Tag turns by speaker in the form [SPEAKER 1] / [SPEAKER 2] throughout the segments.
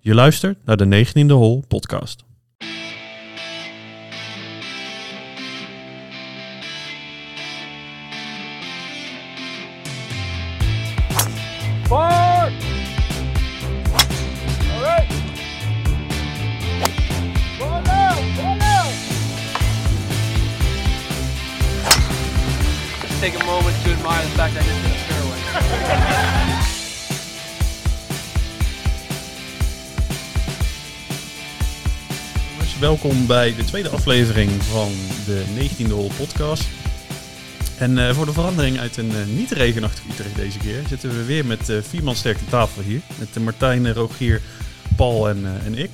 [SPEAKER 1] Je luistert naar de 19e Hol podcast.
[SPEAKER 2] Forward! All right. Ball out, ball out. Let's take a moment to admire the fact I just hit a fairway.
[SPEAKER 1] Jongens, Welkom bij de tweede aflevering van de 19e Hol podcast. En eh, voor de verandering uit een eh, niet regenachtig Utrecht deze keer zitten we weer met eh vier man sterke tafel hier. Met eh, Martijn, eh, Rogier, Paul en, eh, en ik.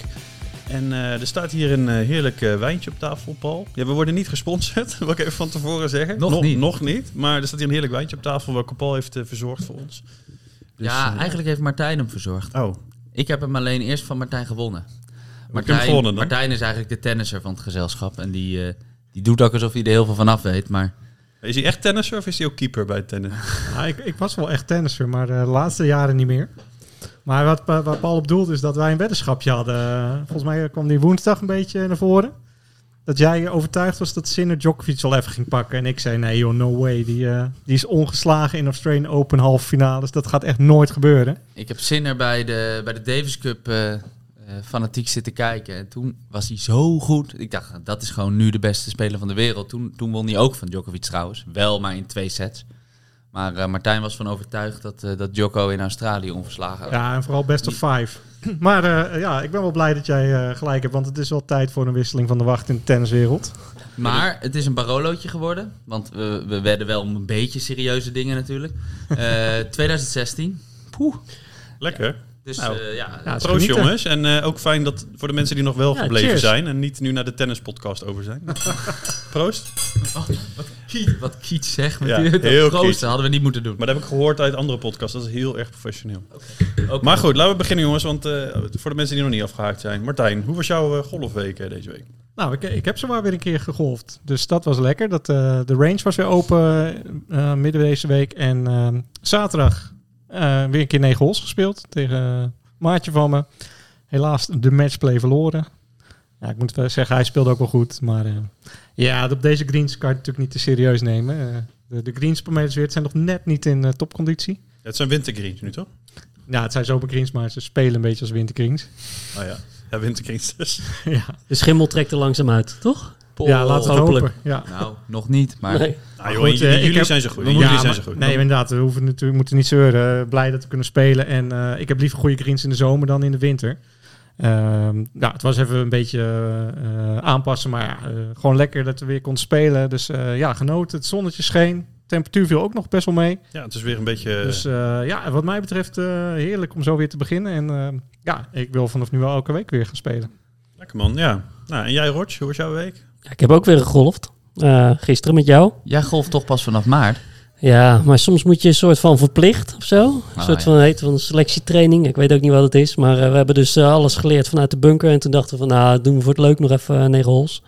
[SPEAKER 1] En eh, er staat hier een eh, heerlijk eh, wijntje op tafel, Paul. Ja, we worden niet gesponsord, wil ik even van tevoren zeggen.
[SPEAKER 3] Nog niet.
[SPEAKER 1] Nog niet, maar er staat hier een heerlijk wijntje op tafel welke Paul heeft eh, verzorgd voor ons. Dus,
[SPEAKER 3] ja,
[SPEAKER 1] eh,
[SPEAKER 3] eigenlijk heeft Martijn hem verzorgd.
[SPEAKER 1] Oh,
[SPEAKER 3] Ik heb hem alleen eerst van Martijn gewonnen.
[SPEAKER 1] hem
[SPEAKER 3] Martijn,
[SPEAKER 1] gewonnen dan?
[SPEAKER 3] Martijn is eigenlijk de tennisser van het gezelschap. En die, eh, die doet ook alsof hij er heel veel van af weet. Maar
[SPEAKER 1] Is hij echt tennisser of is hij ook keeper bij het tennis?
[SPEAKER 4] Ja, ik, ik was wel echt tennisser, maar eh, de laatste jaren niet meer. Maar wat, Pa- waar Paul op doelt is dat wij een weddenschapje hadden. Volgens mij eh, kwam die woensdag een beetje naar voren. Dat jij overtuigd was dat Sinner Djokovic al even ging pakken. En ik zei, nee joh, no way. Die, eh, die is ongeslagen in Australian Open halve finales. Dat gaat echt nooit gebeuren.
[SPEAKER 3] ik heb zin er bij de, bij de Davis Cup eh, eh, fanatiek zitten kijken. En toen was hij zo goed. Ik dacht, nou, dat is gewoon nu de beste speler van de wereld. Toen, toen won hij ook van Djokovic trouwens. Wel maar in twee sets. Maar eh, Martijn was van overtuigd dat, eh dat Djoko in Australië onverslagen was.
[SPEAKER 4] Ja, en vooral best of five. Maar eh, ja, ik ben wel blij dat jij eh, gelijk hebt. Want het is wel tijd voor een wisseling van de wacht in de tenniswereld.
[SPEAKER 3] Maar het is een barolootje geworden. Want we, we werden wel om een beetje serieuze dingen natuurlijk. Eh, 2016. Poeh.
[SPEAKER 1] Lekker.
[SPEAKER 3] Dus
[SPEAKER 1] Nou.
[SPEAKER 3] eh, ja,
[SPEAKER 4] Ja, het is
[SPEAKER 1] Proost
[SPEAKER 4] genieten.
[SPEAKER 1] jongens. En eh, ook fijn dat voor de mensen die nog wel
[SPEAKER 4] Ja,
[SPEAKER 1] gebleven
[SPEAKER 4] cheers.
[SPEAKER 1] zijn en niet nu naar de tennispodcast over zijn. Proost.
[SPEAKER 3] Kiet- wat Kiet zegt met
[SPEAKER 1] Ja,
[SPEAKER 3] die
[SPEAKER 1] heel
[SPEAKER 3] dat proosten
[SPEAKER 1] Kiet.
[SPEAKER 3] hadden we niet moeten doen.
[SPEAKER 1] Maar dat heb ik gehoord uit andere podcasts. Dat is heel erg professioneel.
[SPEAKER 3] Ook-
[SPEAKER 1] Maar goed, laten we beginnen jongens. Want eh, voor de mensen die nog niet afgehaakt zijn. Martijn, hoe was jouw eh, golfweek eh, deze week?
[SPEAKER 4] Nou, ik, ik heb zomaar weer een keer gegolfd. Dus dat was lekker. Dat, eh, de range was weer open eh, midden deze week. En ehm, zaterdag eh, weer een keer negen holes gespeeld tegen een maatje van me. Helaas de matchplay verloren. Ja, ik moet wel zeggen, hij speelde ook wel goed. Maar eh, ja, op deze greens kan je het natuurlijk niet te serieus nemen. Eh, de, de greens per meter zweert zijn nog net niet in eh, topconditie.
[SPEAKER 1] Ja, het zijn wintergreens nu toch?
[SPEAKER 4] Nou, het zijn zomer greens, maar ze spelen een beetje als wintergreens.
[SPEAKER 1] Oh ja. Ja, wintergreens dus.
[SPEAKER 4] ja,
[SPEAKER 5] De schimmel trekt er langzaam uit, toch?
[SPEAKER 3] Pol.
[SPEAKER 4] ja, laten we het
[SPEAKER 5] hopelijk.
[SPEAKER 4] hopen. Ja.
[SPEAKER 3] Nou, nog niet. Maar
[SPEAKER 5] Nee.
[SPEAKER 1] Nou,
[SPEAKER 4] Goed,
[SPEAKER 1] joh, in ju-
[SPEAKER 4] eh,
[SPEAKER 1] in
[SPEAKER 4] ik
[SPEAKER 1] juli
[SPEAKER 4] heb-
[SPEAKER 1] zijn ze goed.
[SPEAKER 4] we
[SPEAKER 1] In
[SPEAKER 4] moeten-
[SPEAKER 1] juli
[SPEAKER 4] ja,
[SPEAKER 1] zijn ze
[SPEAKER 4] maar-
[SPEAKER 1] goed.
[SPEAKER 4] Nee, maar inderdaad, we hoeven natuurlijk, we moeten niet zeuren. Eh, blij dat we kunnen spelen. En eh, ik heb liever goede greens in de zomer dan in de winter. Ehm, ja, het was even een beetje eh, eh, aanpassen, maar ja, eh, gewoon lekker dat we weer konden spelen. Dus eh, ja, genoten. Het zonnetje scheen. Temperatuur viel ook nog best wel mee.
[SPEAKER 1] Ja, het is weer een beetje...
[SPEAKER 4] Dus eh, ja, wat mij betreft eh, heerlijk om zo weer te beginnen. En eh, ja, ik wil vanaf nu wel elke week weer gaan spelen.
[SPEAKER 1] Lekker man, ja. Nou, en jij Roch, hoe was jouw week?
[SPEAKER 5] Ja, ik heb ook weer gegolfd. Eh, gisteren met jou.
[SPEAKER 3] jij golft toch pas vanaf maart.
[SPEAKER 5] Ja, maar soms moet je een soort van verplicht of zo. Een
[SPEAKER 3] Ah,
[SPEAKER 5] soort
[SPEAKER 3] ja.
[SPEAKER 5] van, heet van selectietraining. Ik weet ook niet wat het is. Maar eh, we hebben dus eh, alles geleerd vanuit de bunker. En toen dachten we van, nou, doen we voor het leuk nog even eh, negen holes.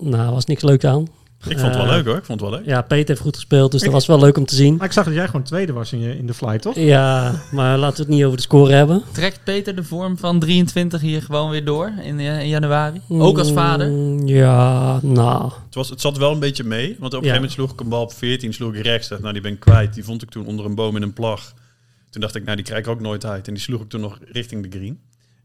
[SPEAKER 5] Nou, was niks leuk aan.
[SPEAKER 1] Ik vond het wel
[SPEAKER 5] Eh,
[SPEAKER 1] leuk hoor, ik vond het wel leuk.
[SPEAKER 5] Ja, Peter heeft goed gespeeld, dus dat
[SPEAKER 4] Ik-
[SPEAKER 5] was wel leuk om te zien.
[SPEAKER 4] Maar ik zag dat jij gewoon tweede was in, je, in de fly, toch?
[SPEAKER 5] Ja, maar laten we het niet over de score hebben.
[SPEAKER 3] Trekt Peter de vorm van 23 hier gewoon weer door in, eh, in januari? Ook als vader?
[SPEAKER 5] Mm, Ja, nou,
[SPEAKER 1] Het, was, het zat wel een beetje mee, want op een gegeven
[SPEAKER 5] Ja.
[SPEAKER 1] moment sloeg ik een bal op 14, sloeg ik rechts. Dacht, nou, die ben ik kwijt. Die vond ik toen onder een boom in een plag. Toen dacht ik, nou, die krijg ik ook nooit uit. En die sloeg ik toen nog richting de green.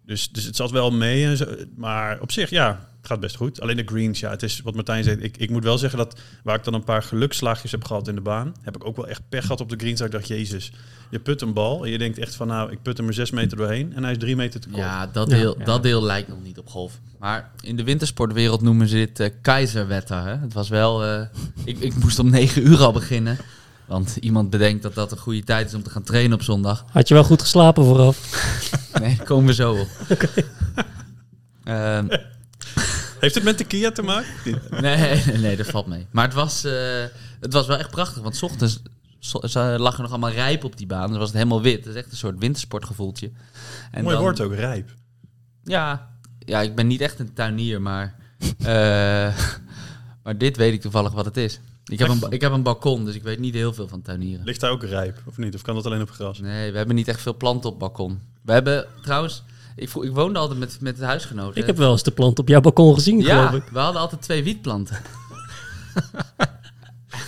[SPEAKER 1] Dus, dus het zat wel mee. En zo, maar op zich, ja, het gaat best goed. Alleen de greens, ja, het is wat Martijn zei. Ik, ik moet wel zeggen dat waar ik dan een paar geluksslaagjes heb gehad in de baan, heb ik ook wel echt pech gehad op de greens. Dat ik dacht, jezus, je put een bal en je denkt echt van, nou, ik put hem er zes meter doorheen en hij is drie meter te kort.
[SPEAKER 3] Ja, dat
[SPEAKER 5] Ja.
[SPEAKER 3] deel,
[SPEAKER 4] Ja.
[SPEAKER 3] Dat deel lijkt nog niet op golf. Maar in de wintersportwereld noemen ze dit eh keizerwetter. Hè? Het was wel... eh, ik, ik moest om 9 uur al beginnen. Want iemand bedenkt dat dat een goede tijd is om te gaan trainen op zondag.
[SPEAKER 5] had je wel goed geslapen vooraf.
[SPEAKER 3] Nee, komen we zo op. Ehm,
[SPEAKER 1] Heeft het met de Kia te maken?
[SPEAKER 3] nee, nee, nee, dat valt mee. Maar het was, eh, het was wel echt prachtig. Want 's ochtends zo- zo- lag er nog allemaal rijp op die baan. Dan was het helemaal wit. Dat is echt een soort wintersportgevoeltje. En
[SPEAKER 1] Mooi
[SPEAKER 3] dan-
[SPEAKER 1] woord ook, rijp.
[SPEAKER 3] Ja, ja, ik ben niet echt een tuinier, maar, eh, maar dit weet ik toevallig wat het is. Ik heb, een, ba- ik heb een balkon, dus ik weet niet heel veel van tuinieren.
[SPEAKER 1] Ligt daar ook rijp, of niet? Of kan dat alleen op gras?
[SPEAKER 3] Nee, we hebben niet echt veel planten op balkon. We hebben trouwens, Ik, vro- ik woonde altijd met, met het huisgenoten.
[SPEAKER 5] Ik heb wel eens de plant op jouw balkon gezien,
[SPEAKER 3] ja,
[SPEAKER 5] geloof ik.
[SPEAKER 3] we hadden altijd twee wietplanten.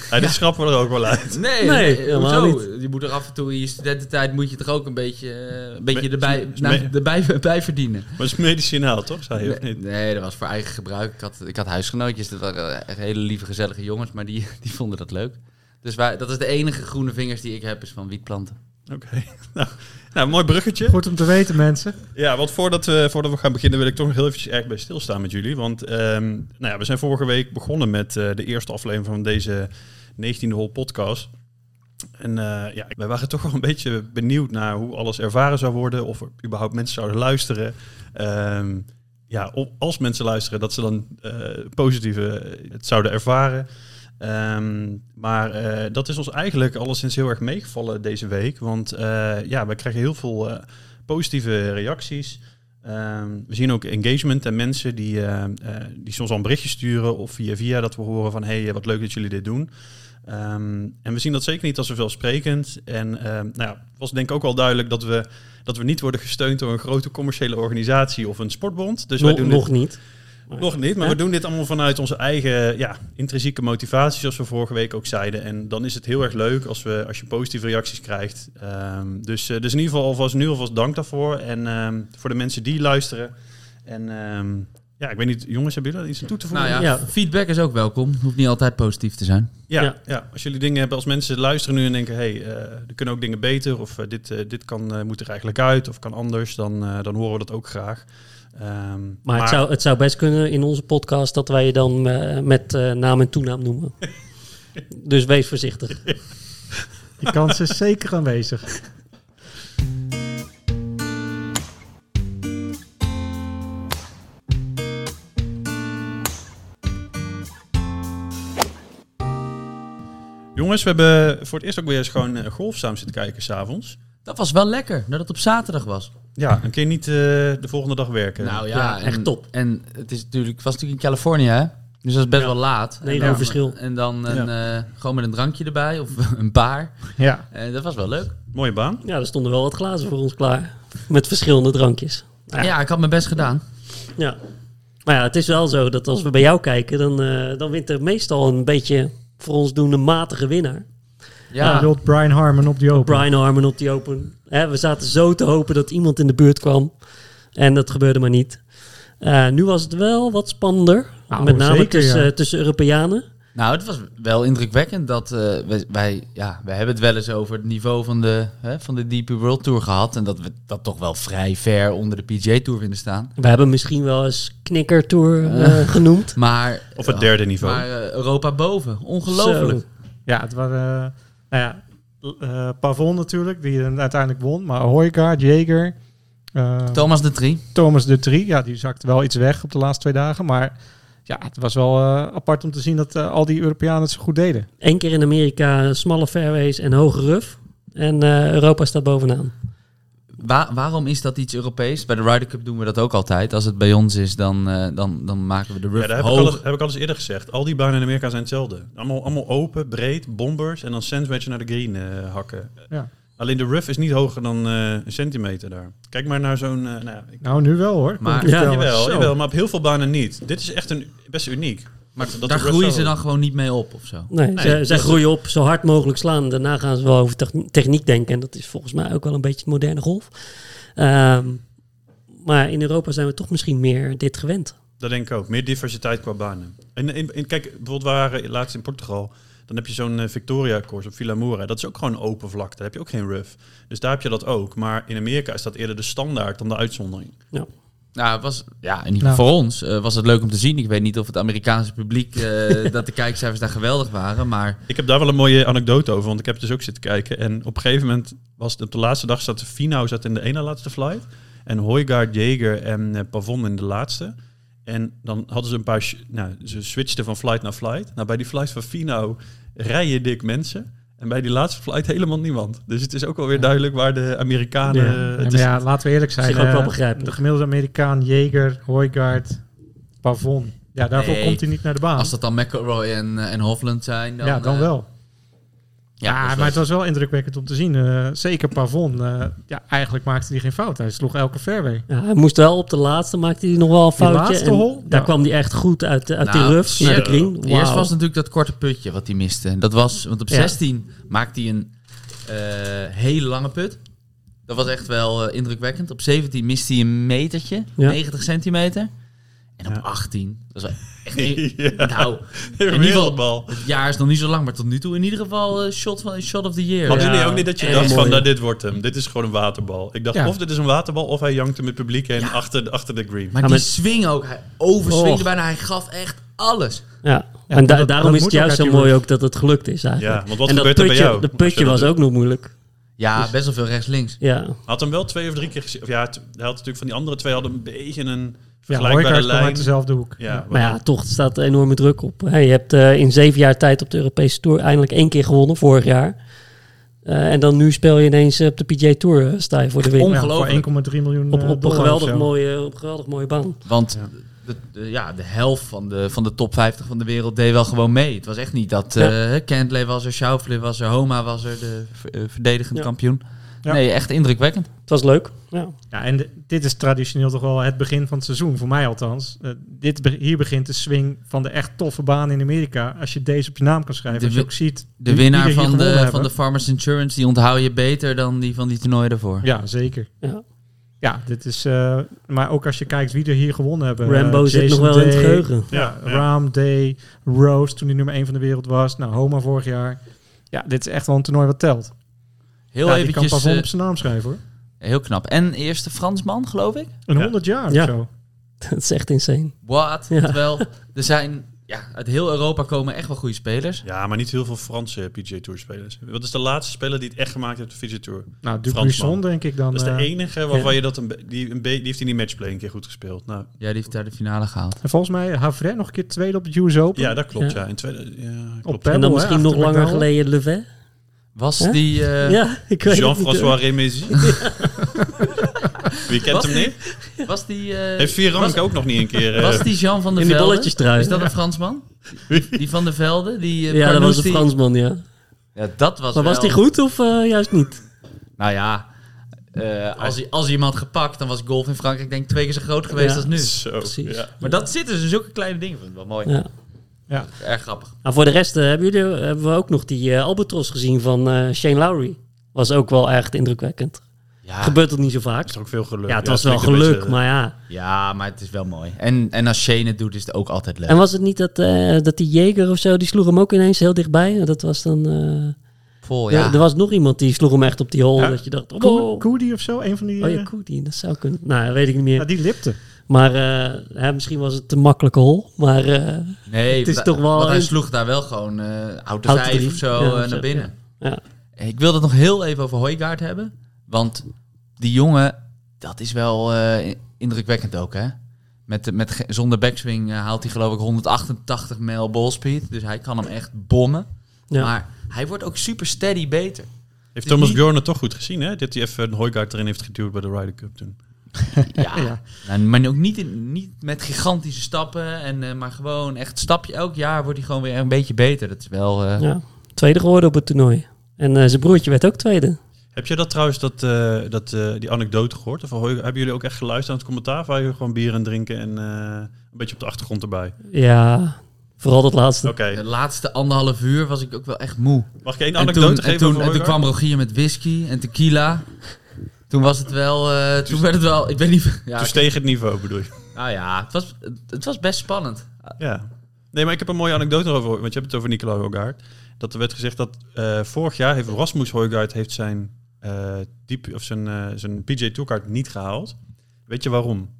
[SPEAKER 1] Ja, dit schrappen we er ook wel uit.
[SPEAKER 3] Nee,
[SPEAKER 5] Nee,
[SPEAKER 3] eh,
[SPEAKER 5] helemaal
[SPEAKER 3] hoezo? Je moet er af en toe in je studententijd moet je toch ook een beetje, eh, een beetje
[SPEAKER 1] Me-
[SPEAKER 3] erbij,
[SPEAKER 1] me-
[SPEAKER 3] nou, erbij, bij verdienen.
[SPEAKER 1] Maar het is medicinaal, toch? Zei je of
[SPEAKER 3] Nee,
[SPEAKER 1] niet?
[SPEAKER 3] nee, dat was voor eigen gebruik. Ik had, ik had huisgenootjes, dat waren echt hele lieve, gezellige jongens, maar die, die vonden dat leuk. Dus wij, dat is de enige groene vingers die ik heb, is van wietplanten.
[SPEAKER 1] Oké. Nou, nou, mooi bruggetje.
[SPEAKER 4] Goed om te weten, mensen.
[SPEAKER 1] Ja, want voordat, we voordat we gaan beginnen wil ik toch nog heel eventjes erg bij stilstaan met jullie. Want ehm, nou ja, we zijn vorige week begonnen met eh, de eerste aflevering van deze 19e Hol podcast. En eh, ja, wij waren toch wel een beetje benieuwd naar hoe alles ervaren zou worden. Of er überhaupt mensen zouden luisteren. Ehm, ja, of als mensen luisteren, dat ze dan eh, positieve eh, het zouden ervaren. Ehm, maar eh, dat is ons eigenlijk alleszins heel erg meegevallen deze week. Want eh, ja, we krijgen heel veel eh, positieve reacties. Ehm, we zien ook engagement en mensen die, eh, eh, die soms al een berichtje sturen of via via dat we horen van hey, eh, wat leuk dat jullie dit doen. Ehm, en we zien dat zeker niet als vanzelfsprekend. En ehm, nou ja, het was denk ik ook wel duidelijk dat we, dat we niet worden gesteund door een grote commerciële organisatie of een sportbond. Dus wij
[SPEAKER 5] nog
[SPEAKER 1] doen dit-
[SPEAKER 5] nog niet.
[SPEAKER 1] nog niet, maar
[SPEAKER 5] Hè?
[SPEAKER 1] we doen dit allemaal vanuit onze eigen ja, intrinsieke motivatie, zoals we vorige week ook zeiden. En dan is het heel erg leuk als, we, als je positieve reacties krijgt. Ehm, dus, eh, dus in ieder geval alvast, nu alvast dank daarvoor. En ehm, voor de mensen die luisteren. En ehm, ja, ik weet niet, jongens, hebben jullie daar iets aan toe te voegen?
[SPEAKER 3] Nou ja,
[SPEAKER 5] Ja.
[SPEAKER 3] feedback is ook welkom. Hoeft niet altijd positief te zijn.
[SPEAKER 1] Ja,
[SPEAKER 5] Ja.
[SPEAKER 1] ja. als jullie dingen hebben, als mensen luisteren nu en denken, hey, eh, er kunnen ook dingen beter, of eh, dit, eh, dit kan, eh, moet er eigenlijk uit, of kan anders, dan, eh, dan horen we dat ook graag. Ehm,
[SPEAKER 5] Maar, Het, zou, het zou best kunnen in onze podcast dat wij je dan eh, met eh, naam en toenaam noemen. dus wees voorzichtig.
[SPEAKER 4] Die kans is zeker aanwezig.
[SPEAKER 1] Jongens, we hebben voor het eerst ook weer eens gewoon eh, golf samen zitten kijken s'avonds.
[SPEAKER 3] Dat was wel lekker, dat het op zaterdag was.
[SPEAKER 1] Ja, een keer niet eh, de volgende dag werken.
[SPEAKER 3] Nou
[SPEAKER 5] Ja,
[SPEAKER 3] en-
[SPEAKER 5] echt top.
[SPEAKER 3] En het is natuurlijk, het was natuurlijk in Californië, hè? Dus dat is best
[SPEAKER 1] Ja.
[SPEAKER 3] wel laat.
[SPEAKER 5] Een hele
[SPEAKER 3] En dan-
[SPEAKER 5] hoop verschil.
[SPEAKER 3] En dan een, eh, gewoon met een drankje erbij of een paar.
[SPEAKER 4] Ja.
[SPEAKER 3] Eh, dat was wel leuk.
[SPEAKER 1] Mooie baan.
[SPEAKER 5] Ja, er stonden wel wat glazen voor ons klaar. Met verschillende drankjes.
[SPEAKER 3] Ja, ik had mijn best gedaan.
[SPEAKER 5] Ja. Maar ja, het is wel zo dat als we bij jou kijken, dan, eh, dan wint er meestal een beetje voor ons doen een matige winnaar.
[SPEAKER 4] Je
[SPEAKER 3] Ja,
[SPEAKER 4] wilt Brian Harmon op die open.
[SPEAKER 5] Brian Harmon op die open. Hè, we zaten zo te hopen dat iemand in de buurt kwam. En dat gebeurde maar niet. Eh, nu was het wel wat spannender.
[SPEAKER 4] Nou,
[SPEAKER 5] met name
[SPEAKER 4] zeker,
[SPEAKER 5] tussen,
[SPEAKER 4] ja.
[SPEAKER 5] eh, tussen Europeanen.
[SPEAKER 3] nou, het was wel indrukwekkend dat eh, wij, wij, ja, wij hebben het wel eens over het niveau van de, hè, van de DP World Tour gehad. En dat we dat toch wel vrij ver onder de PJ Tour vinden staan.
[SPEAKER 5] We hebben misschien wel eens knikkertour eh, genoemd.
[SPEAKER 3] Maar,
[SPEAKER 1] Op het derde niveau.
[SPEAKER 3] maar eh, Europa boven, ongelooflijk.
[SPEAKER 5] Zo.
[SPEAKER 4] Ja, het waren... eh, nou ja, l- eh, Pavon natuurlijk, die hem uiteindelijk won. Maar Hoijkaard, Jager... eh,
[SPEAKER 3] Thomas de Trie.
[SPEAKER 4] Thomas de Drie, ja, die zakt wel iets weg op de laatste twee dagen. Maar ja, het was wel eh, apart om te zien dat eh, al die Europeanen het zo goed deden.
[SPEAKER 5] Eén keer in Amerika smalle fairways en hoge ruf. En eh, Europa staat bovenaan.
[SPEAKER 3] Wa- waarom is dat iets Europees? Bij de Ryder Cup doen we dat ook altijd. Als het bij ons is, dan, eh, dan, dan maken we de
[SPEAKER 1] Ja,
[SPEAKER 3] rough
[SPEAKER 1] daar heb ik, al,
[SPEAKER 3] hoog.
[SPEAKER 1] eens- heb ik al eens eerder gezegd. Al die banen in Amerika zijn hetzelfde. Allemaal, allemaal open, breed, bombers en dan sandwich naar de green eh, hakken.
[SPEAKER 4] Ja.
[SPEAKER 1] Alleen de rough is niet hoger dan eh, een centimeter daar. Kijk maar naar zo'n... eh, nou, ja, ik,
[SPEAKER 4] Nou, nu wel hoor. Kom
[SPEAKER 3] Maar-
[SPEAKER 4] ik je
[SPEAKER 5] Ja,
[SPEAKER 4] vertellen.
[SPEAKER 1] jawel,
[SPEAKER 4] Oh, Zo.
[SPEAKER 1] jawel, maar op heel veel banen niet. Dit is echt een, best uniek.
[SPEAKER 3] maar
[SPEAKER 1] Dat de
[SPEAKER 3] daar
[SPEAKER 1] rough
[SPEAKER 3] groeien
[SPEAKER 1] zo-
[SPEAKER 3] ze dan gewoon niet mee op of zo.
[SPEAKER 5] Nee,
[SPEAKER 1] Nee,
[SPEAKER 5] zij,
[SPEAKER 1] dat
[SPEAKER 5] zij
[SPEAKER 1] is-
[SPEAKER 5] groeien op zo hard mogelijk slaan. Daarna gaan ze wel over techn- techniek denken. En dat is volgens mij ook wel een beetje het moderne golf. Ehm, maar in Europa zijn we toch misschien meer dit gewend.
[SPEAKER 1] Dat denk ik ook. Meer diversiteit qua banen. En, en, en kijk, bijvoorbeeld waar eh, laatst in Portugal. Dan heb je zo'n eh, Victoria-course op Vila Moura. Dat is ook gewoon open vlakte. Daar heb je ook geen rough. Dus daar heb je dat ook. Maar in Amerika is dat eerder de standaard dan de uitzondering.
[SPEAKER 3] Nou, het was, ja, in ieder
[SPEAKER 4] Nou.
[SPEAKER 3] geval voor ons eh, was het leuk om te zien. Ik weet niet of het Amerikaanse publiek, eh, dat de kijkcijfers daar geweldig waren. Maar
[SPEAKER 1] Ik heb daar wel een mooie anekdote over. Want ik heb het dus ook zitten kijken. En op een gegeven moment was het op de laatste dag... zat Finau zat in de ene laatste flight. En Hoygaard, Jager en eh, Pavon in de laatste. En dan hadden ze een paar... sh- Nou, ze switchten van flight naar flight. Nou, bij die flight van Finau rijen dik mensen. En bij die laatste flight helemaal niemand. Dus het is ook wel weer duidelijk waar de Amerikanen...
[SPEAKER 4] Ja,
[SPEAKER 1] eh,
[SPEAKER 4] maar
[SPEAKER 1] het is,
[SPEAKER 4] ja, laten we eerlijk
[SPEAKER 5] zich
[SPEAKER 4] zijn.
[SPEAKER 5] ook
[SPEAKER 4] eh,
[SPEAKER 5] wel begrijpen.
[SPEAKER 4] De gemiddelde Amerikaan, Jager, Hoijkaard, Pavon. Ja, daarvoor
[SPEAKER 3] Nee.
[SPEAKER 4] komt hij niet naar de baan.
[SPEAKER 3] als dat dan McElroy en, eh, en Hofland zijn, dan,
[SPEAKER 4] ja, dan
[SPEAKER 3] eh,
[SPEAKER 4] wel.
[SPEAKER 3] dat
[SPEAKER 4] Ja,
[SPEAKER 3] is
[SPEAKER 4] maar
[SPEAKER 3] wel-
[SPEAKER 4] het was wel indrukwekkend om te zien. Eh, zeker Pavon. eh, ja, eigenlijk maakte hij geen fout. Hij sloeg elke fairway.
[SPEAKER 5] Ja, hij moest wel op de laatste, maakte hij nog wel een foutje.
[SPEAKER 4] laatste
[SPEAKER 5] en
[SPEAKER 4] hole?
[SPEAKER 5] Daar
[SPEAKER 4] Ja.
[SPEAKER 5] kwam hij echt goed uit, uit
[SPEAKER 3] Nou,
[SPEAKER 5] die rough naar de
[SPEAKER 3] eerst-
[SPEAKER 5] green.
[SPEAKER 3] Eerst
[SPEAKER 5] Wauw.
[SPEAKER 3] was natuurlijk dat korte putje wat hij miste. Dat was, want op
[SPEAKER 5] Ja.
[SPEAKER 3] 16 maakte hij een eh, hele lange put. Dat was echt wel eh, indrukwekkend. Op 17 miste hij een metertje,
[SPEAKER 5] Ja.
[SPEAKER 3] 90 centimeter. En op
[SPEAKER 1] Ja.
[SPEAKER 3] 18, dat is wel echt...
[SPEAKER 1] Ja.
[SPEAKER 3] Nou, ieder geval-
[SPEAKER 1] Wereldbal.
[SPEAKER 3] het jaar is nog niet zo lang, maar tot nu toe in ieder geval eh, shot, van, shot of the year.
[SPEAKER 1] Hadden
[SPEAKER 5] Ja.
[SPEAKER 1] jullie ook niet dat je
[SPEAKER 3] Echt
[SPEAKER 1] dacht van,
[SPEAKER 5] mooi.
[SPEAKER 1] nou, dit wordt hem. Dit is gewoon een waterbal. Ik dacht,
[SPEAKER 4] Ja.
[SPEAKER 1] of dit is een waterbal, of hij jankte met publiek heen achter, achter de green.
[SPEAKER 3] Maar
[SPEAKER 5] Ja,
[SPEAKER 3] die
[SPEAKER 5] maar-
[SPEAKER 3] swing ook, hij overswingde
[SPEAKER 5] Och.
[SPEAKER 3] bijna, hij gaf echt alles.
[SPEAKER 5] Ja.
[SPEAKER 4] Ja,
[SPEAKER 5] en da-
[SPEAKER 4] dat-
[SPEAKER 5] daarom
[SPEAKER 4] dat
[SPEAKER 5] is het
[SPEAKER 4] moet ook
[SPEAKER 5] juist
[SPEAKER 4] uit
[SPEAKER 5] zo
[SPEAKER 4] die
[SPEAKER 5] mooi
[SPEAKER 4] rough.
[SPEAKER 5] ook dat het gelukt is eigenlijk.
[SPEAKER 1] Ja, want wat
[SPEAKER 5] en dat
[SPEAKER 1] gebeurt er bij
[SPEAKER 5] putje,
[SPEAKER 1] jou
[SPEAKER 5] De
[SPEAKER 1] als je
[SPEAKER 5] putje
[SPEAKER 1] dat
[SPEAKER 5] was
[SPEAKER 1] doet?
[SPEAKER 5] ook nog moeilijk. Dus-
[SPEAKER 3] Ja, best wel veel rechts-links.
[SPEAKER 5] Ja,
[SPEAKER 1] Had hem wel twee of drie keer gezien. Of ja, het- hij had natuurlijk van die andere twee hadden een beetje een
[SPEAKER 4] Ja,
[SPEAKER 1] vergelijkbare
[SPEAKER 4] Hoijkaart kwam
[SPEAKER 1] lijn.
[SPEAKER 4] uit dezelfde hoek.
[SPEAKER 1] Ja,
[SPEAKER 5] maar ja, toch staat er enorme druk op. Hey, je hebt eh, in zeven jaar tijd op de Europese Tour eindelijk één keer gewonnen, vorig jaar. Eh, en dan nu speel je ineens eh, op de PGA Tour, eh, sta je voor de win.
[SPEAKER 3] ongelooflijk.
[SPEAKER 4] Ja, voor 1,3 miljoen
[SPEAKER 5] Op,
[SPEAKER 4] eh,
[SPEAKER 5] op, een
[SPEAKER 4] dollar of
[SPEAKER 5] geweldig
[SPEAKER 4] zo.
[SPEAKER 5] mooie, op een geweldig mooie baan.
[SPEAKER 3] Want De, de- ja, de helft van de, van de top 50 van de wereld deed wel gewoon mee. Het was echt niet dat eh Kentley was er, Schauffele was er, Homa was er, de ver- eh, verdedigend
[SPEAKER 5] Ja.
[SPEAKER 3] kampioen.
[SPEAKER 4] Ja.
[SPEAKER 3] Nee, echt indrukwekkend.
[SPEAKER 5] Het was leuk. Ja.
[SPEAKER 4] Ja, en de- dit is traditioneel toch wel het begin van het seizoen, voor mij althans. Eh, dit be- hier begint de swing van de echt toffe baan in Amerika. Als je deze op je naam kan schrijven,
[SPEAKER 3] De
[SPEAKER 4] als je
[SPEAKER 3] wi-
[SPEAKER 4] ook ziet
[SPEAKER 3] De
[SPEAKER 4] wie- wie er
[SPEAKER 3] winnaar
[SPEAKER 4] hier
[SPEAKER 3] van
[SPEAKER 4] gewonnen
[SPEAKER 3] de,
[SPEAKER 4] hebben.
[SPEAKER 3] van de Farmers Insurance, die onthoud je beter dan die van die toernooi daarvoor.
[SPEAKER 4] Ja, zeker.
[SPEAKER 5] Ja.
[SPEAKER 4] Ja, dit is... eh, maar ook als je kijkt wie er hier gewonnen hebben.
[SPEAKER 5] Rambo
[SPEAKER 4] eh,
[SPEAKER 5] zit nog
[SPEAKER 4] Jason
[SPEAKER 5] wel in het
[SPEAKER 4] Day,
[SPEAKER 5] geheugen.
[SPEAKER 4] Ja,
[SPEAKER 1] Ja, ja.
[SPEAKER 4] Raam, Day, Rose, toen hij nummer 1 van de wereld was. Nou, Homa vorig jaar. Ja, dit is echt wel een toernooi wat telt.
[SPEAKER 3] Heel
[SPEAKER 4] ja, die kan
[SPEAKER 3] eventjes,
[SPEAKER 4] Pavon
[SPEAKER 3] eh,
[SPEAKER 4] op zijn naam schrijven hoor.
[SPEAKER 3] heel knap. En eerste Fransman, geloof ik?
[SPEAKER 4] Een
[SPEAKER 1] Ja.
[SPEAKER 4] 100 jaar
[SPEAKER 5] Ja.
[SPEAKER 4] of zo.
[SPEAKER 5] Dat is echt insane.
[SPEAKER 3] Wat?
[SPEAKER 5] Ja.
[SPEAKER 3] Terwijl, er zijn... Ja, uit heel Europa komen echt wel goede spelers.
[SPEAKER 1] Ja, maar niet heel veel Franse PGA Tour spelers. Wat is de laatste speler die het echt gemaakt heeft op de PGA Tour?
[SPEAKER 4] Nou, Dubuisson
[SPEAKER 1] Fransman.
[SPEAKER 4] denk ik dan.
[SPEAKER 1] Dat is de
[SPEAKER 4] eh,
[SPEAKER 1] enige waarvan je dat een be- die, een be- die heeft in die matchplay een keer goed gespeeld. Nou,
[SPEAKER 3] Ja, die heeft daar de finale gehaald.
[SPEAKER 4] En volgens mij Havre nog een keer tweede op het US Open.
[SPEAKER 1] ja, dat klopt.
[SPEAKER 5] Ja.
[SPEAKER 1] Ja, in tweede, ja,
[SPEAKER 4] op
[SPEAKER 1] klopt.
[SPEAKER 4] Pebble,
[SPEAKER 5] en dan
[SPEAKER 4] hè,
[SPEAKER 5] misschien
[SPEAKER 4] achter
[SPEAKER 5] nog langer
[SPEAKER 4] McDowell.
[SPEAKER 5] geleden Levet.
[SPEAKER 3] Was
[SPEAKER 5] Hè?
[SPEAKER 3] die... eh,
[SPEAKER 5] ja, ik weet het niet.
[SPEAKER 1] Jean-François Remesi. Wie kent
[SPEAKER 3] Was
[SPEAKER 1] hem
[SPEAKER 3] die-
[SPEAKER 1] niet?
[SPEAKER 3] Was die... eh,
[SPEAKER 1] Heeft Vierank
[SPEAKER 3] was-
[SPEAKER 1] ook nog niet een keer... eh,
[SPEAKER 3] Was die Jean van der
[SPEAKER 5] In die
[SPEAKER 3] Velde?
[SPEAKER 5] bolletjes trui.
[SPEAKER 3] Is dat een Fransman? Die van der Velde? Die, eh,
[SPEAKER 5] Ja, dat was
[SPEAKER 3] Carnoustie?
[SPEAKER 5] een Fransman, ja.
[SPEAKER 3] Ja, dat was
[SPEAKER 5] Maar was
[SPEAKER 3] wel-
[SPEAKER 5] die goed of eh, juist niet?
[SPEAKER 3] Nou ja, eh, als, hij- als hij iemand gepakt, dan was golf in Frankrijk denk ik twee keer zo groot geweest
[SPEAKER 5] Ja.
[SPEAKER 3] als nu.
[SPEAKER 1] Zo,
[SPEAKER 5] Precies.
[SPEAKER 1] ja.
[SPEAKER 3] Maar dat zitten dus in zulke kleine dingen. Vind ik wel mooi.
[SPEAKER 5] Ja.
[SPEAKER 3] Erg grappig.
[SPEAKER 5] Nou, voor de rest eh, hebben, jullie, hebben we ook nog die eh, albatros gezien van eh, Shane Lowry. Was ook wel echt indrukwekkend.
[SPEAKER 3] Ah. Ja,
[SPEAKER 5] Gebeurt dat niet zo vaak.
[SPEAKER 1] Is er ook veel geluk.
[SPEAKER 5] Ja, het was
[SPEAKER 1] het
[SPEAKER 5] wel
[SPEAKER 1] klinkt een
[SPEAKER 5] geluk,
[SPEAKER 1] beetje- eh,
[SPEAKER 5] maar ja.
[SPEAKER 3] ja, maar het is wel mooi. En, en als Shane het doet, is het ook altijd leuk.
[SPEAKER 5] En was het niet dat, eh, dat die Jager of zo, die sloeg hem ook ineens heel dichtbij? Dat was dan... eh,
[SPEAKER 3] Vol,
[SPEAKER 5] ja,
[SPEAKER 3] Oh, ja.
[SPEAKER 5] Er was nog iemand die sloeg hem echt op die hole.
[SPEAKER 4] Ja.
[SPEAKER 5] Dat je dacht, oh,
[SPEAKER 4] Ko-
[SPEAKER 5] oh,
[SPEAKER 4] Koedi of zo, een van die...
[SPEAKER 5] oh ja,
[SPEAKER 4] eh,
[SPEAKER 5] Koedi, dat zou kunnen. Nou, dat weet ik niet meer.
[SPEAKER 4] ja, die lipte.
[SPEAKER 5] Maar eh, hè, misschien was het een makkelijke hole. Maar eh,
[SPEAKER 3] Nee,
[SPEAKER 5] Het is
[SPEAKER 3] wa-
[SPEAKER 5] toch wel-
[SPEAKER 3] want hij sloeg daar wel gewoon eh auto
[SPEAKER 5] Houten
[SPEAKER 3] 5
[SPEAKER 5] drie.
[SPEAKER 3] of zo
[SPEAKER 5] Ja,
[SPEAKER 3] eh,
[SPEAKER 5] zo,
[SPEAKER 3] naar binnen.
[SPEAKER 5] ja.
[SPEAKER 3] Ik wil het nog heel even over Hoijgaard hebben. Want die jongen, dat is wel eh, indrukwekkend ook, hè? Met, met, ge- zonder backswing eh, haalt hij geloof ik 188 mijl ballspeed. Dus hij kan hem echt bommen.
[SPEAKER 5] Ja.
[SPEAKER 3] Maar hij wordt ook super steady beter.
[SPEAKER 1] Heeft Thomas Bjorn het toch goed gezien, hè? Dat hij even een Hoijgaard erin heeft geduwd bij de Ryder Cup toen.
[SPEAKER 3] Ja. Nou, maar ook niet, in, niet met gigantische stappen. En, eh, maar gewoon echt stapje. Elk jaar wordt hij gewoon weer een beetje beter. Dat is wel... eh,
[SPEAKER 5] ja, tweede geworden op het toernooi. En eh, zijn broertje werd ook tweede.
[SPEAKER 1] Heb je dat trouwens, dat, eh, dat, eh, die anekdote gehoord? Of Hoijgaard- hebben jullie ook echt geluisterd aan het commentaar? Of waren jullie gewoon bier en drinken en eh, een beetje op de achtergrond erbij?
[SPEAKER 5] Ja, vooral dat laatste.
[SPEAKER 1] Oké,
[SPEAKER 3] De laatste anderhalf uur was ik ook wel echt moe.
[SPEAKER 1] mag ik één
[SPEAKER 3] En
[SPEAKER 1] anekdote
[SPEAKER 3] toen,
[SPEAKER 1] geven
[SPEAKER 3] en, toen,
[SPEAKER 1] over
[SPEAKER 3] en toen
[SPEAKER 1] Hoijgaard?
[SPEAKER 3] kwam Rogier met whisky en tequila. Toen was het wel... eh, toen werd het wel... Ik weet niet... Ja,
[SPEAKER 1] Toen steeg het niveau, bedoel je?
[SPEAKER 3] nou ja, het was, het was best spannend.
[SPEAKER 1] Ja. Nee, maar ik heb een mooie anekdote erover, want je hebt het over Nicola Hoegaard. Dat er werd gezegd dat eh, vorig jaar heeft Rasmus Hoegaard heeft zijn, eh diep, of zijn, eh, zijn PJ Tourkaart niet gehaald. Weet je waarom?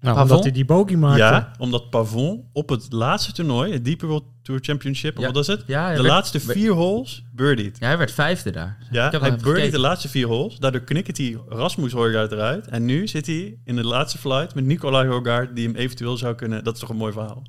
[SPEAKER 4] Nou,
[SPEAKER 3] Pavon?
[SPEAKER 4] omdat hij die bogey maakte.
[SPEAKER 1] Ja, omdat Pavon op het laatste toernooi, het Deep World Tour Championship, of
[SPEAKER 3] Ja.
[SPEAKER 1] wat is het?
[SPEAKER 3] Ja, hij
[SPEAKER 1] de
[SPEAKER 3] werd-
[SPEAKER 1] laatste vier holes birdied.
[SPEAKER 3] Ja, hij werd vijfde daar.
[SPEAKER 1] Ja,
[SPEAKER 3] Ik heb
[SPEAKER 1] hij
[SPEAKER 3] hem
[SPEAKER 1] birdied de
[SPEAKER 3] gekeken.
[SPEAKER 1] laatste vier holes. Daardoor knikkert hij Rasmus Hoegaard eruit. En nu zit hij in de laatste flight met Nicola Hoegaard, die hem eventueel zou kunnen... Dat is toch een mooi verhaal?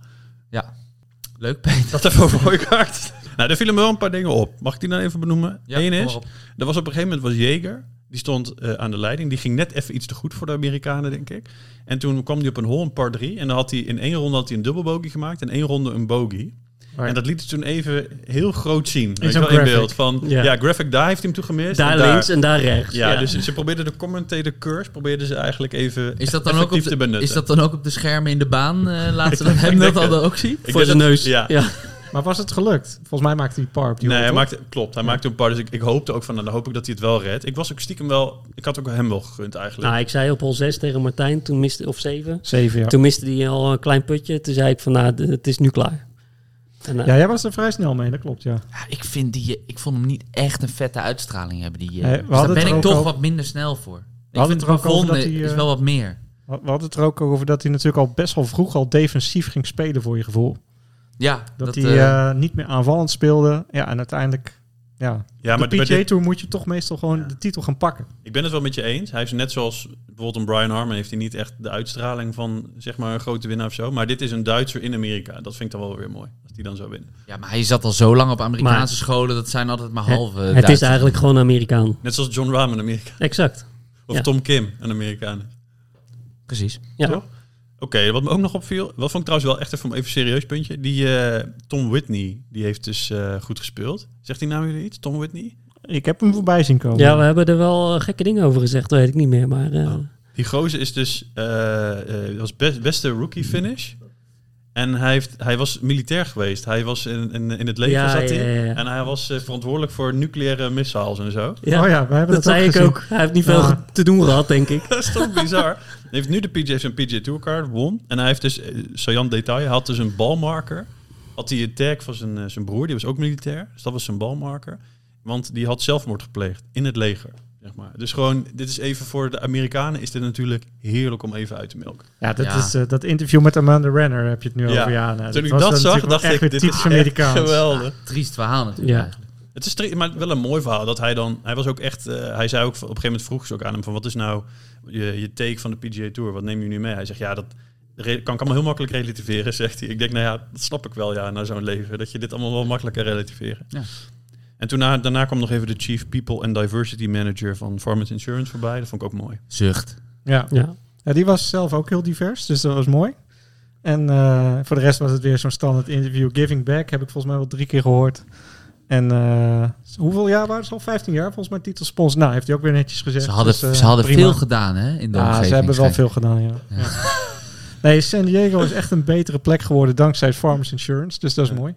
[SPEAKER 3] Leuk, Peter.
[SPEAKER 1] Dat even over Hooikaart. nou, er vielen me wel een paar dingen op. Mag ik die dan even benoemen?
[SPEAKER 3] Ja,
[SPEAKER 1] Eén
[SPEAKER 3] kom
[SPEAKER 1] is,
[SPEAKER 3] maar op.
[SPEAKER 1] er was op een gegeven moment was Jager. Die stond eh, aan de leiding. Die ging net even iets te goed voor de Amerikanen, denk ik. En toen kwam hij op een hole, een par 3. En dan had hij in één ronde had hij een dubbel bogey gemaakt. En één ronde een bogey.
[SPEAKER 4] Maar-
[SPEAKER 1] En dat liet het toen even heel groot zien. Weet je
[SPEAKER 4] zo'n
[SPEAKER 1] wel, in
[SPEAKER 4] graphic.
[SPEAKER 1] beeld. Van,
[SPEAKER 5] Ja.
[SPEAKER 1] ja. Graphic daar heeft hij hem toen gemist.
[SPEAKER 5] Daar
[SPEAKER 1] en
[SPEAKER 5] links en daar rechts.
[SPEAKER 1] Ja, dus ze probeerden de commentator curse probeerden ze eigenlijk even
[SPEAKER 3] Is dat, dan ook op
[SPEAKER 1] effectief te
[SPEAKER 3] de,
[SPEAKER 1] benutten.
[SPEAKER 3] is dat dan ook op de schermen in de baan? eh laten ze dat hem dat
[SPEAKER 1] denk
[SPEAKER 3] al
[SPEAKER 1] het.
[SPEAKER 3] dan ook zien?
[SPEAKER 1] Ik
[SPEAKER 5] voor
[SPEAKER 1] denk
[SPEAKER 5] zijn
[SPEAKER 1] dat-
[SPEAKER 5] neus.
[SPEAKER 1] Ja.
[SPEAKER 5] ja.
[SPEAKER 4] Maar was het gelukt? Volgens mij maakte hij par op die
[SPEAKER 1] Nee, hij
[SPEAKER 4] hole, toch?
[SPEAKER 1] maakte, klopt. Hij maakte een paar. Dus ik, ik hoopte ook van, nou, dan hoop ik dat hij het wel redt. Ik was ook stiekem wel... Ik had ook hem wel gegund eigenlijk.
[SPEAKER 5] Nou, ik zei op hol 6 tegen Martijn, toen miste, of 7.
[SPEAKER 4] Zeven, ja.
[SPEAKER 5] Toen miste hij al een klein putje. Toen zei ik van, nou, d- het is nu klaar. En, eh,
[SPEAKER 4] Ja, jij was er vrij snel mee, dat klopt, ja.
[SPEAKER 3] Ja, ik, vind die, eh, ik vond hem niet echt een vette uitstraling hebben. Die, eh,
[SPEAKER 4] Nee, we
[SPEAKER 3] dus
[SPEAKER 4] hadden
[SPEAKER 3] daar ben
[SPEAKER 4] het
[SPEAKER 3] ik
[SPEAKER 4] er
[SPEAKER 3] toch
[SPEAKER 4] ook over-
[SPEAKER 3] wat minder snel voor. Ik
[SPEAKER 4] hadden
[SPEAKER 3] vind
[SPEAKER 4] het er ook over
[SPEAKER 3] Ravonde
[SPEAKER 4] dat hij, eh,
[SPEAKER 3] is wel wat meer.
[SPEAKER 4] We hadden het er ook over dat hij natuurlijk al best wel vroeg al defensief ging spelen voor je gevoel.
[SPEAKER 3] Ja,
[SPEAKER 4] Dat,
[SPEAKER 3] dat,
[SPEAKER 4] hij
[SPEAKER 3] eh,
[SPEAKER 4] eh, niet meer aanvallend speelde. Ja, en uiteindelijk... Ja,
[SPEAKER 1] ja,
[SPEAKER 4] de
[SPEAKER 1] maar bij
[SPEAKER 4] PGA
[SPEAKER 1] dit-
[SPEAKER 4] Tour moet je toch meestal gewoon de titel gaan pakken.
[SPEAKER 1] ik ben het wel met je eens. Hij heeft net zoals bijvoorbeeld een Brian Harmon... heeft hij niet echt de uitstraling van zeg maar een grote winnaar of zo. Maar dit is een Duitser in Amerika. Dat vind ik dan wel weer mooi. Als die dan zou winnen.
[SPEAKER 3] ja, maar hij zat al zo lang op Amerikaanse
[SPEAKER 5] Maar-
[SPEAKER 3] scholen. Dat zijn altijd maar halve
[SPEAKER 5] het is
[SPEAKER 3] Duitsers.
[SPEAKER 5] eigenlijk gewoon Amerikaan.
[SPEAKER 1] Net zoals John Rahm in Amerika.
[SPEAKER 5] Exact.
[SPEAKER 1] Of
[SPEAKER 5] Ja.
[SPEAKER 1] Tom Kim, een Amerikaan. Oké,
[SPEAKER 3] Precies.
[SPEAKER 5] Ja.
[SPEAKER 1] Toch? wat me ook nog opviel... Wat vond ik trouwens wel echt even een even serieus puntje. Die eh, Tom Whitney, die heeft dus eh, goed gespeeld. Zegt die naam jullie iets? Tom Whitney?
[SPEAKER 4] Ik heb hem voorbij zien komen.
[SPEAKER 5] Ja, we hebben er wel eh, gekke dingen over gezegd, dat weet ik niet meer. Maar eh,
[SPEAKER 1] Oh. Die gozer is dus eh, eh, was best, beste rookie finish. En hij, heeft, hij was militair geweest. Hij was in, in, in het leger
[SPEAKER 5] Ja,
[SPEAKER 1] zat hij.
[SPEAKER 5] ja, ja, ja.
[SPEAKER 1] En hij was eh, verantwoordelijk voor nucleaire missiles en zo.
[SPEAKER 5] ja,
[SPEAKER 4] Oh ja, we hebben
[SPEAKER 5] dat
[SPEAKER 4] dat,
[SPEAKER 5] zei ik
[SPEAKER 4] ook gezien.
[SPEAKER 5] ook. Hij heeft niet veel
[SPEAKER 4] Ja.
[SPEAKER 5] te doen gehad, denk ik.
[SPEAKER 1] Dat is toch bizar. Hij heeft nu de PJ heeft zijn PJ Tourcard won. En hij heeft dus, eh, saillant detail, hij had dus een balmarker. Had hij een tag van zijn, eh, zijn broer, die was ook militair. Dus dat was zijn balmarker. Want die had zelfmoord gepleegd in het leger. Zeg maar. Dus gewoon, dit is even voor de Amerikanen is dit natuurlijk heerlijk om even uit te melken.
[SPEAKER 4] Ja, dat,
[SPEAKER 3] Ja.
[SPEAKER 4] Is, eh, dat interview met Amanda Renner heb je het nu over. Ja, nou,
[SPEAKER 1] Toen ik
[SPEAKER 4] was
[SPEAKER 1] dat
[SPEAKER 4] dan
[SPEAKER 1] zag,
[SPEAKER 4] natuurlijk wel
[SPEAKER 1] dacht ik,
[SPEAKER 4] echt weer
[SPEAKER 1] dit
[SPEAKER 4] typisch
[SPEAKER 1] is echt
[SPEAKER 4] Amerikaans.
[SPEAKER 1] geweldig.
[SPEAKER 3] Triest verhaal natuurlijk.
[SPEAKER 5] Ja.
[SPEAKER 3] eigenlijk.
[SPEAKER 1] Het is tri- maar wel een mooi verhaal dat hij dan... Hij was ook echt... eh, hij zei ook op een gegeven moment vroeg ze ook aan hem van... Wat is nou je, je take van de PGA Tour? Wat neem je nu mee? Hij zegt ja, dat re- kan ik allemaal heel makkelijk relativeren, zegt hij. Ik denk nou ja, dat snap ik wel ja, na zo'n leven. Dat je dit allemaal wel makkelijk kan relativeren.
[SPEAKER 3] Ja.
[SPEAKER 1] En toen na- daarna kwam nog even de Chief People and Diversity Manager van Farmers Insurance voorbij. Dat vond ik ook mooi.
[SPEAKER 3] Zucht.
[SPEAKER 4] Ja.
[SPEAKER 5] Ja.
[SPEAKER 4] Ja, die was zelf ook heel divers, dus dat was mooi. En eh, voor de rest was het weer zo'n standaard interview. Giving Back heb ik volgens mij wel drie keer gehoord. En eh, hoeveel jaar waren ze al? 15 jaar volgens mij titelspons. Nou, heeft hij ook weer netjes gezegd.
[SPEAKER 3] Ze hadden,
[SPEAKER 4] dus, eh,
[SPEAKER 3] ze hadden
[SPEAKER 4] prima.
[SPEAKER 3] veel gedaan hè, in de
[SPEAKER 4] Ja,
[SPEAKER 3] omgeving.
[SPEAKER 4] Ah, ze hebben wel
[SPEAKER 3] schijnt.
[SPEAKER 4] veel gedaan, ja.
[SPEAKER 3] Ja.
[SPEAKER 4] Ja. Nee, San Diego is echt een betere plek geworden dankzij Farmers Insurance, dus dat is
[SPEAKER 1] Ja.
[SPEAKER 4] mooi.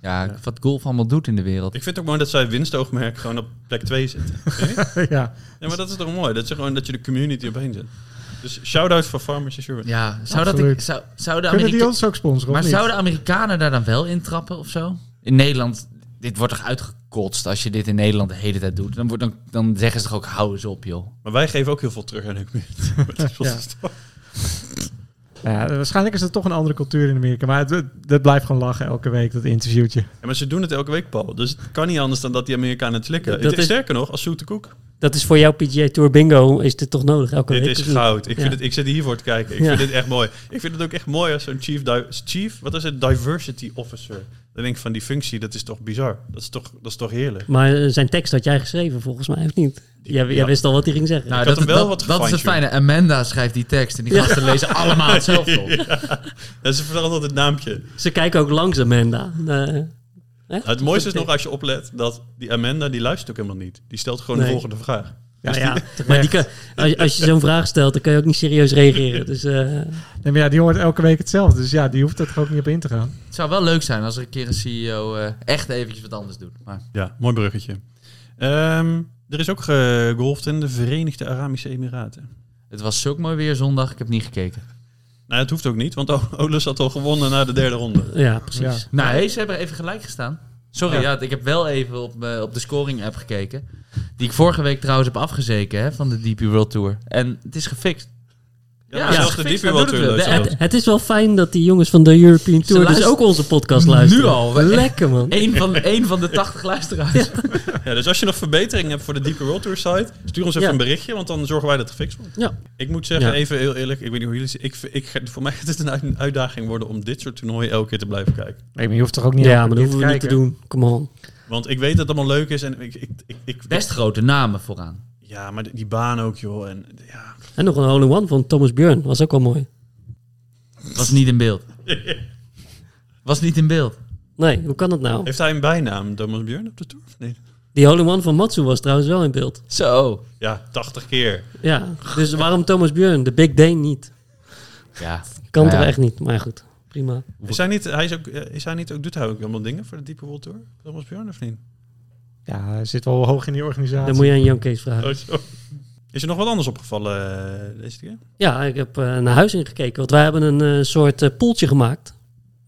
[SPEAKER 3] Ja, wat golf allemaal doet in de wereld.
[SPEAKER 1] Ik vind het ook mooi dat zij winstoogmerk gewoon op plek 2 zit.
[SPEAKER 4] ja.
[SPEAKER 1] Ja, maar dat is toch mooi? Dat, ze gewoon, dat je de community opeen zit. Dus shout-out voor Farmers Insurance.
[SPEAKER 3] Ja, zou dat ik,
[SPEAKER 4] Absoluut.
[SPEAKER 3] zou, zou de
[SPEAKER 4] Kunnen die
[SPEAKER 3] Amerika-
[SPEAKER 4] ons ook sponsoren?
[SPEAKER 3] maar
[SPEAKER 4] of niet?
[SPEAKER 3] zouden Amerikanen daar dan wel in trappen of zo? In Nederland, dit wordt toch uitgekotst als je dit in Nederland de hele tijd doet? Dan, wordt, dan, dan zeggen ze toch ook, hou eens op joh.
[SPEAKER 1] Maar wij geven ook heel veel terug aan de community. Met de sponsors.
[SPEAKER 4] Ja, waarschijnlijk is het toch een andere cultuur in Amerika, maar het, het- dat blijft gewoon lachen elke week, dat interviewtje.
[SPEAKER 1] Ja, maar ze doen het elke week, Paul. Dus het kan niet anders dan dat die Amerikanen het slikken.
[SPEAKER 5] Dat-
[SPEAKER 1] Het
[SPEAKER 5] dat
[SPEAKER 1] is
[SPEAKER 5] is-
[SPEAKER 1] sterker nog, als zoete koek.
[SPEAKER 5] Dat is voor jouw PGA Tour bingo, is dit toch nodig elke
[SPEAKER 1] Dit
[SPEAKER 5] week?
[SPEAKER 1] is
[SPEAKER 5] of niet?
[SPEAKER 1] goud. Ik,
[SPEAKER 5] Ja.
[SPEAKER 1] vind het, ik zit hiervoor te kijken. Ik
[SPEAKER 5] Ja.
[SPEAKER 1] vind dit echt mooi. Ik vind het ook echt mooi als zo'n chief, di- chief... Wat is het? Diversity officer. Dan denk ik van die functie, dat is toch bizar. Dat is toch, dat is toch heerlijk.
[SPEAKER 5] Maar eh, zijn tekst had jij geschreven, volgens mij, of niet? Jij, jij
[SPEAKER 1] Ja.
[SPEAKER 5] wist al wat hij ging zeggen.
[SPEAKER 3] Nou,
[SPEAKER 1] had hem
[SPEAKER 3] dat,
[SPEAKER 1] wel
[SPEAKER 3] dat-
[SPEAKER 1] wat
[SPEAKER 3] dat is het
[SPEAKER 1] gefine-tuned.
[SPEAKER 3] fijne. Amanda schrijft die tekst en die gasten lezen allemaal hetzelfde op.
[SPEAKER 1] Dat is vooral altijd het naampje.
[SPEAKER 5] Ze kijken ook langs Amanda. Eh,
[SPEAKER 1] Het mooiste is nog als je oplet dat die Amanda, die luistert ook helemaal niet. Die stelt gewoon
[SPEAKER 5] Nee.
[SPEAKER 1] de volgende vraag.
[SPEAKER 5] ja, ja. Maar die kan, als, als je zo'n vraag stelt, dan kan je ook niet serieus reageren. Dus eh,
[SPEAKER 4] Nee, maar ja, die hoort elke week hetzelfde. Dus ja, die hoeft er ook niet op in te gaan.
[SPEAKER 3] Het zou wel leuk zijn als er een keer een CEO eh, echt eventjes wat anders doet. Maar
[SPEAKER 1] Ja, mooi bruggetje. Ehm, er is ook gegolfd in de Verenigde Arabische Emiraten.
[SPEAKER 3] het was zulk mooi weer zondag, ik heb niet gekeken.
[SPEAKER 1] Nou, het hoeft ook niet, want O- Olus had al gewonnen na de derde ronde.
[SPEAKER 5] ja, precies.
[SPEAKER 4] Ja.
[SPEAKER 3] Nou, hey, ze hebben even gelijk gestaan. Sorry,
[SPEAKER 4] Ja.
[SPEAKER 3] ja. ik heb wel even op, eh, op de scoring app gekeken. Die ik vorige week trouwens heb afgezeken hè, van de DP World Tour. En het is gefixt. Ja,
[SPEAKER 1] maar
[SPEAKER 3] ja,
[SPEAKER 1] zelfs de
[SPEAKER 3] gefixt,
[SPEAKER 1] DP
[SPEAKER 3] dat
[SPEAKER 1] World
[SPEAKER 3] doet
[SPEAKER 1] Tour
[SPEAKER 3] het wel.
[SPEAKER 1] leuk.
[SPEAKER 5] Het, het is wel fijn dat die jongens van de European Tour dus
[SPEAKER 3] luisteren-
[SPEAKER 5] ook onze podcast luisteren.
[SPEAKER 3] Nu al, we-
[SPEAKER 5] Lekker, man.
[SPEAKER 3] Eén van, één van de 80 luisteraars.
[SPEAKER 1] Ja, dus als je nog verbeteringen hebt voor de Deeper World Tour site, stuur ons even
[SPEAKER 5] Ja.
[SPEAKER 1] een berichtje, want dan zorgen wij dat het gefixt wordt.
[SPEAKER 5] Ja.
[SPEAKER 1] Ik moet zeggen,
[SPEAKER 5] Ja.
[SPEAKER 1] even heel eerlijk, ik weet niet hoe jullie... Ik, ik, ga- voor mij gaat het een uit- een uitdaging worden om dit soort toernooien elke keer te blijven kijken.
[SPEAKER 4] Nee, maar je hoeft toch ook niet
[SPEAKER 5] Ja,
[SPEAKER 4] elke
[SPEAKER 5] maar dat
[SPEAKER 4] keer
[SPEAKER 5] hoeven we niet te
[SPEAKER 4] kijken?
[SPEAKER 5] doen. Come on.
[SPEAKER 1] Want ik weet dat het allemaal leuk is en ik... ik, ik, ik-
[SPEAKER 3] Best grote namen vooraan.
[SPEAKER 1] Ja, maar die baan ook, joh. En, ja.
[SPEAKER 5] En nog een hole-in-one van Thomas Björn. Was ook wel mooi.
[SPEAKER 3] Was niet in beeld. Was niet in beeld.
[SPEAKER 5] Nee, hoe kan dat nou?
[SPEAKER 1] Heeft hij een bijnaam, Thomas Björn, op de Tour? of niet?
[SPEAKER 5] Die hole in one van Matsu was trouwens wel in beeld.
[SPEAKER 3] Zo.
[SPEAKER 1] Ja, 80 keer.
[SPEAKER 5] Ja, dus waarom Thomas Björn? De Big Dane niet.
[SPEAKER 3] Ja.
[SPEAKER 5] Kan
[SPEAKER 3] Nou
[SPEAKER 5] toch
[SPEAKER 3] ja.
[SPEAKER 5] echt niet, maar goed. Prima.
[SPEAKER 1] Is hij niet, hij is ook, eh, is hij niet ook, doet hij ook allemaal dingen voor de Deep World Tour? Thomas Björn of niet?
[SPEAKER 4] Ja, hij zit wel hoog in die organisatie.
[SPEAKER 5] Dan moet je aan Jan Kees vragen.
[SPEAKER 1] Oh, zo. Is er nog wat anders opgevallen eh, deze keer?
[SPEAKER 5] Ja, ik heb eh, naar huizing gekeken. Want wij hebben een eh, soort eh, poeltje gemaakt.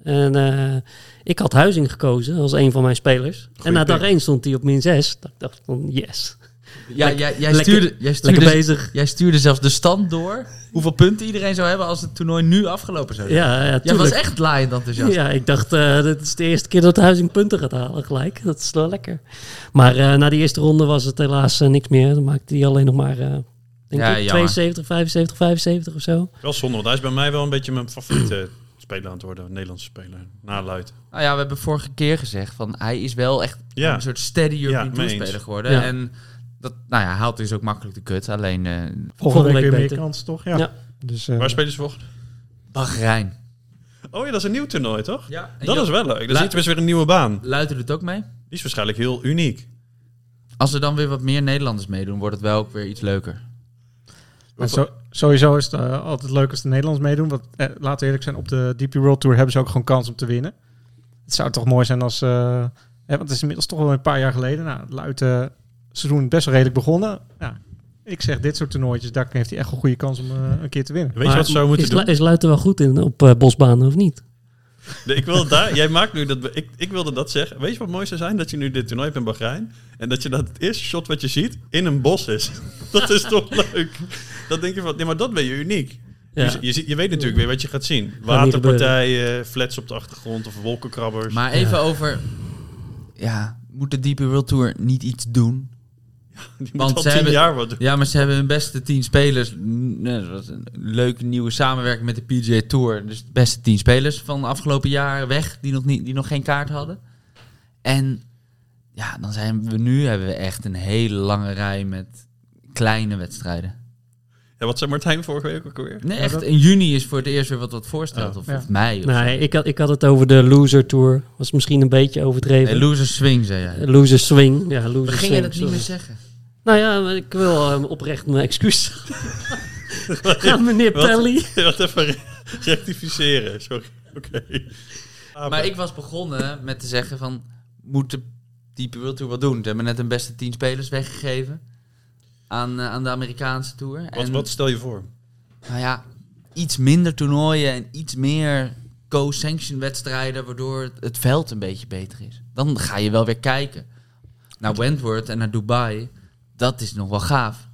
[SPEAKER 5] En eh, ik had huizing gekozen als een van mijn spelers. en na dag
[SPEAKER 1] pick.
[SPEAKER 5] 1 stond hij op min 6. Ik dacht van yes.
[SPEAKER 3] Ja, jij, jij,
[SPEAKER 5] lekker-
[SPEAKER 3] stuurde, jij,
[SPEAKER 5] Lekker
[SPEAKER 3] stuurde,
[SPEAKER 5] bezig.
[SPEAKER 3] jij stuurde zelfs de stand door hoeveel punten iedereen zou hebben als het toernooi nu afgelopen zou zijn.
[SPEAKER 5] Ja, ja,
[SPEAKER 3] jij was
[SPEAKER 5] tuurlijk.
[SPEAKER 3] echt laaiend enthousiast.
[SPEAKER 5] Ja, ik dacht, eh dit is de eerste keer dat Huizing punten gaat halen gelijk. Dat is wel lekker. Maar eh, na die eerste ronde was het helaas eh, niks meer. Dan maakte hij alleen nog maar, eh, denk
[SPEAKER 3] Ja,
[SPEAKER 5] ik,
[SPEAKER 3] jammer.
[SPEAKER 5] 72, 75, 75 of zo.
[SPEAKER 1] Wel zonde, want hij is bij mij wel een beetje mijn favoriete speler aan het worden. een Nederlandse speler. Naluid.
[SPEAKER 3] Nou ja, we hebben vorige keer gezegd van hij is wel echt
[SPEAKER 1] Ja.
[SPEAKER 3] een soort steady European
[SPEAKER 1] mee
[SPEAKER 3] Tour
[SPEAKER 1] eens.
[SPEAKER 3] speler geworden.
[SPEAKER 5] Ja.
[SPEAKER 3] En dat, nou ja, hij haalt dus ook makkelijk de kut. Alleen eh
[SPEAKER 4] Volgende,
[SPEAKER 5] Volgende
[SPEAKER 4] week,
[SPEAKER 5] week
[SPEAKER 4] weer
[SPEAKER 5] beter.
[SPEAKER 4] meer kans, toch? Ja.
[SPEAKER 5] Ja.
[SPEAKER 4] Dus, eh,
[SPEAKER 1] Waar spelen ze volgende?
[SPEAKER 3] Bahrein.
[SPEAKER 1] Oh ja, dat is een nieuw toernooi, toch?
[SPEAKER 3] Ja,
[SPEAKER 1] Dat is wel leuk. Dan
[SPEAKER 3] La-
[SPEAKER 1] zitten we eens weer een nieuwe baan.
[SPEAKER 3] Luidt het ook mee?
[SPEAKER 1] Die is waarschijnlijk heel uniek.
[SPEAKER 3] Als er dan weer wat meer Nederlanders meedoen, wordt het wel ook weer iets leuker.
[SPEAKER 4] maar zo- sowieso is het eh, altijd leuk als de Nederlands meedoen. Want eh, laten we eerlijk zijn, op de DP World Tour hebben ze ook gewoon kans om te winnen. Het zou toch mooi zijn als... eh, hè, want het is inmiddels toch wel een paar jaar geleden. Nou, het Luit eh, seizoen is best wel redelijk begonnen. Ja, ik zeg dit soort toernooitjes, daar heeft hij echt een goede kans om eh, een keer te winnen.
[SPEAKER 1] Weet je wat ze zouden
[SPEAKER 5] is,
[SPEAKER 1] moeten
[SPEAKER 5] Lu-
[SPEAKER 1] doen?
[SPEAKER 5] is Luiten wel goed in op eh, bosbanen of niet?
[SPEAKER 1] Nee, ik wil daar, jij maakt nu dat. Ik, ik wilde dat zeggen. Weet je wat mooi zou zijn? Dat je nu dit toernooi hebt in Bahrein. En dat je dat het eerste shot wat je ziet in een bos is. Dat is toch leuk? Dat denk je van. Nee, maar dat ben je uniek.
[SPEAKER 5] Ja.
[SPEAKER 1] Je, je, ziet- je weet natuurlijk weer wat je gaat zien. Waterpartijen, flats op de achtergrond of wolkenkrabbers.
[SPEAKER 3] Maar even over... Ja, moet de Deep World Tour niet iets doen?
[SPEAKER 1] Die
[SPEAKER 3] want
[SPEAKER 1] moet al
[SPEAKER 3] ze
[SPEAKER 1] tien
[SPEAKER 3] hebben-
[SPEAKER 1] jaar wat doen.
[SPEAKER 3] Ja, maar ze hebben hun beste tien spelers. Mm, nou, dat was een leuke nieuwe samenwerking met de PGA Tour. Dus de beste tien spelers van de afgelopen jaren weg, die nog, niet, die nog geen kaart hadden. En ja, dan zijn we nu hebben we echt een hele lange rij met kleine wedstrijden.
[SPEAKER 1] Ja, wat zei Martijn vorige week ook alweer?
[SPEAKER 3] Nee,
[SPEAKER 4] Ja,
[SPEAKER 3] echt.
[SPEAKER 4] dat-
[SPEAKER 3] In juni is voor het eerst weer wat wat voorstelt.
[SPEAKER 1] Oh,
[SPEAKER 3] of,
[SPEAKER 4] ja.
[SPEAKER 3] of mei. Of zo.
[SPEAKER 5] Nee, ik had, ik had het over de loser tour. Was misschien een beetje overdreven. Eh,
[SPEAKER 3] Nee, loser swing, zei jij.
[SPEAKER 5] loser swing. Ja, loser
[SPEAKER 3] We
[SPEAKER 5] swing.
[SPEAKER 3] gingen het niet
[SPEAKER 5] sorry.
[SPEAKER 3] meer zeggen.
[SPEAKER 5] Nou ja, maar ik wil eh, oprecht mijn excuus. Aan meneer
[SPEAKER 1] Wat?
[SPEAKER 5] Pelly.
[SPEAKER 1] Wat even re- rectificeren. Sorry. Oké.
[SPEAKER 3] Maar ik was begonnen met te zeggen van... Moet de Deep World Tour wat doen? Ze hebben net hun beste tien spelers weggegeven. Aan, eh, aan de Amerikaanse Tour.
[SPEAKER 1] Wat,
[SPEAKER 3] en,
[SPEAKER 1] wat stel je voor?
[SPEAKER 3] Nou ja, iets minder toernooien en iets meer co-sanction wedstrijden... waardoor het, het veld een beetje beter is. Dan ga je wel weer kijken. Naar Wentworth en naar Dubai. Dat is nog wel gaaf.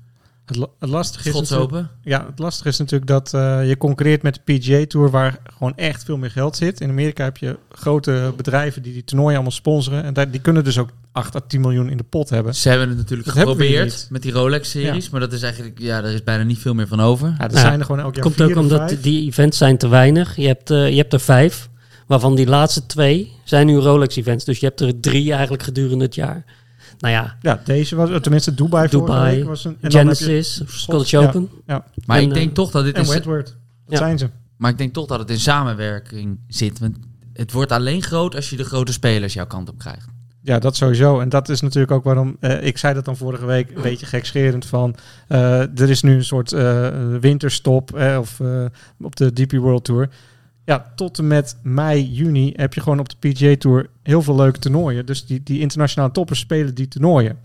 [SPEAKER 4] Het, la- het lastige is
[SPEAKER 3] Schots
[SPEAKER 4] natuurlijk-
[SPEAKER 3] open.
[SPEAKER 4] Ja, het lastige is natuurlijk dat eh, je concurreert met de PGA Tour, waar gewoon echt veel meer geld zit. In Amerika heb je grote bedrijven die die toernooien allemaal sponsoren. En daar, die kunnen dus ook 8 à 10 miljoen in de pot hebben.
[SPEAKER 3] Ze hebben het natuurlijk
[SPEAKER 4] Dat hebben we
[SPEAKER 3] geprobeerd
[SPEAKER 4] niet.
[SPEAKER 3] met die Rolex-series. Maar dat is eigenlijk... Ja, daar is bijna niet veel meer van over.
[SPEAKER 4] Ja, er
[SPEAKER 5] Nou Ja,
[SPEAKER 4] zijn er gewoon elk jaar
[SPEAKER 5] Komt
[SPEAKER 4] vier
[SPEAKER 5] ook
[SPEAKER 4] of
[SPEAKER 5] omdat
[SPEAKER 4] vijf.
[SPEAKER 5] die events zijn te weinig. Je hebt, eh, je hebt er vijf, waarvan die laatste twee zijn nu Rolex-events. Dus je hebt er drie eigenlijk gedurende het jaar. Nou ja,
[SPEAKER 4] Ja, deze was, tenminste Dubai,
[SPEAKER 5] Dubai,
[SPEAKER 4] vorige week was een... en dan heb je-
[SPEAKER 5] Genesis, Scottish
[SPEAKER 4] Ja.
[SPEAKER 5] Open.
[SPEAKER 4] Ja,
[SPEAKER 3] Maar
[SPEAKER 5] En,
[SPEAKER 3] ik denk
[SPEAKER 5] eh,
[SPEAKER 3] toch dat dit
[SPEAKER 4] en
[SPEAKER 3] is...
[SPEAKER 4] Wentworth. Dat
[SPEAKER 5] Ja.
[SPEAKER 4] zijn ze.
[SPEAKER 3] Maar ik denk toch dat het in samenwerking zit. Want het wordt alleen groot als je de grote spelers jouw kant op krijgt.
[SPEAKER 4] Ja, dat sowieso. En dat is natuurlijk ook waarom... eh, ik zei dat dan vorige week een beetje gekscherend van... eh, er is nu een soort eh, winterstop eh, of, eh, op de DP World Tour. Ja, tot en met mei, juni heb je gewoon op de PGA Tour heel veel leuke toernooien. Dus die, die internationale toppers spelen die toernooien.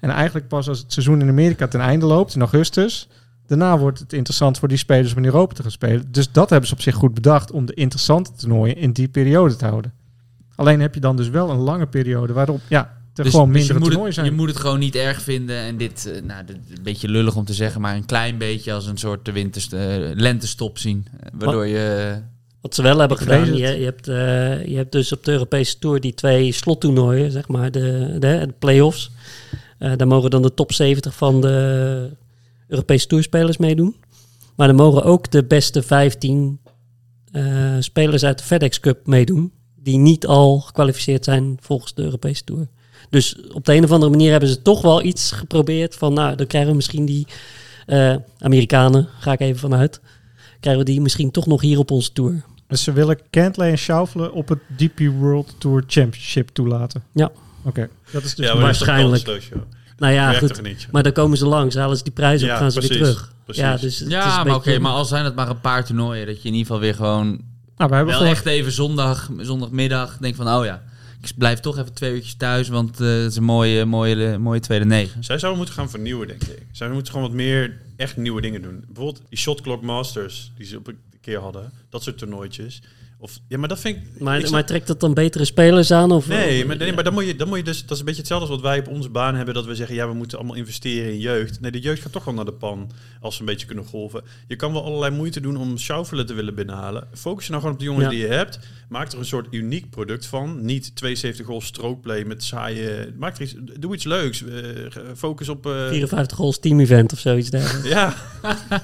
[SPEAKER 4] En eigenlijk pas als het seizoen in Amerika ten einde loopt, in augustus... Daarna wordt het interessant voor die spelers om in Europa te gaan spelen. Dus dat hebben ze op zich goed bedacht om de interessante toernooien in die periode te houden. Alleen heb je dan dus wel een lange periode waarop ja, er
[SPEAKER 3] Dus-
[SPEAKER 4] gewoon
[SPEAKER 3] dus
[SPEAKER 4] minder
[SPEAKER 3] je, moet
[SPEAKER 4] toernooien
[SPEAKER 3] het,
[SPEAKER 4] zijn.
[SPEAKER 3] je moet het gewoon niet erg vinden. En dit, eh, nou, dit is een beetje lullig om te zeggen, maar een klein beetje als een soort de winters, eh, lentestop zien. Eh, Waardoor je.
[SPEAKER 5] Wat ze wel hebben
[SPEAKER 4] Ik vrees
[SPEAKER 5] gedaan, je,
[SPEAKER 4] het.
[SPEAKER 5] je, hebt, eh, je hebt dus op de Europese Tour die twee slottoernooien, zeg maar, de, de, de play-offs. Eh, daar mogen dan de top 70 van de Europese Tourspelers meedoen. Maar dan mogen ook de beste 15 eh, spelers uit de FedEx Cup meedoen, die niet al gekwalificeerd zijn volgens de Europese Tour. Dus op de een of andere manier hebben ze toch wel iets geprobeerd van, nou, dan krijgen we misschien die eh, Amerikanen, ga ik even vanuit, krijgen we die misschien toch nog hier op onze Tour.
[SPEAKER 4] Dus ze willen Cantley en Schaufelen op het DP World Tour Championship toelaten.
[SPEAKER 5] Ja.
[SPEAKER 4] Oké. Dat is dus
[SPEAKER 1] Ja,
[SPEAKER 5] maar-
[SPEAKER 1] maar dat is toch wel een
[SPEAKER 5] waarschijnlijk.
[SPEAKER 1] sleutje, hoor.
[SPEAKER 5] Nou ja,
[SPEAKER 1] Werkt
[SPEAKER 5] goed.
[SPEAKER 1] toch niet, joh?
[SPEAKER 5] Maar dan komen ze langs, halen ze die prijs op,
[SPEAKER 1] Ja,
[SPEAKER 5] gaan ze weer
[SPEAKER 1] precies,
[SPEAKER 5] terug.
[SPEAKER 1] precies.
[SPEAKER 5] Ja, dus het is een
[SPEAKER 3] Ja, maar
[SPEAKER 5] beetje-
[SPEAKER 3] oké, maar al zijn het maar een paar toernooien, dat je in ieder geval weer gewoon
[SPEAKER 4] Nou, we hebben
[SPEAKER 3] wel
[SPEAKER 4] vorig,
[SPEAKER 3] echt even zondag, zondagmiddag denk van, oh ja, ik blijf toch even twee uurtjes thuis, want eh, het is een mooie, mooie, mooie tweede negen.
[SPEAKER 1] Zij zouden moeten gaan vernieuwen, denk ik. Zij moeten gewoon wat meer echt nieuwe dingen doen. Bijvoorbeeld die Shot Clock Masters die ze op een keer hadden. Dat soort toernooitjes. Of, ja, maar dat vind ik...
[SPEAKER 5] Maar,
[SPEAKER 1] ik snap-
[SPEAKER 5] maar trekt dat dan betere spelers aan? Of,
[SPEAKER 1] nee, maar, nee, maar dan moet je, dan moet je dus... Dat is een beetje hetzelfde als wat wij op onze baan hebben. Dat we zeggen, ja, we moeten allemaal investeren in jeugd. Nee, de jeugd gaat toch wel naar de pan als ze een beetje kunnen golven. Je kan wel allerlei moeite doen om schaufelen te willen binnenhalen. Focus je nou gewoon op de jongens
[SPEAKER 5] Ja.
[SPEAKER 1] die je hebt. Maak er een soort uniek product van. Niet 72 goals strookplay met saaie... Maak er iets, doe iets leuks. Eh, focus op... eh,
[SPEAKER 5] 54 goals team event of zoiets dergelijks.
[SPEAKER 1] Ja.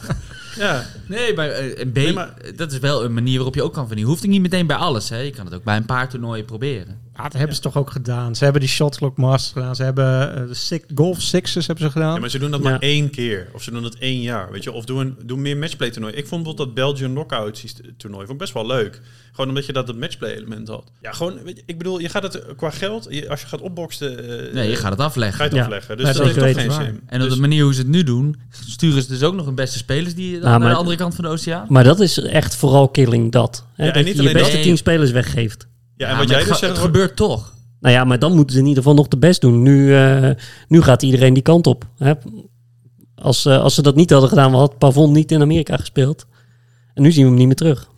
[SPEAKER 1] ja.
[SPEAKER 3] Nee, maar eh, een
[SPEAKER 1] Nee,
[SPEAKER 3] beetje,
[SPEAKER 1] maar-
[SPEAKER 3] dat is wel een manier waarop je ook kan vernieuwen. Hoeft het niet meteen bij alles, hè. Je kan het ook bij een paar toernooien proberen.
[SPEAKER 4] ah, dat hebben ze toch ook gedaan. Ze hebben die Shot Clock Masters gedaan. Ze hebben eh, de six, Golf Sixes hebben ze gedaan.
[SPEAKER 1] Ja, maar ze doen dat
[SPEAKER 5] Ja.
[SPEAKER 1] maar één keer. Of ze doen dat één jaar. Weet je? Of doe, een, doe meer matchplay toernooi. Ik vond bijvoorbeeld dat Belgian knockout syste- toernooi vond ik best wel leuk. Gewoon omdat je dat het matchplay element had. Ja, gewoon, weet je, ik bedoel, je gaat het eh, qua geld, je- als je gaat opboksen, eh,
[SPEAKER 3] Nee, je gaat het afleggen.
[SPEAKER 1] ga je het
[SPEAKER 5] Ja.
[SPEAKER 1] afleggen. Dus
[SPEAKER 4] Nee,
[SPEAKER 1] dat
[SPEAKER 5] zeker
[SPEAKER 1] heeft toch geen
[SPEAKER 4] weten,
[SPEAKER 1] zin.
[SPEAKER 3] En op
[SPEAKER 1] Dus-
[SPEAKER 3] de manier hoe ze het nu doen, sturen ze dus ook nog hun beste spelers die
[SPEAKER 5] Nou,
[SPEAKER 3] aan
[SPEAKER 5] maar-
[SPEAKER 3] de andere kant van de oceaan.
[SPEAKER 5] Maar dat is echt vooral killing, dat. Hè,
[SPEAKER 1] Ja, en
[SPEAKER 5] dat
[SPEAKER 1] niet
[SPEAKER 5] je je
[SPEAKER 1] alleen
[SPEAKER 5] beste
[SPEAKER 3] dat.
[SPEAKER 5] tien spelers weggeeft.
[SPEAKER 1] ja, en
[SPEAKER 3] Ja,
[SPEAKER 1] wat
[SPEAKER 3] maar
[SPEAKER 1] jij
[SPEAKER 3] het
[SPEAKER 1] dus
[SPEAKER 3] ge-
[SPEAKER 1] zegt,
[SPEAKER 3] het gebeurt toch.
[SPEAKER 5] Nou ja, maar dan moeten ze in ieder geval nog de best doen. Nu, eh, nu gaat iedereen die kant op. Hè? Als, eh, als ze dat niet hadden gedaan, had Pavon niet in Amerika gespeeld. En nu zien we hem niet meer terug.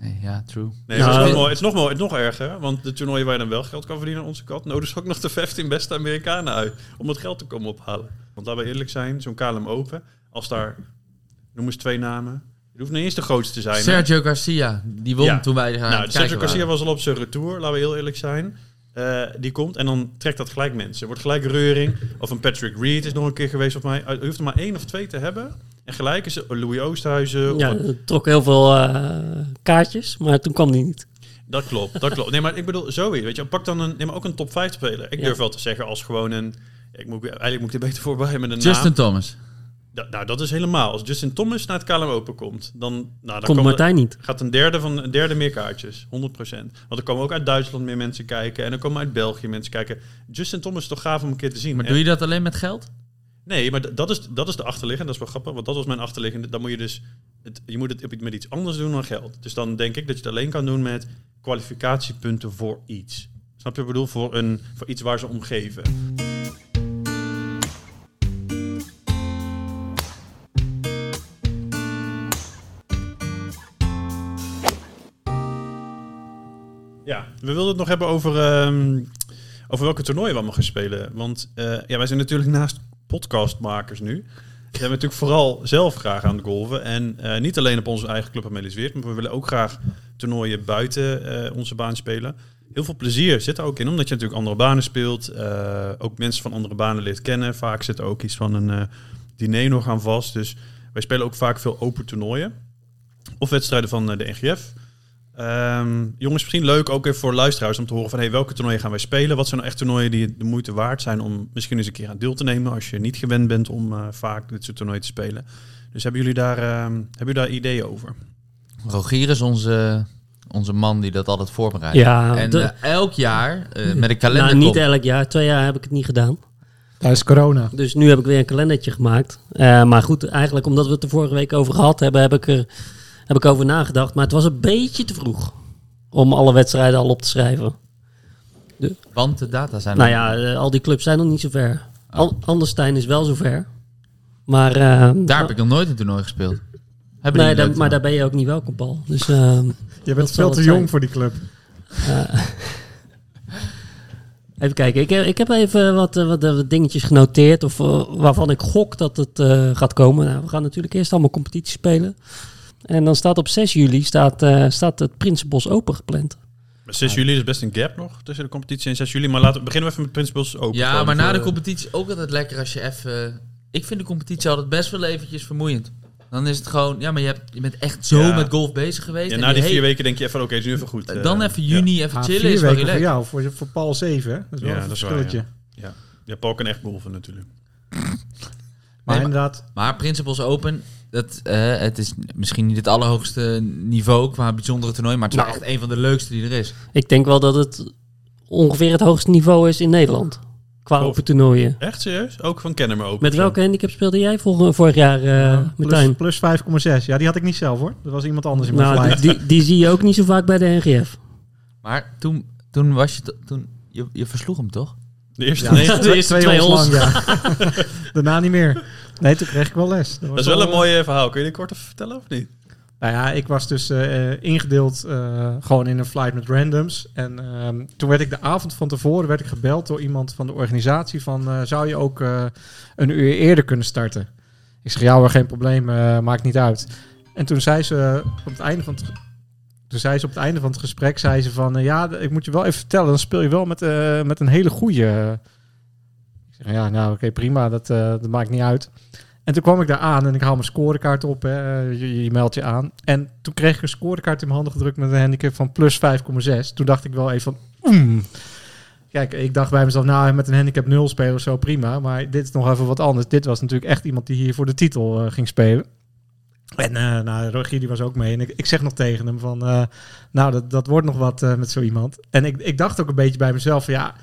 [SPEAKER 3] Nee, ja, true.
[SPEAKER 1] nee,
[SPEAKER 5] Ja,
[SPEAKER 1] het, is
[SPEAKER 5] dat-
[SPEAKER 1] nog wel- het is nog wel- het is nog erger, want de toernooien waar je dan wel geld kan verdienen aan onze kat, nou, nodig ze ook nog de 15 beste Amerikanen uit om dat geld te komen ophalen. Want laten we eerlijk zijn, zo'n KLM Open, als daar, noem eens twee namen, je hoeft niet eens de grootste te zijn. hè?
[SPEAKER 3] Sergio Garcia, die won
[SPEAKER 1] Ja.
[SPEAKER 3] toen wij gaan
[SPEAKER 1] nou, Sergio Garcia
[SPEAKER 3] kijken
[SPEAKER 1] was al op zijn retour, laten we heel eerlijk zijn. Eh, die komt en dan trekt dat gelijk mensen. Wordt gelijk reuring. Of een Patrick Reed is nog een keer geweest op mij. Je hoeft er maar één of twee te hebben. En gelijk is er Louis Oosthuizen. of
[SPEAKER 5] Ja,
[SPEAKER 1] een-
[SPEAKER 5] het trok heel veel eh, kaartjes, maar toen kwam die niet.
[SPEAKER 1] Dat klopt, dat klopt. Nee, maar ik bedoel, zo weer. Weet je, pak dan een, neem maar ook een top 5 speler. Ik
[SPEAKER 5] Ja.
[SPEAKER 1] durf wel te zeggen als gewoon een... Ik moet, eigenlijk moet ik er beter voorbij met een
[SPEAKER 3] Justin
[SPEAKER 1] naam.
[SPEAKER 3] Thomas.
[SPEAKER 1] Da- nou, dat is helemaal. Als Justin Thomas naar het KLM Open komt, dan... Nou, dan
[SPEAKER 5] Komt
[SPEAKER 1] komen-
[SPEAKER 5] Martijn niet.
[SPEAKER 1] Gaat een derde, van, een derde meer kaartjes, 100%. Want er komen ook uit Duitsland meer mensen kijken. En er komen uit België mensen kijken. Justin Thomas is toch gaaf om een keer te zien.
[SPEAKER 3] Maar
[SPEAKER 1] En-
[SPEAKER 3] doe je dat alleen met geld?
[SPEAKER 1] Nee, maar d- dat is, dat is de achterliggende. Dat is wel grappig, want dat was mijn achterliggende. Dan moet je dus... Het, je moet het op- met iets anders doen dan geld. Dus dan denk ik dat je het alleen kan doen met kwalificatiepunten voor iets. Snap je wat ik bedoel? Voor, een, voor iets waar ze om geven. Ja, we wilden het nog hebben over, ehm, over welke toernooien we allemaal gaan spelen. Want eh, ja, wij zijn natuurlijk naast podcastmakers nu. Zijn we natuurlijk vooral zelf graag aan het golven. En eh, niet alleen op onze eigen club Amelis Weert, maar we willen ook graag toernooien buiten eh, onze baan spelen. Heel veel plezier zit er ook in, omdat je natuurlijk andere banen speelt. eh, ook mensen van andere banen leert kennen. Vaak zit er ook iets van een eh, diner nog aan vast. Dus wij spelen ook vaak veel open toernooien. Of wedstrijden van eh, de NGF. Ehm, jongens, misschien leuk ook even voor luisteraars om te horen van hey, welke toernooien gaan wij spelen? Wat zijn nou echt toernooien die de moeite waard zijn om misschien eens een keer aan deel te nemen als je niet gewend bent om eh, vaak dit soort toernooien te spelen? Dus hebben jullie daar, ehm, hebben jullie daar ideeën over?
[SPEAKER 3] Rogier is onze, onze man die dat altijd voorbereidt.
[SPEAKER 5] Ja,
[SPEAKER 3] en
[SPEAKER 5] de-
[SPEAKER 3] eh, elk jaar eh, met een kalender
[SPEAKER 5] Nou, niet
[SPEAKER 3] komt.
[SPEAKER 5] elk jaar. Twee jaar heb ik het niet gedaan.
[SPEAKER 4] Tijdens corona.
[SPEAKER 5] Dus nu heb ik weer een kalendertje gemaakt. Eh, maar goed, eigenlijk omdat we het er vorige week over gehad hebben, heb ik, er, heb ik over nagedacht. Maar het was een beetje te vroeg om alle wedstrijden al op te schrijven.
[SPEAKER 3] Want de data zijn
[SPEAKER 5] Nou
[SPEAKER 3] er.
[SPEAKER 5] ja, eh, al die clubs zijn nog niet zover.
[SPEAKER 3] Oh.
[SPEAKER 5] Al Anderstein is wel zover. Maar, eh,
[SPEAKER 3] Daar heb ik nog nooit een toernooi gespeeld. Hebben
[SPEAKER 5] nee,
[SPEAKER 3] jullie
[SPEAKER 5] daar-
[SPEAKER 3] leuk
[SPEAKER 5] maar
[SPEAKER 3] toernooi?
[SPEAKER 5] daar ben je ook niet welkom, Paul. Dus, ehm,
[SPEAKER 4] Je
[SPEAKER 5] Dat
[SPEAKER 4] bent
[SPEAKER 5] zal
[SPEAKER 4] veel
[SPEAKER 5] het
[SPEAKER 4] te
[SPEAKER 5] zijn.
[SPEAKER 4] jong voor die club.
[SPEAKER 5] Even kijken, ik heb, ik heb even wat, eh, wat, eh, wat dingetjes genoteerd of, eh, waarvan ik gok dat het eh, gaat komen. Nou, we gaan natuurlijk eerst allemaal competitie spelen. En dan staat op 6 juli staat, eh, staat het Prinsenbos Open gepland.
[SPEAKER 1] Maar 6 juli is best een gap nog tussen de competitie en 6 juli. Maar laten we beginnen we even met Principles Open.
[SPEAKER 3] Ja,
[SPEAKER 1] Gewoon
[SPEAKER 3] maar na
[SPEAKER 1] voor- eh,
[SPEAKER 3] de competitie is ook altijd lekker als je even... Ik vind de competitie altijd best wel eventjes vermoeiend. Dan is het gewoon... Ja, maar je, hebt, je bent echt zo
[SPEAKER 1] Ja.
[SPEAKER 3] met golf bezig geweest.
[SPEAKER 1] Ja,
[SPEAKER 3] en
[SPEAKER 1] na
[SPEAKER 3] je
[SPEAKER 1] die vier
[SPEAKER 3] hele-
[SPEAKER 1] weken denk je even, oké, het is nu even goed. eh,
[SPEAKER 3] Dan even
[SPEAKER 1] ja.
[SPEAKER 3] juni even
[SPEAKER 4] Ah,
[SPEAKER 3] chillen
[SPEAKER 4] vier
[SPEAKER 3] is wel
[SPEAKER 4] weken voor
[SPEAKER 3] relaxed.
[SPEAKER 4] jou, voor, je- voor Paul 7. Hè? Dat is wel
[SPEAKER 1] Ja,
[SPEAKER 4] een
[SPEAKER 1] dat is waar,
[SPEAKER 4] verschilletje.
[SPEAKER 1] Ja. ja, Paul kan echt golven natuurlijk.
[SPEAKER 4] Maar
[SPEAKER 3] Nee,
[SPEAKER 4] inderdaad,
[SPEAKER 3] Maar Principles Open dat, eh, het is misschien niet het allerhoogste niveau qua bijzondere toernooi, maar het is wel
[SPEAKER 4] Nou.
[SPEAKER 3] echt een van de leukste die er is.
[SPEAKER 5] Ik denk wel dat het ongeveer het hoogste niveau is in Nederland. Qua
[SPEAKER 1] Boven.
[SPEAKER 5] open toernooien.
[SPEAKER 1] Echt serieus? Ook van Kennemer Open.
[SPEAKER 5] Met
[SPEAKER 1] zo.
[SPEAKER 5] welke handicap speelde jij vol- vorig jaar, eh Martijn?
[SPEAKER 4] plus, plus 5,6. Ja, die had ik niet zelf hoor. Dat was iemand anders in mijn
[SPEAKER 5] Nou, die,
[SPEAKER 4] flight.
[SPEAKER 5] die, die zie je ook niet zo vaak bij de NGF.
[SPEAKER 3] Maar toen, toen was je, to- toen, je, je versloeg hem toch?
[SPEAKER 1] De eerste
[SPEAKER 4] Ja.
[SPEAKER 1] negen.
[SPEAKER 5] de eerste twee hols.
[SPEAKER 4] lang, ja. Daarna niet meer. Nee, toen kreeg ik wel les.
[SPEAKER 1] Dat is wel een mooi eh, verhaal. Kun je dit kort even vertellen of niet?
[SPEAKER 4] Nou ja, ik was dus eh, eh, ingedeeld eh, gewoon in een flight met randoms. En ehm, toen werd ik de avond van tevoren werd ik gebeld door iemand van de organisatie van... eh, zou je ook eh, een uur eerder kunnen starten? Ik zeg, ja hoor, geen probleem, eh, maakt niet uit. En toen zei ze op het einde van het... ge- Toen zei ze op het einde van het gesprek, zei ze van... eh, ja, d- ik moet je wel even vertellen, dan speel je wel met, eh, met een hele goeie. Ik zeg, ja, nou oké, prima, dat, eh, dat maakt niet uit. En toen kwam ik daar aan en ik haal mijn scorekaart op. Hè. Eh, Je, je meldt je aan. En toen kreeg ik een scorekaart in mijn handen gedrukt met een handicap van plus 5,6. Toen dacht ik wel even van... "Oem." Kijk, ik dacht bij mezelf, nou, met een handicap 0 spelen of zo, prima. Maar dit is nog even wat anders. Dit was natuurlijk echt iemand die hier voor de titel eh, ging spelen. En eh nou, Rogier die was ook mee. En ik, ik zeg nog tegen hem van, eh, nou, dat, dat wordt nog wat eh, met zo iemand. En ik, ik dacht ook een beetje bij mezelf van, ja,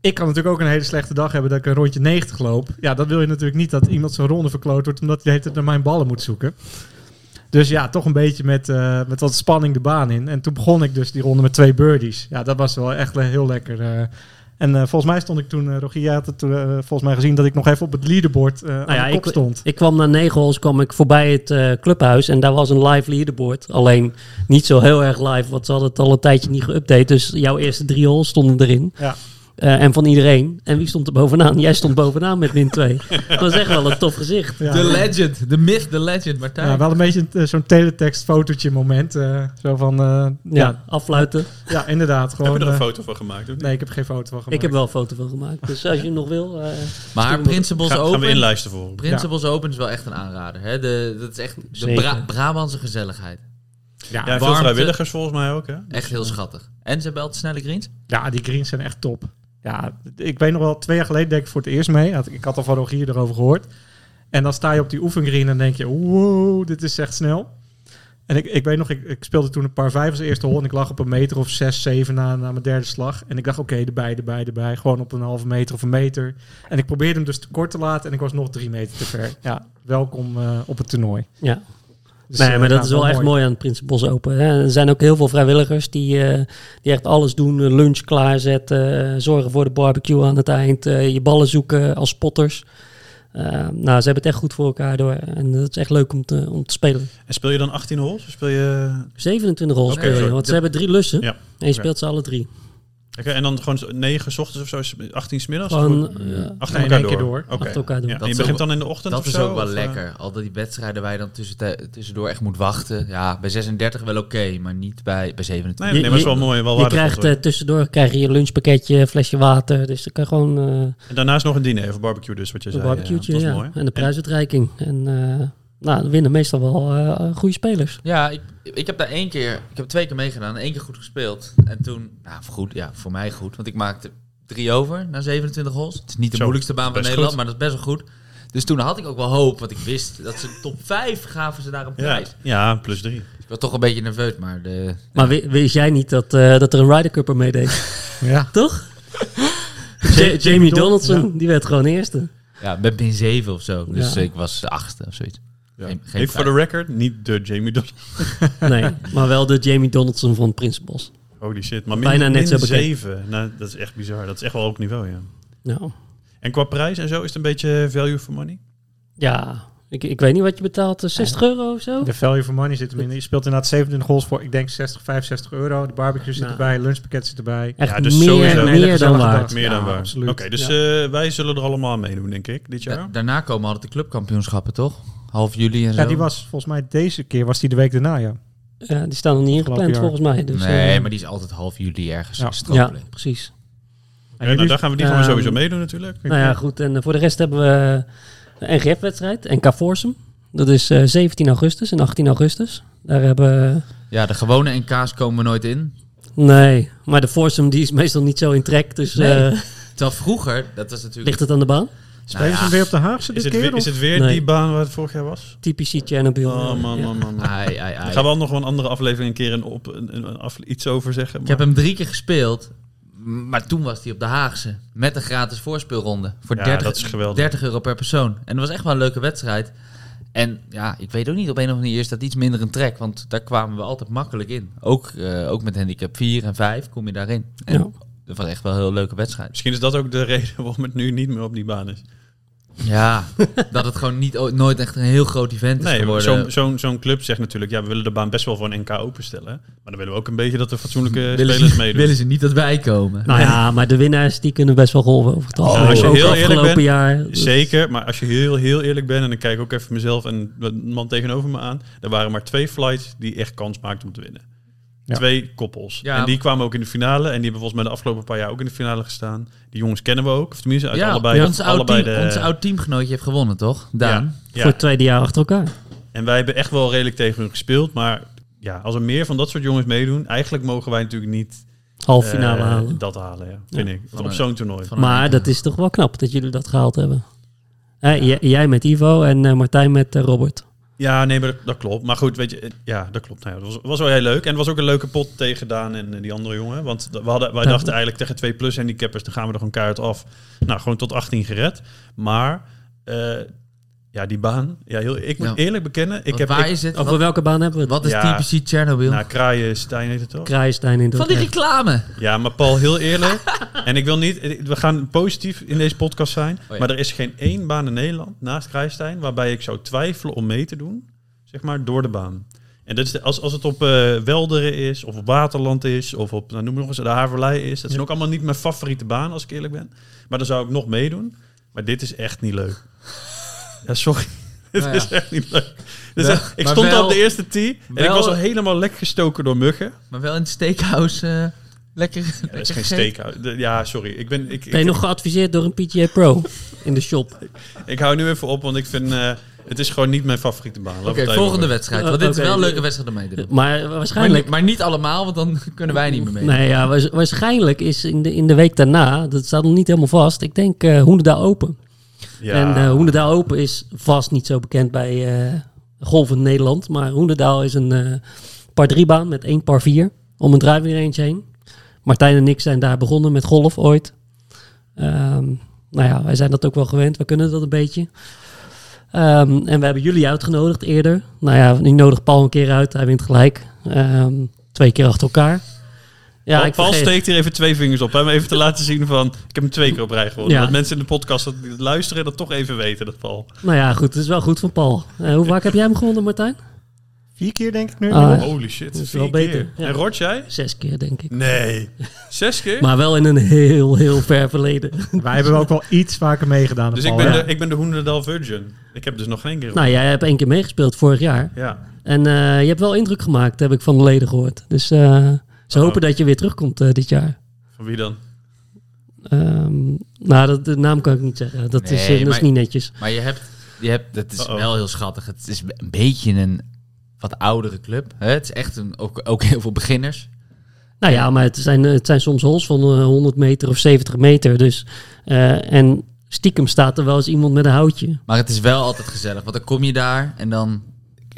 [SPEAKER 4] ik kan natuurlijk ook een hele slechte dag hebben dat ik een rondje 90 loop. Ja, dat wil je natuurlijk niet dat iemand zo'n ronde verkloot wordt omdat hij de hele tijd naar mijn ballen moet zoeken. Dus ja, toch een beetje met, eh, met wat spanning de baan in. En toen begon ik dus die ronde met twee birdies. Ja, dat was wel echt le- heel lekker. eh. En eh, volgens mij stond ik toen, eh Rogier jij had het toen, eh, volgens mij gezien dat ik nog even op het leaderboard eh aan
[SPEAKER 5] Nou ja,
[SPEAKER 4] de kop
[SPEAKER 5] ik-
[SPEAKER 4] stond.
[SPEAKER 5] Ik kwam na negen holes kwam ik voorbij het eh, clubhuis en daar was een live leaderboard. Alleen niet zo heel erg live, want ze hadden het al een tijdje niet geüpdate. Dus jouw eerste drie holes stonden erin.
[SPEAKER 4] Ja.
[SPEAKER 5] Eh, en van iedereen. En wie stond er bovenaan? Jij stond bovenaan met min 2. Dat was echt wel een tof gezicht.
[SPEAKER 4] Ja.
[SPEAKER 3] De legend, de myth, de legend, Martijn.
[SPEAKER 4] Ja, wel een beetje een- zo'n teletext fotootje moment. eh, zo van, eh,
[SPEAKER 5] Ja,
[SPEAKER 4] ja.
[SPEAKER 5] afluiten.
[SPEAKER 4] Ja, inderdaad. Gewoon,
[SPEAKER 1] Heb je er een
[SPEAKER 4] eh,
[SPEAKER 1] foto van gemaakt? of niet?
[SPEAKER 4] nee, ik heb geen foto van gemaakt.
[SPEAKER 5] Ik heb wel een foto van gemaakt. Dus als je hem nog wil. eh,
[SPEAKER 3] maar Principles
[SPEAKER 1] Ga- gaan we
[SPEAKER 3] Open,
[SPEAKER 1] inlijsten voor.
[SPEAKER 3] Principles Open is wel echt een aanrader. Hè? De, dat is echt de
[SPEAKER 5] Zeker.
[SPEAKER 3] Bra- Brabantse gezelligheid.
[SPEAKER 4] Ja,
[SPEAKER 1] Ja, veel
[SPEAKER 3] warmte.
[SPEAKER 1] vrijwilligers volgens mij ook, hè?
[SPEAKER 3] Echt heel schattig. En ze hebben altijd snelle greens.
[SPEAKER 4] Ja, die greens zijn echt top. Ja, ik weet nog wel, twee jaar geleden denk ik voor het eerst mee. Had- Ik had al van Rogier erover gehoord. En dan sta je op die oefengreen en denk je, wow, dit is echt snel. En ik, ik weet nog, ik, ik speelde toen een paar vijf als eerste hol en ik lag op een meter of zes, zeven na, na mijn derde slag. En ik dacht, oké, erbij, erbij, erbij. Gewoon op een halve meter of een meter. En ik probeerde hem dus te kort te laten en ik was nog drie meter te ver. Ja, welkom eh, op het toernooi.
[SPEAKER 5] ja.
[SPEAKER 4] Dus,
[SPEAKER 5] nee,
[SPEAKER 4] eh,
[SPEAKER 5] maar dat
[SPEAKER 4] ja,
[SPEAKER 5] is wel, echt mooi aan het Prinsenbos Open. Hè. Er zijn ook heel veel vrijwilligers die, eh, die echt alles doen. Eh, Lunch klaarzetten, eh, zorgen voor de barbecue aan het eind. eh, je ballen zoeken als spotters. Eh, nou, ze hebben het echt goed voor elkaar door. En dat is echt leuk om te, om te spelen.
[SPEAKER 1] En speel je dan 18 holes? Of speel je...
[SPEAKER 5] 27 holes
[SPEAKER 1] Oké,
[SPEAKER 5] speel je,
[SPEAKER 1] sorry.
[SPEAKER 5] want ze
[SPEAKER 1] Ja.
[SPEAKER 5] hebben drie lussen.
[SPEAKER 1] Ja.
[SPEAKER 5] En je
[SPEAKER 1] Oké.
[SPEAKER 5] speelt ze alle drie.
[SPEAKER 1] Oké, en dan gewoon 9 's ochtends of zo, 18 's middags?
[SPEAKER 5] Gewoon,
[SPEAKER 1] Goed.
[SPEAKER 5] eh,
[SPEAKER 1] achter
[SPEAKER 4] Nee, in
[SPEAKER 1] elkaar
[SPEAKER 4] één keer
[SPEAKER 1] door.
[SPEAKER 4] door.
[SPEAKER 1] Oké.
[SPEAKER 5] Achter elkaar door.
[SPEAKER 1] Ja, en
[SPEAKER 3] Dat
[SPEAKER 1] je
[SPEAKER 3] is
[SPEAKER 1] begint
[SPEAKER 3] ook-
[SPEAKER 1] dan in de ochtend
[SPEAKER 3] Dat
[SPEAKER 1] of
[SPEAKER 3] is
[SPEAKER 1] zo,
[SPEAKER 3] ook wel
[SPEAKER 1] of, eh?
[SPEAKER 3] lekker. Al die wedstrijden waar je dan tussen- tussendoor echt moet wachten. Ja, bij 36 wel oké, maar niet bij, bij 27.
[SPEAKER 1] Nee, nee, maar het is wel
[SPEAKER 5] Je-
[SPEAKER 1] mooi. Wel
[SPEAKER 5] je
[SPEAKER 1] waardevol,
[SPEAKER 5] krijgt
[SPEAKER 1] hoor.
[SPEAKER 5] eh, tussendoor krijg je je lunchpakketje, een flesje water. Dus dan kan je gewoon eh,
[SPEAKER 1] En daarnaast nog een diner of barbecue dus, wat je
[SPEAKER 5] een
[SPEAKER 1] zei.
[SPEAKER 5] barbecue.
[SPEAKER 1] dat was
[SPEAKER 5] Ja,
[SPEAKER 1] mooi.
[SPEAKER 5] En de prijsuitreiking. En eh nou, dan winnen meestal wel eh, goede spelers.
[SPEAKER 3] Ja, ik, ik heb daar één keer, ik heb twee keer meegedaan, één keer goed gespeeld. En toen, nou goed, ja, voor mij goed, want ik maakte drie over na 27 holes. Het is niet de
[SPEAKER 1] Zo,
[SPEAKER 3] moeilijkste baan van
[SPEAKER 1] best
[SPEAKER 3] Nederland,
[SPEAKER 1] goed.
[SPEAKER 3] maar dat is best wel goed. Dus toen had ik ook wel hoop, want ik wist dat ze top 5 gaven ze daar een
[SPEAKER 1] Ja,
[SPEAKER 3] prijs.
[SPEAKER 1] ja, plus drie.
[SPEAKER 3] Ik was toch een beetje nerveus, maar de,
[SPEAKER 5] Maar wi- wist jij niet dat, eh, dat er een Ryder Cup er meedeed?
[SPEAKER 4] Ja.
[SPEAKER 5] Toch? Ja- Jamie Donaldson, die werd gewoon eerste.
[SPEAKER 3] ja, met min 7 of zo. Dus
[SPEAKER 5] Ja.
[SPEAKER 3] ik was achtste of zoiets.
[SPEAKER 1] Ja.
[SPEAKER 3] Geen- geen
[SPEAKER 1] Even voor de record, niet de Jamie Dos.
[SPEAKER 5] Nee, maar wel de Jamie Donaldson van Principles.
[SPEAKER 1] Holy shit. Maar min,
[SPEAKER 5] Bijna net
[SPEAKER 1] min
[SPEAKER 5] zo bekend.
[SPEAKER 1] zeven. Nou, dat is echt bizar. Dat is echt wel hoog niveau, ja.
[SPEAKER 5] Nou,
[SPEAKER 1] En qua prijs en zo is het een beetje value for money?
[SPEAKER 5] ja, ik, ik weet niet wat je betaalt, eh, 60 euro of zo?
[SPEAKER 4] De value for money zit hem in. Je speelt inderdaad 27 goals voor, ik denk 60, 65 euro. De barbecue zit
[SPEAKER 5] Nou.
[SPEAKER 4] erbij, lunchpakket zit erbij.
[SPEAKER 5] Echt
[SPEAKER 1] Ja, dus
[SPEAKER 5] meer,
[SPEAKER 1] sowieso.
[SPEAKER 4] Een hele
[SPEAKER 5] meer dan
[SPEAKER 4] gezellige
[SPEAKER 5] waard.
[SPEAKER 4] dag.
[SPEAKER 1] Meer dan
[SPEAKER 4] Ja,
[SPEAKER 1] waar. Oké,
[SPEAKER 4] absoluut.
[SPEAKER 1] dus eh, wij zullen er allemaal aan meedoen, denk ik, dit jaar. nou,
[SPEAKER 3] Da- daarna komen altijd de clubkampioenschappen, toch? Half juli en zo.
[SPEAKER 4] Ja, die was volgens mij deze keer, was die de week daarna, ja.
[SPEAKER 5] Ja, die staan er
[SPEAKER 4] Afgelopen
[SPEAKER 5] niet ingepland
[SPEAKER 4] jaar.
[SPEAKER 5] volgens mij. Dus,
[SPEAKER 3] nee,
[SPEAKER 5] eh,
[SPEAKER 3] maar die is altijd half juli ergens
[SPEAKER 4] Ja.
[SPEAKER 5] Ja,
[SPEAKER 3] gestrompeld.
[SPEAKER 5] precies.
[SPEAKER 1] Ja, nou, daar gaan we die
[SPEAKER 5] Ehm,
[SPEAKER 1] gewoon sowieso meedoen natuurlijk.
[SPEAKER 5] Nou ja, goed. En eh, voor de rest hebben we een NGF-wedstrijd, NK Forsum. Dat is eh, 17 augustus en 18 augustus. Daar hebben we
[SPEAKER 3] Ja. de gewone NK's komen nooit in.
[SPEAKER 5] Nee, maar de foursome die is meestal niet zo in trek. Dus
[SPEAKER 3] Nee.
[SPEAKER 5] eh,
[SPEAKER 3] Terwijl vroeger, dat was natuurlijk
[SPEAKER 5] ligt het aan de baan?
[SPEAKER 4] Spelen ze hem weer op de Haagse
[SPEAKER 1] Nou Is
[SPEAKER 4] dit
[SPEAKER 1] het,
[SPEAKER 4] keer?
[SPEAKER 1] weer, is
[SPEAKER 4] of-
[SPEAKER 1] het weer
[SPEAKER 5] Nee.
[SPEAKER 1] die baan waar het vorig jaar was?
[SPEAKER 5] Typisch Chernobyl.
[SPEAKER 1] Oh, man,
[SPEAKER 5] Ja.
[SPEAKER 1] man, man. man.
[SPEAKER 3] Ai, ai, ai.
[SPEAKER 1] Ik ga wel nog wel een andere aflevering een keer een op, een, een- een af- iets over zeggen.
[SPEAKER 3] Ik
[SPEAKER 1] maar-
[SPEAKER 3] heb hem drie keer gespeeld. Maar toen was hij op de Haagse. Met een gratis voorspeelronde. Voor
[SPEAKER 1] Ja,
[SPEAKER 3] 30,
[SPEAKER 1] dat is geweldig.
[SPEAKER 3] 30 euro per persoon. En dat was echt wel een leuke wedstrijd. En ja, ik weet ook niet op een of andere manier is dat iets minder een trek. Want daar kwamen we altijd makkelijk in. Ook, eh, ook met handicap 4 en 5 kom je daarin. En
[SPEAKER 5] Ja.
[SPEAKER 3] dat was echt wel een heel leuke wedstrijd.
[SPEAKER 1] Misschien is dat ook de reden waarom het nu niet meer op die baan is.
[SPEAKER 3] Ja, dat het gewoon niet, ooit- nooit echt een heel groot event is
[SPEAKER 1] Nee, maar zo'n
[SPEAKER 3] geworden.
[SPEAKER 1] zo'n zo'n club zegt natuurlijk, ja, we willen de baan best wel voor een NK openstellen. Maar dan willen we ook een beetje dat er fatsoenlijke
[SPEAKER 3] willen,
[SPEAKER 1] spelers
[SPEAKER 3] ze,
[SPEAKER 1] meedoen.
[SPEAKER 3] willen ze niet dat wij komen.
[SPEAKER 5] Nou ja, maar de winnaars die kunnen best wel golven over het algemeen.
[SPEAKER 1] Oh, als je
[SPEAKER 5] Ook
[SPEAKER 1] heel eerlijk
[SPEAKER 5] afgelopen
[SPEAKER 1] bent,
[SPEAKER 5] jaar.
[SPEAKER 1] Zeker, maar als je heel, heel eerlijk bent, en dan kijk ik ook even mezelf en de man tegenover me aan, er waren maar twee flights die echt kans maakten om te winnen.
[SPEAKER 4] Ja.
[SPEAKER 1] Twee koppels.
[SPEAKER 3] Ja.
[SPEAKER 1] En die kwamen ook in de finale. En die hebben volgens mij de afgelopen paar jaar ook in de finale gestaan. Die jongens kennen we ook. Of tenminste, uit allebei,
[SPEAKER 3] ons oud,
[SPEAKER 1] allebei
[SPEAKER 3] team-
[SPEAKER 1] de...
[SPEAKER 3] ons oud teamgenootje heeft gewonnen, toch? Daan?
[SPEAKER 1] ja, ja.
[SPEAKER 5] Voor het tweede jaar achter elkaar.
[SPEAKER 1] En wij hebben echt wel redelijk tegen hun gespeeld. Maar ja, als er meer van dat soort jongens meedoen, eigenlijk mogen wij natuurlijk niet
[SPEAKER 5] Half finale
[SPEAKER 1] eh,
[SPEAKER 5] halen.
[SPEAKER 1] dat halen, ja, vind ik.
[SPEAKER 3] Van
[SPEAKER 1] op
[SPEAKER 3] een-
[SPEAKER 1] zo'n toernooi.
[SPEAKER 3] van een-
[SPEAKER 5] Maar dat is toch wel knap dat jullie dat gehaald hebben. Hè, j- Jij met Ivo en eh, Martijn met eh, Robert.
[SPEAKER 1] Ja, nee, maar dat, dat klopt. Maar goed, weet je, eh, ja, dat klopt. Nou, ja, dat was, was wel heel leuk. En het was ook een leuke pot tegen Daan en eh, die andere jongen. Want d- we hadden, wij
[SPEAKER 5] Ja.
[SPEAKER 1] dachten eigenlijk tegen 2 plus handicappers, dan gaan we er gewoon keihard af. Nou, gewoon tot 18 gered. Maar eh, ja, die baan. Ja, heel, ik moet
[SPEAKER 3] Ja.
[SPEAKER 1] eerlijk bekennen, ik
[SPEAKER 3] Want
[SPEAKER 1] heb...
[SPEAKER 3] waar
[SPEAKER 1] ik,
[SPEAKER 3] is het?
[SPEAKER 5] Over
[SPEAKER 3] Wat,
[SPEAKER 5] welke baan hebben we het?
[SPEAKER 3] wat is
[SPEAKER 1] Ja.
[SPEAKER 3] typisch Chernobyl?
[SPEAKER 1] nou, Kraaien, Stijn heet het toch?
[SPEAKER 5] Kraaienstein in
[SPEAKER 3] Van die
[SPEAKER 5] Dordrecht.
[SPEAKER 3] reclame.
[SPEAKER 1] Ja, maar Paul, heel eerlijk. en ik wil niet... We gaan positief in deze podcast zijn.
[SPEAKER 3] Oh ja.
[SPEAKER 1] Maar er is geen één baan in Nederland naast Krijstein... waarbij ik zou twijfelen om mee te doen, zeg maar, door de baan. En dat is de- als, als het op eh, Welderen is, of op Waterland is... of op, nou, noem nog eens, de Haverlei is. Dat zijn ook allemaal niet mijn favoriete baan, als ik eerlijk ben. Maar dan zou ik nog meedoen. Maar dit is echt niet leuk. ja, sorry. Dit
[SPEAKER 3] Nou ja.
[SPEAKER 1] is echt niet leuk. Dus
[SPEAKER 3] Wel-
[SPEAKER 1] echt- ik
[SPEAKER 3] maar
[SPEAKER 1] stond
[SPEAKER 3] wel-
[SPEAKER 1] al op de eerste tee en ik
[SPEAKER 3] wel-
[SPEAKER 1] was al helemaal lek gestoken door muggen.
[SPEAKER 3] Maar wel in het steakhouse. eh, lekker.
[SPEAKER 1] Ja, dat is geen steekhout. De- Ja, sorry. Ik, ben, ik, ik,
[SPEAKER 5] Ben je nog geadviseerd door een PGA Pro in de shop?
[SPEAKER 1] ik hou nu even op, want ik vind... eh, het is gewoon niet mijn favoriete baan. Laat
[SPEAKER 3] Oké,
[SPEAKER 1] het even
[SPEAKER 3] volgende
[SPEAKER 1] op.
[SPEAKER 3] wedstrijd.
[SPEAKER 5] Eh,
[SPEAKER 3] Want dit
[SPEAKER 5] oké.
[SPEAKER 3] is wel een leuke wedstrijd om mee te doen.
[SPEAKER 5] Maar
[SPEAKER 3] Maar,
[SPEAKER 5] waarschijnlijk...
[SPEAKER 3] niet- maar niet allemaal, want dan kunnen wij niet meer mee.
[SPEAKER 5] Nee, ja, waars- waarschijnlijk is in de, in de week daarna, dat staat nog niet helemaal vast, ik denk eh Hoenderdaal Open. En
[SPEAKER 1] Ja.
[SPEAKER 5] eh, Hoenderdaal Open is vast niet zo bekend bij eh golven Nederland, maar Hoenderdaal is een eh, par 3 baan met één par 4 om een driving range heen. Martijn en ik zijn daar begonnen met golf ooit. Ehm, nou ja, wij zijn dat ook wel gewend, we kunnen dat een beetje. Ehm, en we hebben jullie uitgenodigd eerder. Nou ja, nu nodig Paul een keer uit, hij wint gelijk. Ehm, twee keer achter elkaar. Ja,
[SPEAKER 1] Paul,
[SPEAKER 5] ik
[SPEAKER 1] Paul
[SPEAKER 5] vergeet-
[SPEAKER 1] steekt hier even twee vingers op. Hè, om even te laten zien van... Ik heb hem twee keer op rij gewonnen.
[SPEAKER 5] Ja.
[SPEAKER 1] Dat mensen in de podcast dat, die het luisteren dat toch even weten, dat Paul.
[SPEAKER 5] Nou ja, goed, het is wel goed van Paul. Eh, hoe vaak heb jij hem gewonnen, Martijn?
[SPEAKER 4] Vier keer denk ik nu.
[SPEAKER 1] Oh.
[SPEAKER 5] Ah, ja.
[SPEAKER 1] Holy shit,
[SPEAKER 5] is
[SPEAKER 1] vier
[SPEAKER 5] wel beter,
[SPEAKER 1] keer.
[SPEAKER 5] ja.
[SPEAKER 1] En Rod, jij?
[SPEAKER 5] Zes keer, denk ik.
[SPEAKER 1] Nee. Zes keer?
[SPEAKER 5] Maar wel in een heel, heel ver verleden.
[SPEAKER 4] Wij hebben ook wel iets vaker meegedaan.
[SPEAKER 1] dus
[SPEAKER 4] dan
[SPEAKER 1] ik
[SPEAKER 4] Paul,
[SPEAKER 1] ben,
[SPEAKER 4] hè?
[SPEAKER 1] de, ik ben de Hoenderdaal Virgin. Ik heb dus nog geen keer... op-
[SPEAKER 5] nou, jij hebt één keer meegespeeld vorig jaar.
[SPEAKER 1] Ja.
[SPEAKER 5] En eh, je hebt wel indruk gemaakt, heb ik van de leden gehoord. Dus eh, ze
[SPEAKER 1] Oh.
[SPEAKER 5] hopen dat je weer terugkomt eh, dit jaar.
[SPEAKER 1] Van wie dan?
[SPEAKER 5] Ehm, nou, dat, de naam kan ik niet zeggen. Dat, is,
[SPEAKER 3] Nee,
[SPEAKER 5] eh, dat is
[SPEAKER 3] maar-
[SPEAKER 5] niet netjes.
[SPEAKER 3] Maar je hebt, je hebt, dat is
[SPEAKER 1] Uh-oh.
[SPEAKER 3] wel heel schattig. Het is een beetje een wat oudere club. Hè? Het is echt een, ook, ook heel veel beginners.
[SPEAKER 5] Nou ja, maar het zijn, het zijn soms hols van eh, 100 meter of 70 meter. Dus, eh, en stiekem staat er wel eens iemand met een houtje.
[SPEAKER 3] Maar het is wel altijd gezellig. Want dan kom je daar en dan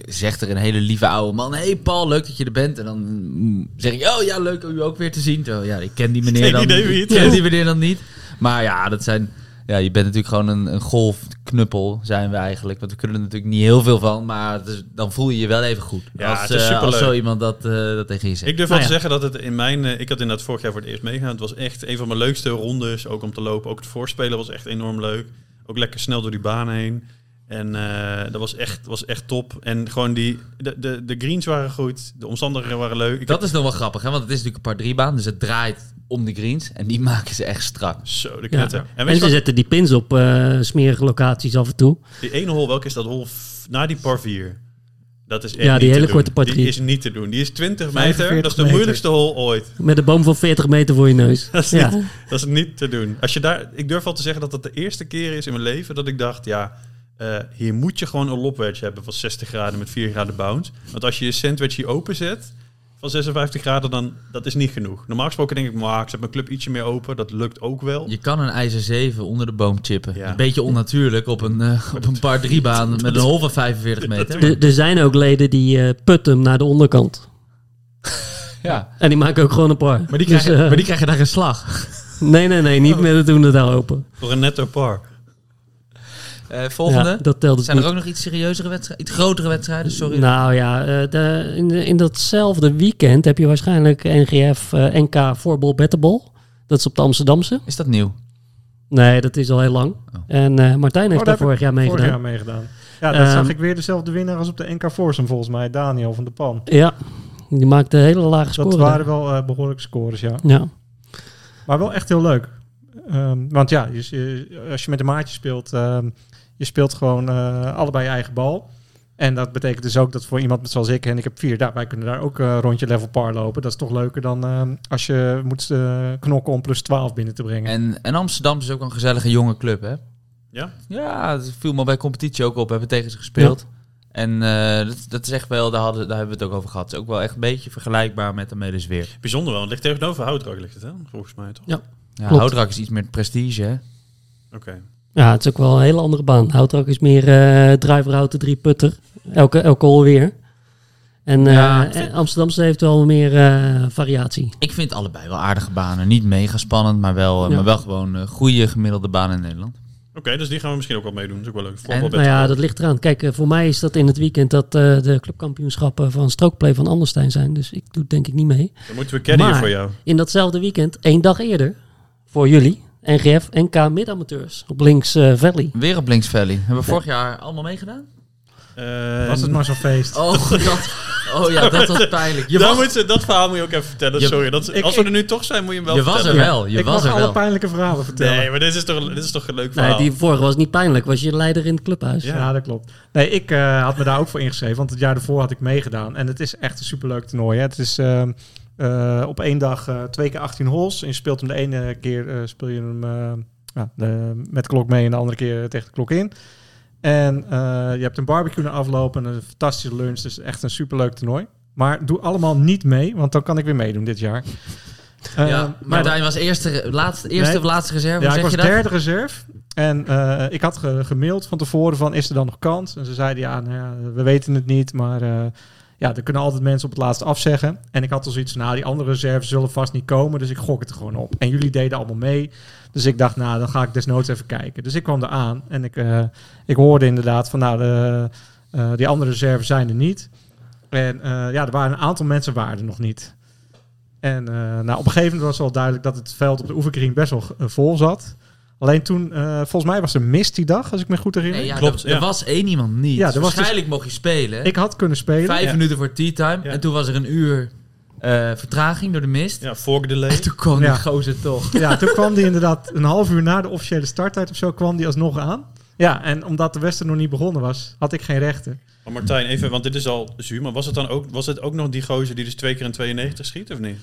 [SPEAKER 3] zegt er een hele lieve oude man... hey Paul, leuk dat je er bent. En dan mm, zeg ik, oh ja, leuk om u ook weer te zien. Terwijl, ja, ik ken die meneer
[SPEAKER 1] Geen
[SPEAKER 3] dan
[SPEAKER 1] idee wie
[SPEAKER 3] Ik
[SPEAKER 1] het
[SPEAKER 3] ken
[SPEAKER 1] is.
[SPEAKER 3] die meneer dan niet. Maar ja, dat zijn... Ja, je bent natuurlijk gewoon een, een golfknuppel, zijn we eigenlijk. Want we kunnen er natuurlijk niet heel veel van. Maar het is- dan voel je je wel even goed.
[SPEAKER 1] Ja,
[SPEAKER 3] als,
[SPEAKER 1] het is
[SPEAKER 3] eh, als
[SPEAKER 1] superleuk.
[SPEAKER 3] zo iemand dat, eh, dat tegen je zegt.
[SPEAKER 1] Ik durf
[SPEAKER 5] Nou
[SPEAKER 1] wel
[SPEAKER 5] ja.
[SPEAKER 1] te zeggen dat het in mijn... eh, ik had inderdaad vorig jaar voor het eerst meegaan. Het was echt een van mijn leukste rondes. Ook om te lopen. Ook het voorspelen was echt enorm leuk. Ook lekker snel door die baan heen. En eh, dat was echt, was echt top. En gewoon die... De, de, de greens waren goed. De omstandigheden waren leuk. Ik
[SPEAKER 3] Dat
[SPEAKER 1] heb-
[SPEAKER 3] is nog wel grappig, hè? want het is natuurlijk een paar drie baan. Dus het draait om de greens. En die maken ze echt strak.
[SPEAKER 1] Zo, de
[SPEAKER 5] Ja.
[SPEAKER 1] knetter.
[SPEAKER 5] En,
[SPEAKER 1] eh, En weet
[SPEAKER 5] ze
[SPEAKER 1] je wat?
[SPEAKER 5] zetten die pins op eh, smerige locaties af en toe.
[SPEAKER 1] Die ene hol, welke is dat hol? F- Na die par 4. Dat is echt
[SPEAKER 5] Ja, die
[SPEAKER 1] niet te
[SPEAKER 5] hele
[SPEAKER 1] doen.
[SPEAKER 5] korte par
[SPEAKER 1] Die
[SPEAKER 5] drie.
[SPEAKER 1] is niet te doen. Die is 20 meter.
[SPEAKER 4] 45
[SPEAKER 1] Dat is de
[SPEAKER 4] meter.
[SPEAKER 1] moeilijkste hol ooit.
[SPEAKER 5] Met een boom van 40 meter voor je neus.
[SPEAKER 1] Dat is,
[SPEAKER 5] ja.
[SPEAKER 1] niet, dat is niet te doen. Als je daar, ik durf wel te zeggen dat dat de eerste keer is in mijn leven dat ik dacht, ja, eh, hier moet je gewoon een lopwedge hebben van 60 graden met 4 graden bounce. Want als je je sandwich hier openzet, van 56 graden, dan dat is niet genoeg. Normaal gesproken denk ik, maar ik zet mijn club ietsje meer open. Dat lukt ook wel.
[SPEAKER 3] Je kan een ijzer 7 onder de boom chippen.
[SPEAKER 1] Ja.
[SPEAKER 3] Een beetje onnatuurlijk op een, eh, op een paar drie baan met een hol van 45 meter.
[SPEAKER 5] Er- Er zijn ook leden die eh, putten hem naar de onderkant.
[SPEAKER 3] Ja.
[SPEAKER 5] En die maken ook gewoon een par.
[SPEAKER 3] Maar die krijgen,
[SPEAKER 5] Dus, eh,
[SPEAKER 3] maar die krijgen daar een slag.
[SPEAKER 5] Nee, nee, nee. Niet met het doen het daar open.
[SPEAKER 1] Voor een netto par.
[SPEAKER 3] Eh, volgende.
[SPEAKER 5] Ja, dat telt het
[SPEAKER 3] Zijn er
[SPEAKER 5] niet.
[SPEAKER 3] ook nog iets serieuzere wedstrijden? Iets grotere wedstrijden, sorry.
[SPEAKER 5] Nou ja, eh, de- in, in datzelfde weekend heb je waarschijnlijk NGF eh, NK Voorbal Battleball. Dat is op de Amsterdamse.
[SPEAKER 3] Is dat nieuw?
[SPEAKER 5] Nee, dat is al heel lang.
[SPEAKER 3] Oh.
[SPEAKER 5] En eh, Martijn heeft
[SPEAKER 4] Oh, daar
[SPEAKER 5] daar
[SPEAKER 4] heb
[SPEAKER 5] vorig jaar mee
[SPEAKER 4] Vorig
[SPEAKER 5] gedaan.
[SPEAKER 4] jaar meegedaan. Ja, daar
[SPEAKER 5] Ehm,
[SPEAKER 4] zag ik weer dezelfde winnaar als op de NK Forsum volgens mij. Daniel van de Pan.
[SPEAKER 5] Ja, die maakte hele lage
[SPEAKER 4] Dat
[SPEAKER 5] score.
[SPEAKER 4] waren wel eh, behoorlijke scores, ja.
[SPEAKER 5] Ja.
[SPEAKER 4] Maar wel echt heel leuk. Ehm, want ja, je, je- als je met een maatje speelt, ehm, je speelt gewoon eh, allebei je eigen bal. En dat betekent dus ook dat voor iemand zoals ik, en ik heb vier, daar, wij kunnen daar ook eh, rondje level par lopen. Dat is toch leuker dan ehm, als je moet eh, knokken om plus 12 binnen te brengen.
[SPEAKER 3] En, en Amsterdam is ook een gezellige jonge club, hè?
[SPEAKER 1] Ja?
[SPEAKER 3] Ja, het viel me bij competitie ook op. Hebben we tegen ze gespeeld. En eh, dat, dat is echt wel, daar, hadden, daar hebben we het ook over gehad. Het is ook wel echt een beetje vergelijkbaar met de Medesweer.
[SPEAKER 1] Bijzonder wel. Het ligt tegenover Houtdrak ligt het, hè? Volgens mij toch?
[SPEAKER 5] Ja.
[SPEAKER 3] Ja,
[SPEAKER 5] Klopt.
[SPEAKER 3] Houtrak is iets meer prestige, hè?
[SPEAKER 1] Oké.
[SPEAKER 5] ja, het is ook wel een hele andere baan. Houtrak is meer eh driver, houten, drie putter. Elke, elke hol weer. En eh
[SPEAKER 3] Ja, ik vind-
[SPEAKER 5] eh, Amsterdamse heeft wel meer eh, variatie.
[SPEAKER 3] Ik vind allebei wel aardige banen. Niet mega spannend, maar wel, eh,
[SPEAKER 5] Ja.
[SPEAKER 3] maar wel gewoon eh, goede gemiddelde banen in Nederland.
[SPEAKER 1] Oké, dus die gaan we misschien ook wel meedoen. Dat is ook wel leuk.
[SPEAKER 3] En-
[SPEAKER 1] Voorbal
[SPEAKER 5] Nou ja, dat ligt eraan. Kijk, eh, voor mij is dat in het weekend dat eh, de clubkampioenschappen van strookplay van Anderstein zijn. Dus ik doe het denk ik niet mee.
[SPEAKER 1] Dan moeten we caddyen
[SPEAKER 5] Maar-
[SPEAKER 1] voor jou.
[SPEAKER 5] In datzelfde weekend, één dag eerder, voor jullie, NGF NK Midamateurs op links eh, Valley.
[SPEAKER 3] Weer op Links Valley. Hebben we vorig jaar allemaal meegedaan?
[SPEAKER 1] Eh,
[SPEAKER 4] Was het maar zo'n feest.
[SPEAKER 3] Oh, dat, oh ja, dat was pijnlijk. Je
[SPEAKER 1] daar
[SPEAKER 3] was,
[SPEAKER 1] moet je- dat verhaal moet je ook even vertellen.
[SPEAKER 3] Je-
[SPEAKER 1] Sorry. Dat,
[SPEAKER 4] Ik-
[SPEAKER 1] als we
[SPEAKER 4] ik-
[SPEAKER 1] er nu toch zijn, moet je hem wel
[SPEAKER 3] je was
[SPEAKER 1] vertellen.
[SPEAKER 3] er Oh, wel. Je
[SPEAKER 4] ik
[SPEAKER 3] was
[SPEAKER 4] mag
[SPEAKER 3] er
[SPEAKER 4] alle
[SPEAKER 3] wel.
[SPEAKER 4] pijnlijke verhalen vertellen.
[SPEAKER 1] Nee, maar dit is toch, dit is toch een leuk verhaal.
[SPEAKER 5] Nee, die vorige was niet pijnlijk, was je leider in het clubhuis.
[SPEAKER 1] Ja.
[SPEAKER 4] Ja, dat klopt. Nee, ik eh, had me daar ook voor ingeschreven, want het jaar daarvoor had ik meegedaan. En het is echt een superleuk toernooi. Hè. Het is ehm, eh, op één dag eh, twee keer 18 holes. En je speelt hem de ene keer eh, speel je hem eh, ja, de- met de klok mee en de andere keer tegen de klok in. En eh, je hebt een barbecue na afloop en een fantastische lunch. Dus echt een superleuk toernooi. Maar doe allemaal niet mee, want dan kan ik weer meedoen dit jaar. Ehm,
[SPEAKER 3] Ja,
[SPEAKER 4] maar-
[SPEAKER 3] Martijn was eerste, laatste, eerste
[SPEAKER 4] Nee.
[SPEAKER 3] of laatste reserve,
[SPEAKER 4] ja,
[SPEAKER 3] zeg
[SPEAKER 4] ik was
[SPEAKER 3] je dat?
[SPEAKER 4] derde reserve. En eh, ik had ge- gemaild van tevoren van, is er dan nog kans? En ze zeiden, ja, nou ja we weten het niet, maar eh, ja, er kunnen altijd mensen op het laatst afzeggen. En ik had al zoiets van, nou, die andere reserves zullen vast niet komen, dus ik gok het er gewoon op. En jullie deden allemaal mee, dus ik dacht, nou, dan ga ik desnoods even kijken. Dus ik kwam eraan en ik, eh, ik hoorde inderdaad van, nou, de, eh, die andere reserves zijn er niet. En eh, ja, er waren een aantal mensen waren er nog niet. En eh, nou, op een gegeven moment was wel duidelijk dat het veld op de oefenkring best wel eh, vol zat. Alleen toen, eh, volgens mij was er mist die dag, als ik me goed herinner.
[SPEAKER 3] Nee, ja,
[SPEAKER 1] Klopt,
[SPEAKER 3] er,
[SPEAKER 1] ja.
[SPEAKER 3] er was één iemand niet.
[SPEAKER 4] Ja, er was
[SPEAKER 3] Waarschijnlijk mocht je spelen.
[SPEAKER 4] Ik had kunnen spelen.
[SPEAKER 3] Vijf
[SPEAKER 1] dus- Ja.
[SPEAKER 3] minuten voor tea time.
[SPEAKER 1] Ja.
[SPEAKER 3] En toen was er een uur eh, vertraging door de mist.
[SPEAKER 1] Ja, fork delay.
[SPEAKER 3] En toen kwam
[SPEAKER 4] Ja.
[SPEAKER 3] die gozer toch.
[SPEAKER 4] Ja, toen kwam die inderdaad een half uur na de officiële starttijd of zo, kwam die alsnog aan. Ja, en omdat de wedstrijd nog niet begonnen was, had ik geen rechten.
[SPEAKER 1] Maar Martijn, even, want dit is al zuur. Maar was het dan ook, was het ook nog die gozer die dus twee keer een 92 schiet, of niet?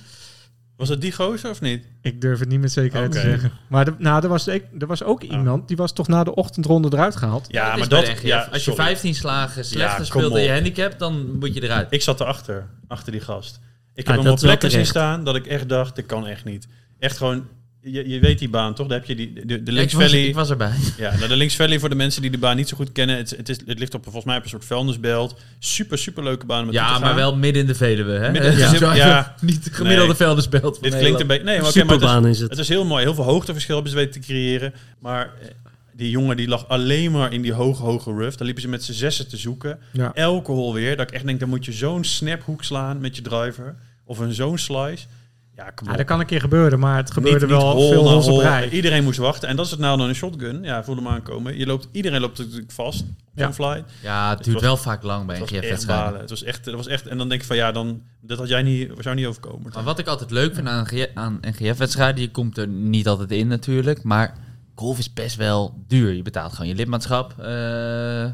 [SPEAKER 1] Was het die gozer of niet?
[SPEAKER 4] Ik durf het niet met zekerheid
[SPEAKER 1] Oké. Ah.
[SPEAKER 4] te zeggen. Maar de- nou, er, was, e- er was ook iemand, die was toch na de ochtendronde eruit gehaald.
[SPEAKER 1] Ja,
[SPEAKER 3] is
[SPEAKER 1] maar
[SPEAKER 3] bij
[SPEAKER 1] dat...
[SPEAKER 3] de NGF.
[SPEAKER 1] Ja,
[SPEAKER 3] Als je
[SPEAKER 1] sorry.
[SPEAKER 3] 15 slagen
[SPEAKER 1] Ja,
[SPEAKER 3] slechter
[SPEAKER 1] kom
[SPEAKER 3] speelt in je
[SPEAKER 1] op.
[SPEAKER 3] handicap, dan moet je eruit.
[SPEAKER 1] Ik zat erachter, achter die gast. Ik
[SPEAKER 5] Ah,
[SPEAKER 1] heb hem op
[SPEAKER 5] dat is wel
[SPEAKER 1] plekken zien
[SPEAKER 5] terecht.
[SPEAKER 1] staan dat ik echt dacht, dit kan echt niet. Echt gewoon, je, je weet die baan toch? Daar heb je die, de, de
[SPEAKER 3] Ja, ik,
[SPEAKER 1] Links
[SPEAKER 3] was,
[SPEAKER 1] Valley.
[SPEAKER 3] ik was erbij.
[SPEAKER 1] Ja, nou, de Links Valley voor de mensen die de baan niet zo goed kennen. Het, het, is, het ligt op, volgens mij op een soort vuilnisbelt. Super, super leuke baan om naartoe
[SPEAKER 3] Ja,
[SPEAKER 1] te
[SPEAKER 3] maar
[SPEAKER 1] gaan.
[SPEAKER 3] wel midden in de Veluwe. Hè?
[SPEAKER 1] Midden in de
[SPEAKER 3] Ja.
[SPEAKER 1] Veluwe, ja.
[SPEAKER 3] Niet de gemiddelde
[SPEAKER 1] Nee.
[SPEAKER 3] veldersbeeld van
[SPEAKER 1] Dit klinkt een beetje... Nee, maar, oké, maar het, is,
[SPEAKER 5] Superbaan is
[SPEAKER 1] het
[SPEAKER 5] het.
[SPEAKER 1] is heel mooi. Heel veel hoogteverschil hebben ze weten te creëren. Maar eh, die jongen die lag alleen maar in die hoge, hoge rough. Daar liepen ze met z'n zessen te zoeken.
[SPEAKER 4] Ja.
[SPEAKER 1] Elke hol weer. Dat ik echt denk, dan moet je zo'n snaphoek slaan met je driver. Of een zo'n slice. Ja, kom
[SPEAKER 4] Ja,
[SPEAKER 1] op.
[SPEAKER 4] dat kan een keer gebeuren, maar het gebeurde
[SPEAKER 1] niet
[SPEAKER 4] wel
[SPEAKER 1] hol
[SPEAKER 4] veel
[SPEAKER 1] na
[SPEAKER 4] hols op
[SPEAKER 1] hol.
[SPEAKER 4] rij.
[SPEAKER 1] Iedereen moest wachten. En dat is het nou dan een shotgun. Ja, voel hem aankomen. Je loopt, iedereen loopt natuurlijk vast.
[SPEAKER 4] Ja.
[SPEAKER 1] Zo'n flight.
[SPEAKER 3] Ja, het
[SPEAKER 1] Het
[SPEAKER 3] duurt
[SPEAKER 1] was-
[SPEAKER 3] wel vaak lang bij een
[SPEAKER 1] Het was echt
[SPEAKER 3] GF-wedstrijd.
[SPEAKER 1] balen. Het was echt, het was echt, en dan denk ik van ja, dan, dat had jij niet, zou niet overkomen.
[SPEAKER 3] Maar wat ik altijd leuk vind aan, NG aan NGF-wedstrijden, je komt er niet altijd in natuurlijk, maar golf is best wel duur. Je betaalt gewoon je lidmaatschap. Eh,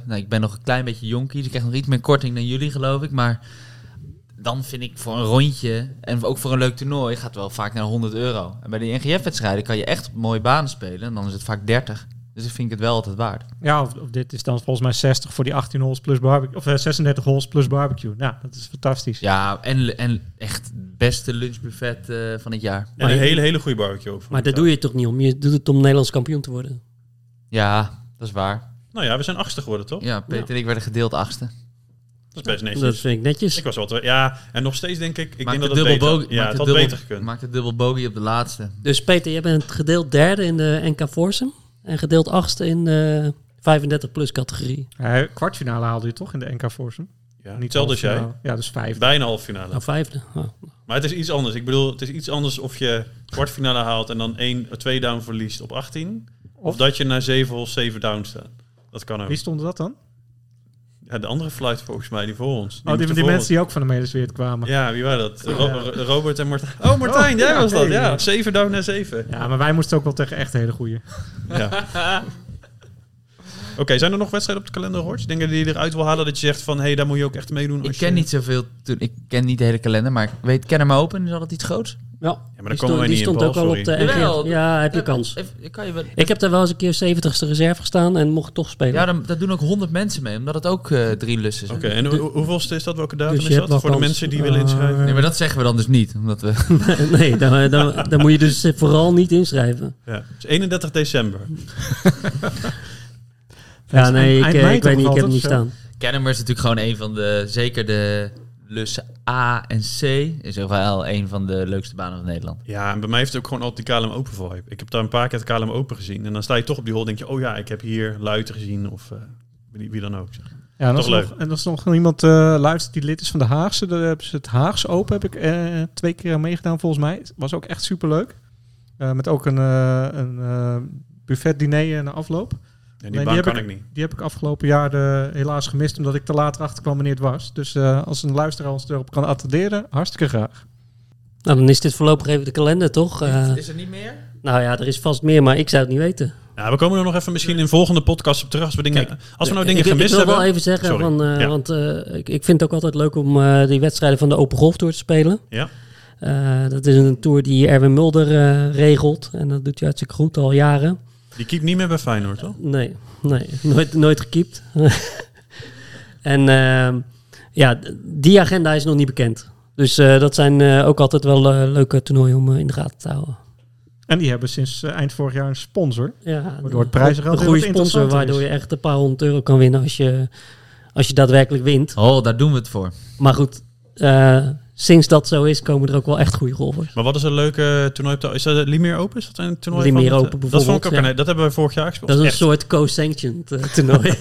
[SPEAKER 3] nou, ik ben nog een klein beetje jonkie, dus ik krijg nog iets meer korting dan jullie geloof ik, maar dan vind ik voor een rondje en ook voor een leuk toernooi gaat het wel vaak naar 100 euro. En bij die NGF-wedstrijden kan je echt op mooie banen spelen en dan is het vaak 30. Dus ik vind ik het wel altijd waard.
[SPEAKER 4] Ja, of, of dit is dan volgens mij 60 voor die 18 holes plus barbecue. Of eh, 36 holes plus barbecue. Nou, dat is fantastisch.
[SPEAKER 3] Ja, en, en echt het beste lunchbuffet eh, van het jaar.
[SPEAKER 1] En
[SPEAKER 5] Maar
[SPEAKER 1] een
[SPEAKER 5] je-
[SPEAKER 1] hele, hele goede barbecue ook. vond
[SPEAKER 5] Maar
[SPEAKER 1] ik
[SPEAKER 5] daar
[SPEAKER 1] wel.
[SPEAKER 5] doe je het toch niet om? Je doet het om Nederlands kampioen te worden.
[SPEAKER 3] Ja, dat is waar.
[SPEAKER 1] Nou ja, we zijn achtste geworden, toch?
[SPEAKER 3] Ja, Peter en ik werden gedeeld achtste.
[SPEAKER 1] Dat is best netjes.
[SPEAKER 5] Dat vind ik netjes.
[SPEAKER 1] Ik was wel te- Ja, en nog steeds denk ik... Ik
[SPEAKER 3] Maakte
[SPEAKER 1] denk dat het beter...
[SPEAKER 3] bogey-
[SPEAKER 1] ja,
[SPEAKER 3] maakte
[SPEAKER 1] het had
[SPEAKER 3] dubbel-
[SPEAKER 1] beter gekund.
[SPEAKER 3] Maakte dubbel bogey op de laatste.
[SPEAKER 5] Dus Peter, jij bent gedeeld derde in de NK Forsum. En gedeeld achtste in de 35-plus categorie.
[SPEAKER 4] Eh, kwartfinale haalde je toch in de NK Forsum?
[SPEAKER 1] Ja, hetzelfde als jij.
[SPEAKER 4] halffinale. Ja, dus vijf.
[SPEAKER 1] Bijna halve finale.
[SPEAKER 5] Nou, vijfde. Oh.
[SPEAKER 1] Maar het is iets anders. Ik bedoel, het is iets anders of je kwartfinale haalt en dan één, twee down verliest op 18. Of,
[SPEAKER 4] Of-
[SPEAKER 1] dat je na zeven of zeven down staat. Dat kan ook.
[SPEAKER 4] Wie stond dat dan?
[SPEAKER 1] Ja, de andere flight volgens mij, die voor ons.
[SPEAKER 4] oh, die,
[SPEAKER 1] moeten
[SPEAKER 4] die
[SPEAKER 1] voor
[SPEAKER 4] mensen die ook van de medesweert kwamen.
[SPEAKER 1] ons.
[SPEAKER 4] Ja.
[SPEAKER 1] Ja, wie waren dat? Ro-
[SPEAKER 4] Ja.
[SPEAKER 1] Ro- Robert en Martijn. Oh, Martijn,
[SPEAKER 4] Oh,
[SPEAKER 1] jij
[SPEAKER 4] ja,
[SPEAKER 1] was dat.
[SPEAKER 4] hey.
[SPEAKER 1] Ja, zeven down na zeven.
[SPEAKER 4] maar wij moesten ook wel tegen echt hele goeie.
[SPEAKER 1] Ja. Oké, zijn er nog wedstrijden op de kalender, Horst? Denk je die je eruit wil halen dat je zegt van... hé, hey, daar moet je ook echt meedoen?
[SPEAKER 3] Ik
[SPEAKER 1] als
[SPEAKER 3] ken
[SPEAKER 1] je-
[SPEAKER 3] niet zoveel, toen, ik ken niet de hele kalender, maar ik weet, ken hem open, is altijd iets groots.
[SPEAKER 5] Ja,
[SPEAKER 1] maar daar komen wij
[SPEAKER 5] die stond, die
[SPEAKER 1] niet in,
[SPEAKER 5] stond
[SPEAKER 1] Paul,
[SPEAKER 5] ook al op de
[SPEAKER 1] sorry.
[SPEAKER 5] NGL.
[SPEAKER 3] Jawel.
[SPEAKER 5] Ja, heb je kans.
[SPEAKER 3] Eh, Even- kan je wel,
[SPEAKER 5] Ik heb daar wel eens een keer 70ste reserve gestaan en mocht toch spelen.
[SPEAKER 3] ja, dan, daar doen ook honderd mensen mee, omdat het ook eh, drie lussen zijn.
[SPEAKER 1] Oké, en hoe- hoeveelste is dat? Welke datum
[SPEAKER 5] Dus je
[SPEAKER 1] is
[SPEAKER 5] hebt
[SPEAKER 1] dat?
[SPEAKER 5] wel
[SPEAKER 1] Voor de
[SPEAKER 5] kans.
[SPEAKER 1] mensen die willen
[SPEAKER 5] Eh,
[SPEAKER 1] inschrijven?
[SPEAKER 3] Nee, maar dat zeggen we dan dus niet, omdat we...
[SPEAKER 5] nee, dan, eh, dan, dan moet je dus vooral niet inschrijven.
[SPEAKER 1] Ja, het is 31 december.
[SPEAKER 5] Ja, nee, ik,
[SPEAKER 4] eind
[SPEAKER 5] eh,
[SPEAKER 4] mei
[SPEAKER 5] ik weet
[SPEAKER 4] toch
[SPEAKER 5] niet, ik heb
[SPEAKER 4] altijd,
[SPEAKER 5] hem niet
[SPEAKER 4] zo?
[SPEAKER 5] staan.
[SPEAKER 3] Kennemer is natuurlijk gewoon een van de, zeker de lussen A en C, is ook wel een van de leukste banen van Nederland.
[SPEAKER 1] Ja, en bij mij heeft het ook gewoon altijd die KLM Open vibe. Ik heb daar een paar keer het KLM Open gezien. En dan sta je toch op die hol en denk je... oh ja, ik heb hier Luiten gezien of eh, wie, wie dan ook. Zeg.
[SPEAKER 4] Ja, en als,
[SPEAKER 1] Toch
[SPEAKER 4] er
[SPEAKER 1] leuk.
[SPEAKER 4] nog, en als er nog iemand eh, luistert die lid is van de Haagse, dan hebben ze het Haagse open, heb ik eh, twee keer aan meegedaan volgens mij. Het was ook echt superleuk. Eh, met ook een, eh, een eh, buffet diner na afloop.
[SPEAKER 1] En die
[SPEAKER 4] die
[SPEAKER 1] baan
[SPEAKER 4] heb
[SPEAKER 1] kan ik, niet.
[SPEAKER 4] Die heb ik afgelopen jaar eh, helaas gemist, omdat ik te laat erachter kwam wanneer het was. Dus eh, als een luisteraar ons erop kan attenderen, hartstikke graag.
[SPEAKER 5] Nou, dan is dit voorlopig even de kalender, toch? Eh,
[SPEAKER 3] is er niet meer?
[SPEAKER 5] nou ja, er is vast meer, maar ik zou het niet weten.
[SPEAKER 1] Nou, we komen er nog even misschien in volgende podcast op terug. Als we, dingen, als we nou dingen
[SPEAKER 5] ik,
[SPEAKER 1] gemist
[SPEAKER 5] ik wil
[SPEAKER 1] hebben...
[SPEAKER 5] wel even zeggen,
[SPEAKER 1] Sorry.
[SPEAKER 5] van, eh,
[SPEAKER 1] Ja.
[SPEAKER 5] want eh, ik, ik vind het ook altijd leuk om eh, die wedstrijden van de Open Golf Tour te spelen.
[SPEAKER 1] Ja.
[SPEAKER 5] Eh, dat is een tour die Erwin Mulder eh, regelt. En dat doet hij hartstikke goed, al jaren.
[SPEAKER 1] Die keept niet meer bij Feyenoord, toch?
[SPEAKER 5] Nee, nee nooit, nooit gekiept. en ehm, ja, d- die agenda is nog niet bekend. Dus eh, dat zijn eh, ook altijd wel eh, leuke toernooien om eh, in de gaten te houden.
[SPEAKER 4] En die hebben sinds eh, eind vorig jaar een sponsor.
[SPEAKER 5] Ja,
[SPEAKER 4] Waardoor het prijzengeld
[SPEAKER 5] een
[SPEAKER 4] heel
[SPEAKER 5] goede
[SPEAKER 4] wat
[SPEAKER 5] sponsor,
[SPEAKER 4] interessanter
[SPEAKER 5] waardoor
[SPEAKER 4] is.
[SPEAKER 5] je echt een paar honderd euro kan winnen als je, als je daadwerkelijk wint.
[SPEAKER 3] Oh, daar doen we het voor.
[SPEAKER 5] Maar goed, eh, sinds dat zo is, komen er ook wel echt goede golfers.
[SPEAKER 1] Maar wat is een leuke toernooi op de... Is dat het Limeer Open? Is dat een toernooi van
[SPEAKER 5] Limeer
[SPEAKER 1] het, eh, Dat,
[SPEAKER 5] Open bijvoorbeeld,
[SPEAKER 1] vond ik ook,
[SPEAKER 5] ja.
[SPEAKER 1] een- dat hebben we vorig jaar gespeeld.
[SPEAKER 5] Dat is een
[SPEAKER 1] Echt.
[SPEAKER 5] soort co-sanctioned eh, toernooi.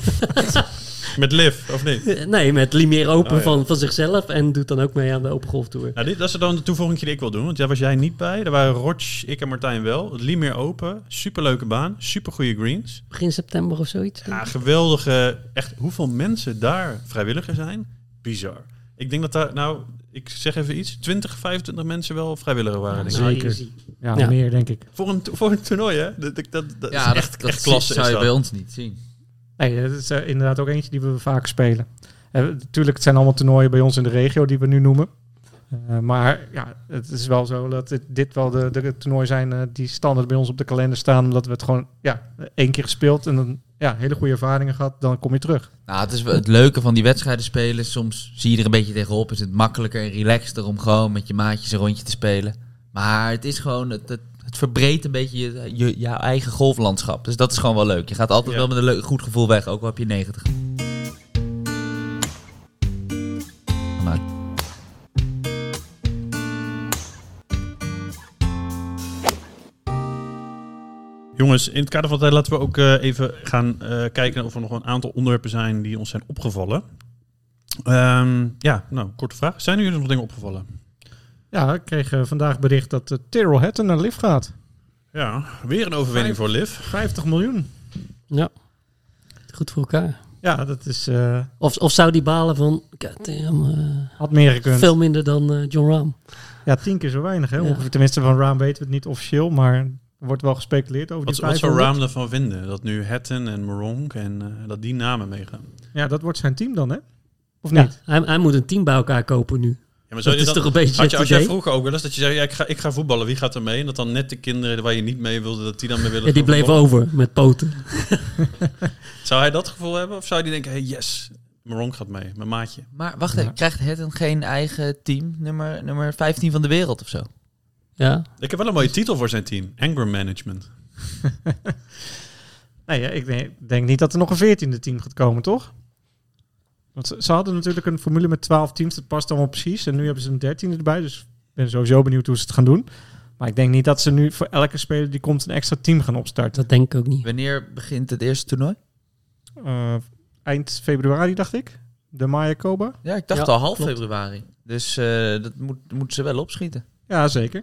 [SPEAKER 1] Met Liv, of niet?
[SPEAKER 5] Eh, nee, met Limeer Open
[SPEAKER 1] Oh, ja.
[SPEAKER 5] van, van zichzelf en doet dan ook mee aan de Open Golf Tour.
[SPEAKER 1] Nou, dit, dat is dan de toevoeging die ik wil doen. Want daar was jij niet bij. Daar waren Rotch, ik en Martijn wel. Het Limeer Open. Superleuke baan. Supergoeie greens.
[SPEAKER 5] Begin september of zoiets.
[SPEAKER 1] Ja, geweldige. Echt, hoeveel mensen daar vrijwilliger zijn? Bizar. Ik denk dat daar, nou, ik zeg even iets, 20, 25 mensen wel vrijwilliger waren. denk ik.
[SPEAKER 5] Nou,
[SPEAKER 4] zeker.
[SPEAKER 5] easy.
[SPEAKER 4] Ja,
[SPEAKER 5] Ja.
[SPEAKER 4] meer denk ik.
[SPEAKER 1] Voor, een, to- voor een toernooi, hè? Dat, dat, dat, dat
[SPEAKER 3] Ja,
[SPEAKER 1] is
[SPEAKER 3] dat,
[SPEAKER 1] echt,
[SPEAKER 3] dat
[SPEAKER 1] echt klasse.
[SPEAKER 3] zou
[SPEAKER 1] is
[SPEAKER 3] je
[SPEAKER 1] dat.
[SPEAKER 3] bij ons niet zien.
[SPEAKER 4] Nee, dat is eh, inderdaad ook eentje die we vaak spelen. Eh, natuurlijk, het zijn allemaal toernooien bij ons in de regio die we nu noemen. Eh, maar ja, het is wel zo dat dit, dit wel de, de toernooien zijn eh, die standaard bij ons op de kalender staan. Omdat we het gewoon ja, één keer gespeeld en dan ja, hele goede ervaringen gehad. Dan kom je terug.
[SPEAKER 3] Nou, het, is, wel- het leuke van die wedstrijden spelen, soms zie je er een beetje tegenop. Is het makkelijker en relaxter om gewoon met je maatjes een rondje te spelen. Maar het is gewoon, het, het, het verbreedt een beetje je, je, jouw eigen golflandschap. Dus dat is gewoon wel leuk. Je gaat altijd
[SPEAKER 1] Ja.
[SPEAKER 3] wel met een leuk, goed gevoel weg, ook al heb je 90. Maar
[SPEAKER 1] Jongens, in het kader van de tijd laten we ook eh, even gaan eh, kijken of er nog een aantal onderwerpen zijn die ons zijn opgevallen. Ehm, ja, nou, korte vraag. Zijn jullie nog dingen opgevallen?
[SPEAKER 4] Ja, ik kreeg eh, vandaag bericht dat eh, Tyrrell Hatton naar Liv gaat.
[SPEAKER 1] Ja, weer een overwinning voor Liv.
[SPEAKER 4] 50 miljoen.
[SPEAKER 5] Ja. Goed voor elkaar.
[SPEAKER 4] Ja, dat is, eh,
[SPEAKER 5] Of, of zou die balen van... goddamn, eh,
[SPEAKER 4] had meer gekund.
[SPEAKER 5] veel minder dan eh, John Rahm.
[SPEAKER 4] Ja, tien keer zo weinig. Hè?
[SPEAKER 5] Ja.
[SPEAKER 4] Ongeveer, tenminste, van Raam weten we het niet officieel, maar er wordt wel gespeculeerd over
[SPEAKER 1] Wat,
[SPEAKER 4] die
[SPEAKER 1] wat zou
[SPEAKER 4] 500.
[SPEAKER 1] Raam ervan vinden? Dat nu Hatton en Moronk en eh, dat die namen meegaan.
[SPEAKER 4] Ja, dat wordt zijn team dan, hè? Of
[SPEAKER 5] Ja,
[SPEAKER 4] niet?
[SPEAKER 5] hij, hij moet een team bij elkaar kopen nu.
[SPEAKER 1] Ja, maar zou
[SPEAKER 5] Dat
[SPEAKER 1] je
[SPEAKER 5] is toch een beetje
[SPEAKER 1] had je,
[SPEAKER 5] het
[SPEAKER 1] als jij
[SPEAKER 5] idee?
[SPEAKER 1] vroeger ook wel eens dat je zei, ja, ik, ga, ik ga voetballen, wie gaat er mee? En dat dan net de kinderen waar je niet mee wilde, dat die dan mee willen
[SPEAKER 5] Ja, die
[SPEAKER 1] gaan
[SPEAKER 5] bleef
[SPEAKER 1] voetballen.
[SPEAKER 5] over met poten.
[SPEAKER 1] Zou hij dat gevoel hebben? Of zou hij denken, hey, yes, Maron gaat mee, mijn maatje.
[SPEAKER 3] Maar wacht even, krijgt het dan geen eigen team? Nummer, nummer 15 van de wereld of zo?
[SPEAKER 5] Ja.
[SPEAKER 1] Ik heb wel een mooie titel voor zijn team. Anger Management.
[SPEAKER 4] Nee, ja, ik denk, denk niet dat er nog een veertiende team gaat komen, toch? Want ze, ze hadden natuurlijk een formule met 12 teams, dat past allemaal precies. En nu hebben ze een dertiende erbij, dus ik ben sowieso benieuwd hoe ze het gaan doen. Maar ik denk niet dat ze nu voor elke speler die komt een extra team gaan opstarten.
[SPEAKER 5] Dat denk ik ook niet.
[SPEAKER 3] Wanneer begint het eerste toernooi?
[SPEAKER 4] Eh, eind februari, dacht ik. De Maya Koba.
[SPEAKER 3] Ja, ik dacht
[SPEAKER 5] Ja,
[SPEAKER 3] al half
[SPEAKER 5] klopt.
[SPEAKER 3] februari. Dus eh, dat moet, moeten ze wel opschieten.
[SPEAKER 4] Ja, zeker.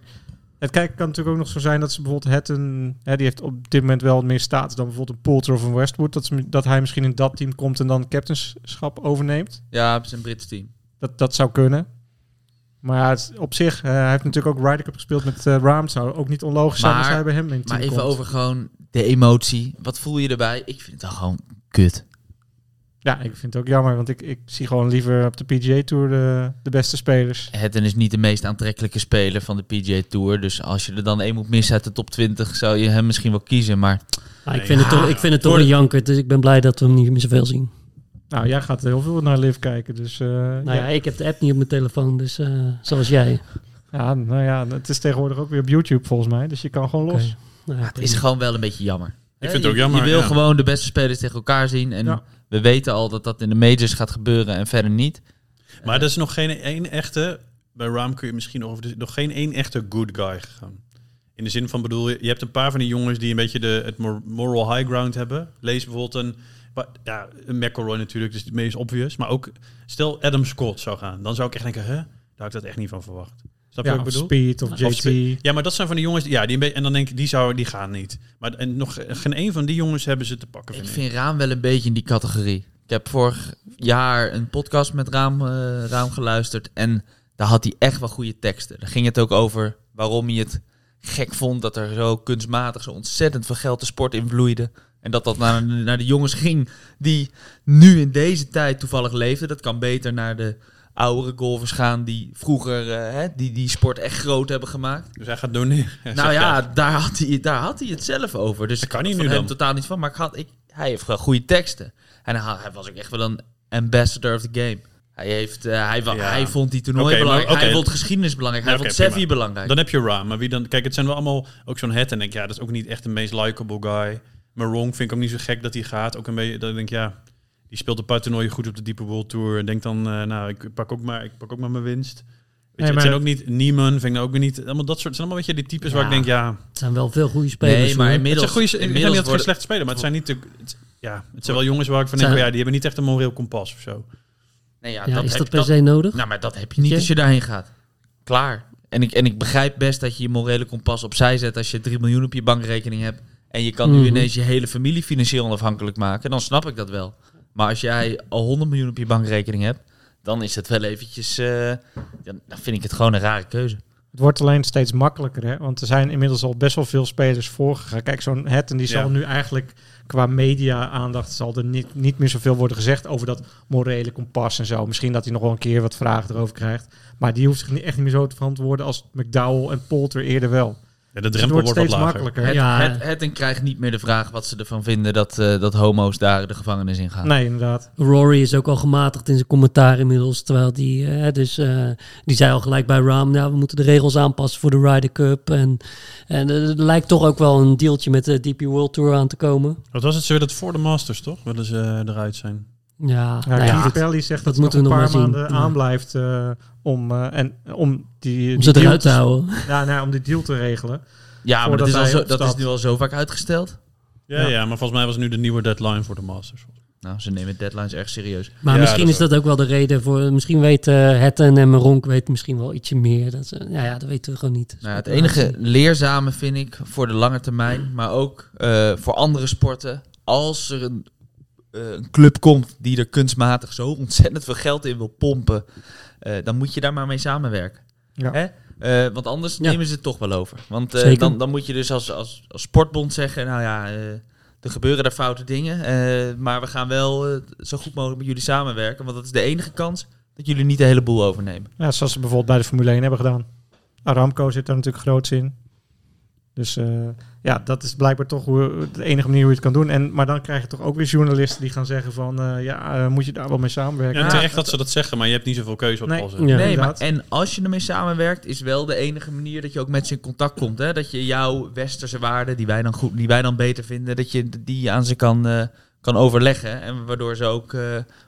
[SPEAKER 4] Het kijk kan natuurlijk ook nog zo zijn dat ze bijvoorbeeld Hatton... Hè, die heeft op dit moment wel meer status dan bijvoorbeeld een Poulter of een Westwood. Dat, ze- dat hij misschien in dat team komt en dan captainschap overneemt.
[SPEAKER 3] Ja, het is een Brits team.
[SPEAKER 4] Dat, dat zou kunnen. Maar ja, het- op zich, eh, hij heeft natuurlijk ook Ryder Cup gespeeld met eh Raam. Zou ook niet onlogisch zijn
[SPEAKER 3] Maar-
[SPEAKER 4] als hij bij hem in het team
[SPEAKER 3] Maar even
[SPEAKER 4] komt.
[SPEAKER 3] over gewoon de emotie. Wat voel je erbij? Ik vind het al gewoon kut.
[SPEAKER 4] Ja, ik vind het ook jammer, want ik, ik zie gewoon liever op de PGA Tour de, de beste spelers.
[SPEAKER 3] Hedden is niet de meest aantrekkelijke speler van de PGA Tour. Dus als je er dan één moet missen uit de top 20, zou je hem misschien wel kiezen. Maar
[SPEAKER 5] Maar Ah, ik
[SPEAKER 1] Nee,
[SPEAKER 5] vind het
[SPEAKER 1] ja.
[SPEAKER 5] toch, ik vind het
[SPEAKER 1] Voor
[SPEAKER 5] toch een
[SPEAKER 1] de-
[SPEAKER 5] janker, dus ik ben blij dat we hem niet meer zoveel zien.
[SPEAKER 4] Nou, jij gaat heel veel naar Liv kijken, dus... eh,
[SPEAKER 5] Nou ja,
[SPEAKER 4] ja.
[SPEAKER 5] ik heb de app niet op mijn telefoon, dus eh, zoals jij.
[SPEAKER 4] Ja, nou ja, het is tegenwoordig ook weer op YouTube volgens mij, dus je kan gewoon los.
[SPEAKER 5] Oké. Nou ja,
[SPEAKER 3] het is gewoon wel een beetje jammer. Hè,
[SPEAKER 1] vind het
[SPEAKER 3] je-
[SPEAKER 1] ook jammer,
[SPEAKER 3] Je wil
[SPEAKER 1] ja.
[SPEAKER 3] gewoon de beste spelers tegen elkaar zien. En
[SPEAKER 4] Ja.
[SPEAKER 3] we weten al dat dat in de majors gaat gebeuren en verder niet.
[SPEAKER 1] Maar dat is nog geen één echte... Bij Raam kun je misschien over... de- Nog geen één echte good guy gegaan. In de zin van, bedoel, je je hebt een paar van die jongens die een beetje de, het mor- moral high ground hebben. Lees bijvoorbeeld een... maar- Ja, een McElroy natuurlijk, dus het meest obvious. Maar ook, stel Adam Scott zou gaan. Dan zou ik echt denken, hè? Daar had ik dat echt niet van verwacht. Snap je
[SPEAKER 4] Ja,
[SPEAKER 1] wat
[SPEAKER 4] of
[SPEAKER 1] ik bedoel?
[SPEAKER 4] Speed of
[SPEAKER 5] Of
[SPEAKER 4] JT.
[SPEAKER 1] Spe- Ja, maar dat zijn van die jongens... die- Ja, die, een beetje- en dan denk ik, die, zou, die gaan niet. Maar en nog geen één van die jongens hebben ze te pakken,
[SPEAKER 3] Ik
[SPEAKER 1] vind ik.
[SPEAKER 3] vind Raam wel een beetje in die categorie. Ik heb vorig jaar een podcast met Raam, eh, Raam geluisterd. En daar had hij echt wel goede teksten. Daar ging het ook over waarom hij het gek vond dat er zo kunstmatig zo ontzettend veel geld de sport in vloeide. En dat dat naar, naar de jongens ging die nu in deze tijd toevallig leefden. Dat kan beter naar de oudere golfers gaan die vroeger eh, hè, die, die sport echt groot hebben gemaakt.
[SPEAKER 1] Dus hij gaat doneren. Hij
[SPEAKER 3] Nou
[SPEAKER 1] zegt,
[SPEAKER 3] ja, daar had, hij, daar had hij het zelf over. Dus
[SPEAKER 1] Dat kan hij
[SPEAKER 3] ik
[SPEAKER 1] nu
[SPEAKER 3] vond hem
[SPEAKER 1] dan.
[SPEAKER 3] totaal niet van. Maar ik had, ik, hij heeft gewoon goede teksten. En hij, hij was ook echt wel een ambassador of the game. Hij, heeft, eh, hij, wa-
[SPEAKER 1] Ja.
[SPEAKER 3] hij vond die toernooi
[SPEAKER 1] Oké, maar-
[SPEAKER 3] belangrijk. Hij
[SPEAKER 1] oké.
[SPEAKER 3] vond geschiedenis belangrijk.
[SPEAKER 1] Ja,
[SPEAKER 3] Hij
[SPEAKER 1] oké,
[SPEAKER 3] vond Seffi
[SPEAKER 1] prima.
[SPEAKER 3] belangrijk.
[SPEAKER 1] Dan heb je Ra, maar wie dan... Kijk, het zijn wel allemaal ook zo'n het en denk ik, ja, dat is ook niet echt de meest likable guy. Marong vind ik ook niet zo gek dat hij gaat. Ook een beetje, dat ik denk, ja, die speelt een paar toernooien goed op de Deeper World Tour. En denk dan, eh, nou, ik pak ook maar, ik pak ook maar mijn winst. Weet je,
[SPEAKER 4] Nee,
[SPEAKER 1] het
[SPEAKER 4] maar-
[SPEAKER 1] zijn ook niet Nieman, vind ik nou ook weer niet. Allemaal dat soort, het zijn allemaal weet je, die types waar
[SPEAKER 5] Ja.
[SPEAKER 1] ik denk, ja,
[SPEAKER 5] Het zijn wel veel goede spelers.
[SPEAKER 3] nee, maar
[SPEAKER 5] hoor.
[SPEAKER 1] het zijn
[SPEAKER 3] inmiddels,
[SPEAKER 1] goede, ik zeg niet
[SPEAKER 3] inmiddels
[SPEAKER 1] dat het geen
[SPEAKER 3] worden-
[SPEAKER 1] slechte spelen, maar het zijn niet, de, het- ja, het zijn wel jongens waar ik van
[SPEAKER 5] Zijn-
[SPEAKER 1] denk, oh ja, die hebben niet echt een moreel kompas of zo.
[SPEAKER 3] nee, ja,
[SPEAKER 5] ja,
[SPEAKER 3] dat
[SPEAKER 5] is
[SPEAKER 3] heb-
[SPEAKER 5] dat per
[SPEAKER 3] dat-
[SPEAKER 5] se nodig?
[SPEAKER 3] Nou, maar dat heb je niet als je daarheen gaat. Klaar. En ik, en ik begrijp best dat je je morele kompas opzij zet als je 3 miljoen op je bankrekening hebt. En je kan nu
[SPEAKER 5] Mhm.
[SPEAKER 3] ineens je hele familie financieel onafhankelijk maken. Dan snap ik dat wel. Maar als jij al 100 miljoen op je bankrekening hebt, dan is het wel eventjes... eh, dan, dan vind ik het gewoon een rare keuze.
[SPEAKER 4] Het wordt alleen steeds makkelijker, hè? want er zijn inmiddels al best wel veel spelers voorgegaan. Kijk, zo'n Hatton die
[SPEAKER 1] Ja.
[SPEAKER 4] zal nu eigenlijk qua media-aandacht zal er niet, niet meer zoveel worden gezegd over dat morele kompas en zo. Misschien dat hij nog wel een keer wat vragen erover krijgt. Maar die hoeft zich niet, echt niet meer zo te verantwoorden als McDowell en Polter eerder wel.
[SPEAKER 1] Ja, de
[SPEAKER 4] Dus het
[SPEAKER 1] drempel
[SPEAKER 4] wordt
[SPEAKER 1] wordt wat
[SPEAKER 4] steeds
[SPEAKER 1] lager.
[SPEAKER 4] makkelijker.
[SPEAKER 3] Het,
[SPEAKER 5] Ja.
[SPEAKER 3] het, het en krijgt niet meer de vraag wat ze ervan vinden dat, eh, dat homo's daar de gevangenis in gaan.
[SPEAKER 4] Nee, inderdaad.
[SPEAKER 5] Rory is ook al gematigd in zijn commentaar inmiddels. Terwijl die, eh, dus, eh, die zei al gelijk bij Ram, nou, we moeten de regels aanpassen voor de Ryder Cup. En, en eh, er lijkt toch ook wel een deeltje met de DP World Tour aan te komen.
[SPEAKER 1] Wat was het? Ze willen het voor de Masters, toch? Willen ze eh, eruit zijn?
[SPEAKER 5] Ja,
[SPEAKER 4] Ja,
[SPEAKER 5] nou ja,
[SPEAKER 4] Keith Pelly zegt dat,
[SPEAKER 5] dat
[SPEAKER 4] hij nog
[SPEAKER 5] moeten
[SPEAKER 4] een
[SPEAKER 5] we
[SPEAKER 4] paar
[SPEAKER 5] nog maar zien.
[SPEAKER 4] maanden
[SPEAKER 5] Ja.
[SPEAKER 4] aanblijft eh, om, eh, en, om die,
[SPEAKER 5] om
[SPEAKER 4] die
[SPEAKER 5] ze
[SPEAKER 4] deal
[SPEAKER 5] eruit te houden.
[SPEAKER 4] Ja, nou, om die deal te regelen.
[SPEAKER 3] Ja, maar
[SPEAKER 4] Voordat
[SPEAKER 3] dat is, al
[SPEAKER 4] hij
[SPEAKER 3] zo, dat
[SPEAKER 4] opstapt.
[SPEAKER 3] is nu al zo vaak uitgesteld.
[SPEAKER 1] Ja, ja.
[SPEAKER 4] Ja.
[SPEAKER 1] maar volgens mij was nu de nieuwe deadline voor de Masters.
[SPEAKER 3] Nou, ze nemen deadlines erg serieus.
[SPEAKER 5] Maar
[SPEAKER 1] Ja,
[SPEAKER 5] misschien
[SPEAKER 1] dat
[SPEAKER 5] is dat ook wel de reden voor. Misschien weten eh, Hetten en Maronk weten misschien wel ietsje meer. Dat, ze- nou ja, dat weten we gewoon niet.
[SPEAKER 3] Nou, het enige leerzame vind ik voor de lange termijn, maar ook eh, voor andere sporten. Als er een, eh, een club komt die er kunstmatig zo ontzettend veel geld in wil pompen, eh, dan moet je daar maar mee samenwerken.
[SPEAKER 4] Ja.
[SPEAKER 3] Hè? Eh, want anders
[SPEAKER 5] Ja.
[SPEAKER 3] nemen ze het toch wel over. Want eh,
[SPEAKER 5] Zeker.
[SPEAKER 3] dan, dan moet je dus als, als, als sportbond zeggen, nou ja, eh, er gebeuren daar foute dingen. eh, maar we gaan wel eh, zo goed mogelijk met jullie samenwerken. Want dat is de enige kans dat jullie niet de hele boel overnemen.
[SPEAKER 4] Ja, zoals ze bijvoorbeeld bij de Formule 1 hebben gedaan. Aramco zit daar natuurlijk groots in. Dus eh, ja, dat is blijkbaar toch hoe, de enige manier hoe je het kan doen. En, maar dan krijg je toch ook weer journalisten die gaan zeggen van... eh, ja, eh, moet je daar wel mee samenwerken?
[SPEAKER 1] Ja, terecht dat ze dat zeggen, maar je hebt niet zoveel keuze op
[SPEAKER 4] Nee.
[SPEAKER 1] alles.
[SPEAKER 5] Ja.
[SPEAKER 3] nee, maar,
[SPEAKER 4] inderdaad.
[SPEAKER 3] en als je ermee samenwerkt, is wel de enige manier dat je ook met ze in contact komt. Hè? Dat je jouw westerse waarden, die wij dan, goed, die wij dan beter vinden, dat je die aan ze kan, eh, kan overleggen. En waardoor ze ook, eh,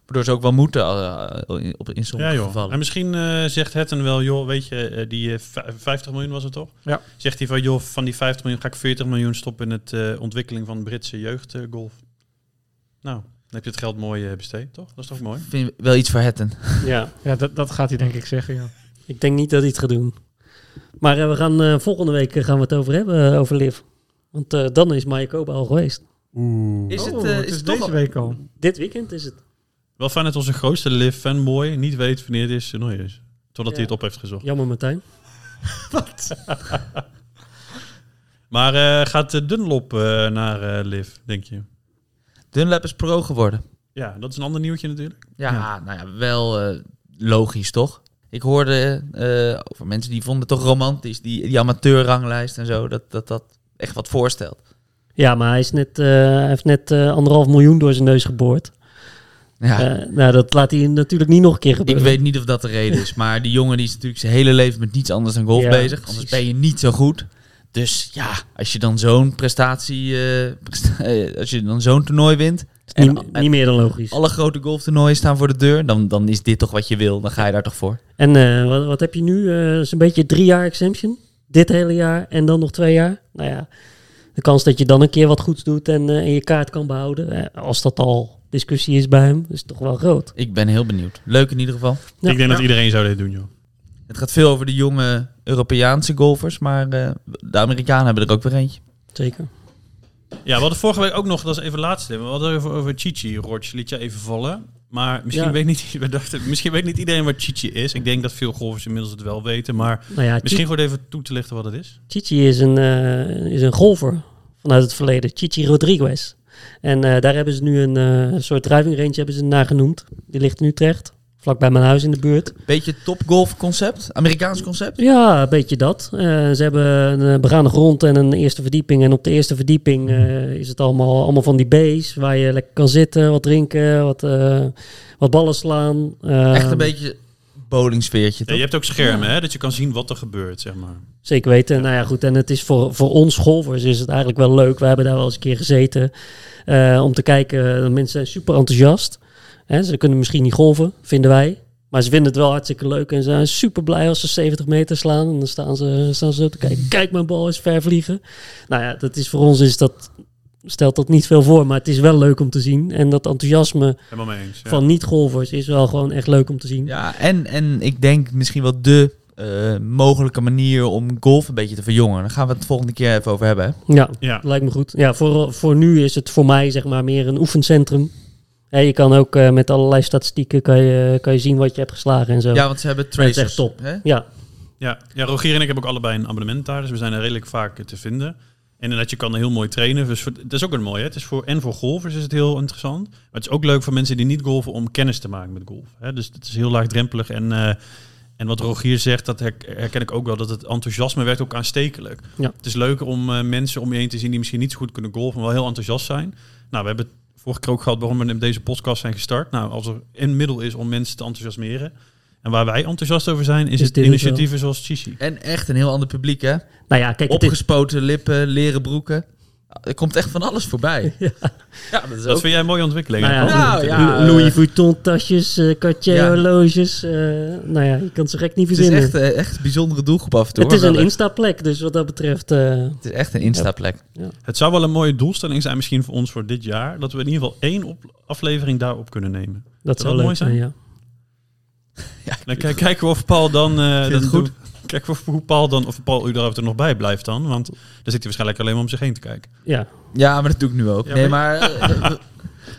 [SPEAKER 3] waardoor ze ook wel moeten eh, in- op in sommige
[SPEAKER 1] Ja, joh. En
[SPEAKER 3] gevallen.
[SPEAKER 1] misschien eh, zegt Hetten wel, joh, weet je, eh, die eh, vij- 50 miljoen was het toch?
[SPEAKER 4] Ja.
[SPEAKER 1] Zegt hij van, joh, van die 50 miljoen ga ik 40 miljoen stoppen in het eh, ontwikkeling van Britse jeugdgolf. nou, dan heb je het geld mooi eh, besteed, toch? Dat is toch mooi?
[SPEAKER 3] Ik vind wel iets voor Hetten.
[SPEAKER 5] Ja,
[SPEAKER 4] Ja, dat, dat gaat hij denk ik zeggen, ja.
[SPEAKER 5] ik denk niet dat hij het gaat doen. Maar eh, we gaan, eh, volgende week eh, gaan we het over hebben, eh, over Liv. Want eh, dan is Mayakoba al geweest.
[SPEAKER 1] Oeh.
[SPEAKER 3] Is het,
[SPEAKER 4] Oh,
[SPEAKER 3] eh,
[SPEAKER 4] het
[SPEAKER 3] is
[SPEAKER 4] is
[SPEAKER 3] het toch
[SPEAKER 4] deze
[SPEAKER 3] al-
[SPEAKER 4] week al.
[SPEAKER 5] Dit weekend is het.
[SPEAKER 1] Wel fijn dat onze grootste live fanboy niet weet wanneer dit toernooi is. Totdat
[SPEAKER 5] Ja.
[SPEAKER 1] hij het op heeft gezocht.
[SPEAKER 5] Jammer, Martijn.
[SPEAKER 1] Maar eh, gaat eh, Dunlop eh, naar eh, Liv, denk je?
[SPEAKER 3] Dunlap is pro geworden.
[SPEAKER 1] Ja, dat is een ander nieuwtje natuurlijk.
[SPEAKER 3] Ja,
[SPEAKER 1] Ja.
[SPEAKER 3] nou ja, wel eh, logisch toch? Ik hoorde eh, over mensen die vonden het toch romantisch, die, die amateurranglijst en zo, dat, dat dat echt wat voorstelt.
[SPEAKER 5] Ja, maar hij, is net, eh, hij heeft net eh, anderhalf miljoen door zijn neus geboord.
[SPEAKER 3] Ja,
[SPEAKER 5] Eh, nou, dat laat hij natuurlijk niet nog een keer
[SPEAKER 3] ik
[SPEAKER 5] gebeuren.
[SPEAKER 3] weet niet of dat de reden is, maar die jongen die is natuurlijk zijn hele leven met niets anders dan golf
[SPEAKER 5] Ja,
[SPEAKER 3] bezig, anders
[SPEAKER 5] precies.
[SPEAKER 3] ben je niet zo goed. Dus ja, als je dan zo'n prestatie, eh, presta- eh, als je dan zo'n toernooi wint,
[SPEAKER 5] Niet-
[SPEAKER 3] en-
[SPEAKER 5] niet,
[SPEAKER 3] en-
[SPEAKER 5] meer dan logisch.
[SPEAKER 3] alle grote golftoernooien staan voor de deur, dan, dan is dit toch wat je wil, dan ga je daar toch voor.
[SPEAKER 5] En eh, wat, wat heb je nu? Eh, Zo'n beetje drie jaar exemption. Dit hele jaar en dan nog twee jaar. Nou ja, de kans dat je dan een keer wat goeds doet en, eh, en je kaart kan behouden. eh, als dat al discussie is bij hem, is toch wel groot.
[SPEAKER 3] Ik ben heel benieuwd. Leuk in ieder geval.
[SPEAKER 5] Ja.
[SPEAKER 1] Ik denk dat iedereen zou dit doen, joh.
[SPEAKER 3] Het gaat veel over de jonge Europeaanse golfers, maar eh, de Amerikanen hebben er ook weer eentje.
[SPEAKER 5] Zeker.
[SPEAKER 1] Ja, we hadden vorige week ook nog, dat is even laatste, we hadden over, over Chichi. Roch liet je even vallen. Maar misschien,
[SPEAKER 5] Ja.
[SPEAKER 1] weet niet, we dachten, misschien weet niet iedereen wat Chichi is. Ik denk dat veel golfers inmiddels het wel weten. Maar
[SPEAKER 5] Nou ja,
[SPEAKER 1] misschien goed even toe te lichten wat het is.
[SPEAKER 5] Chichi is een, eh, is een golfer vanuit het verleden. Chichi Rodriguez. En eh, daar hebben ze nu een eh, soort driving range hebben ze hem naar genoemd. Die ligt in Utrecht, vlakbij mijn huis in de buurt.
[SPEAKER 3] Beetje topgolf concept, Amerikaans concept.
[SPEAKER 5] Ja, een beetje dat. Eh, ze hebben een eh, begane grond en een eerste verdieping. En op de eerste verdieping eh, is het allemaal, allemaal van die bays waar je lekker kan zitten, wat drinken, wat, eh, wat ballen slaan. Eh,
[SPEAKER 3] Echt een beetje bowling sfeertje
[SPEAKER 1] Ja, je
[SPEAKER 3] toch?
[SPEAKER 1] hebt ook schermen, hè, dat je kan zien wat er gebeurt, zeg maar.
[SPEAKER 5] Zeker weten. Nou ja, goed. En het is voor, voor ons golfers is het eigenlijk wel leuk. We hebben daar wel eens een keer gezeten eh, om te kijken. De mensen zijn super enthousiast. Hè, ze kunnen misschien niet golven, vinden wij. Maar ze vinden het wel hartstikke leuk en ze zijn super blij als ze 70 meter slaan. En dan staan ze, staan ze zo te kijken. Kijk, mijn bal is ver vliegen. Nou ja, dat is voor ons is dat, stelt dat niet veel voor. Maar het is wel leuk om te zien. En dat enthousiasme
[SPEAKER 1] Helemaal mee eens. Ja.
[SPEAKER 5] van niet-golfers is wel gewoon echt leuk om te zien.
[SPEAKER 3] Ja, en, en ik denk misschien wel de eh, mogelijke manier om golf een beetje te verjongen. Daar gaan we het volgende keer even over hebben. hè.
[SPEAKER 5] ja.
[SPEAKER 1] Ja.
[SPEAKER 5] Lijkt me goed. Ja, voor, voor nu is het voor mij zeg maar meer een oefencentrum. Hè, je kan ook eh, met allerlei statistieken kan je, kan je zien wat je hebt geslagen en zo.
[SPEAKER 3] Ja, want ze hebben tracers.
[SPEAKER 5] echt top.
[SPEAKER 3] Hè?
[SPEAKER 5] ja.
[SPEAKER 1] Ja. ja, Rogier en ik hebben ook allebei een abonnement daar, dus we zijn er redelijk vaak eh, te vinden. En inderdaad, je kan heel mooi trainen. Dus voor- dat is ook een mooie. hè. Het is voor, en voor golfers is het heel interessant. Maar het is ook leuk voor mensen die niet golven om kennis te maken met golf. Hè? Dus het is heel laagdrempelig. En, eh, en wat Rogier zegt, dat her- herken ik ook wel. Dat het enthousiasme werkt ook aanstekelijk.
[SPEAKER 5] Ja.
[SPEAKER 1] Het is leuk om eh, mensen om je heen te zien die misschien niet zo goed kunnen golven, maar wel heel enthousiast zijn. Nou, we hebben het vorige keer ook gehad waarom we met deze podcast zijn gestart. Nou, als er een middel is om mensen te enthousiasmeren. En waar wij enthousiast over zijn, is,
[SPEAKER 5] Is
[SPEAKER 1] het
[SPEAKER 5] dit het
[SPEAKER 1] initiatieven zoals Chichi.
[SPEAKER 3] En echt een heel ander publiek, hè?
[SPEAKER 5] Nou ja, kijk, het is,
[SPEAKER 3] Opgespoten lippen, leren broeken. Er komt echt van alles voorbij. Ja, dat is
[SPEAKER 1] Dat
[SPEAKER 3] ook...
[SPEAKER 1] vind jij een mooie ontwikkeling.
[SPEAKER 5] nou ja,
[SPEAKER 3] Nou ja,
[SPEAKER 1] eh,
[SPEAKER 5] Lou- Louis Vuitton tasjes, eh, Cartier
[SPEAKER 3] Ja.
[SPEAKER 5] horloges. eh, nou ja, je kan het zo gek niet
[SPEAKER 3] Het is
[SPEAKER 5] verzinnen.
[SPEAKER 3] echt, eh, echt een bijzondere doelgroep af en toe.
[SPEAKER 5] het is
[SPEAKER 3] hoor.
[SPEAKER 5] een
[SPEAKER 3] Wel,
[SPEAKER 5] instaplek, dus wat dat betreft... eh,
[SPEAKER 3] Het is echt een instaplek.
[SPEAKER 1] Het zou wel een mooie doelstelling zijn misschien voor ons voor dit jaar. Dat we in ieder geval één op- aflevering daarop kunnen nemen.
[SPEAKER 5] dat zou
[SPEAKER 1] mooi
[SPEAKER 5] leuk zijn,
[SPEAKER 1] zijn?
[SPEAKER 5] ja.
[SPEAKER 1] Dan kijk, kijken we of Paul dan... eh,
[SPEAKER 3] vind
[SPEAKER 1] dat
[SPEAKER 3] het goed.
[SPEAKER 1] doet. Kijken we of hoe Paul dan... Of Paul überhaupt er nog bij blijft dan. Want daar zit hij waarschijnlijk alleen maar om zich heen te kijken.
[SPEAKER 5] Ja,
[SPEAKER 3] Ja, maar dat doe ik nu ook.
[SPEAKER 1] Ja,
[SPEAKER 3] nee, maar... eh, eh,
[SPEAKER 4] Maar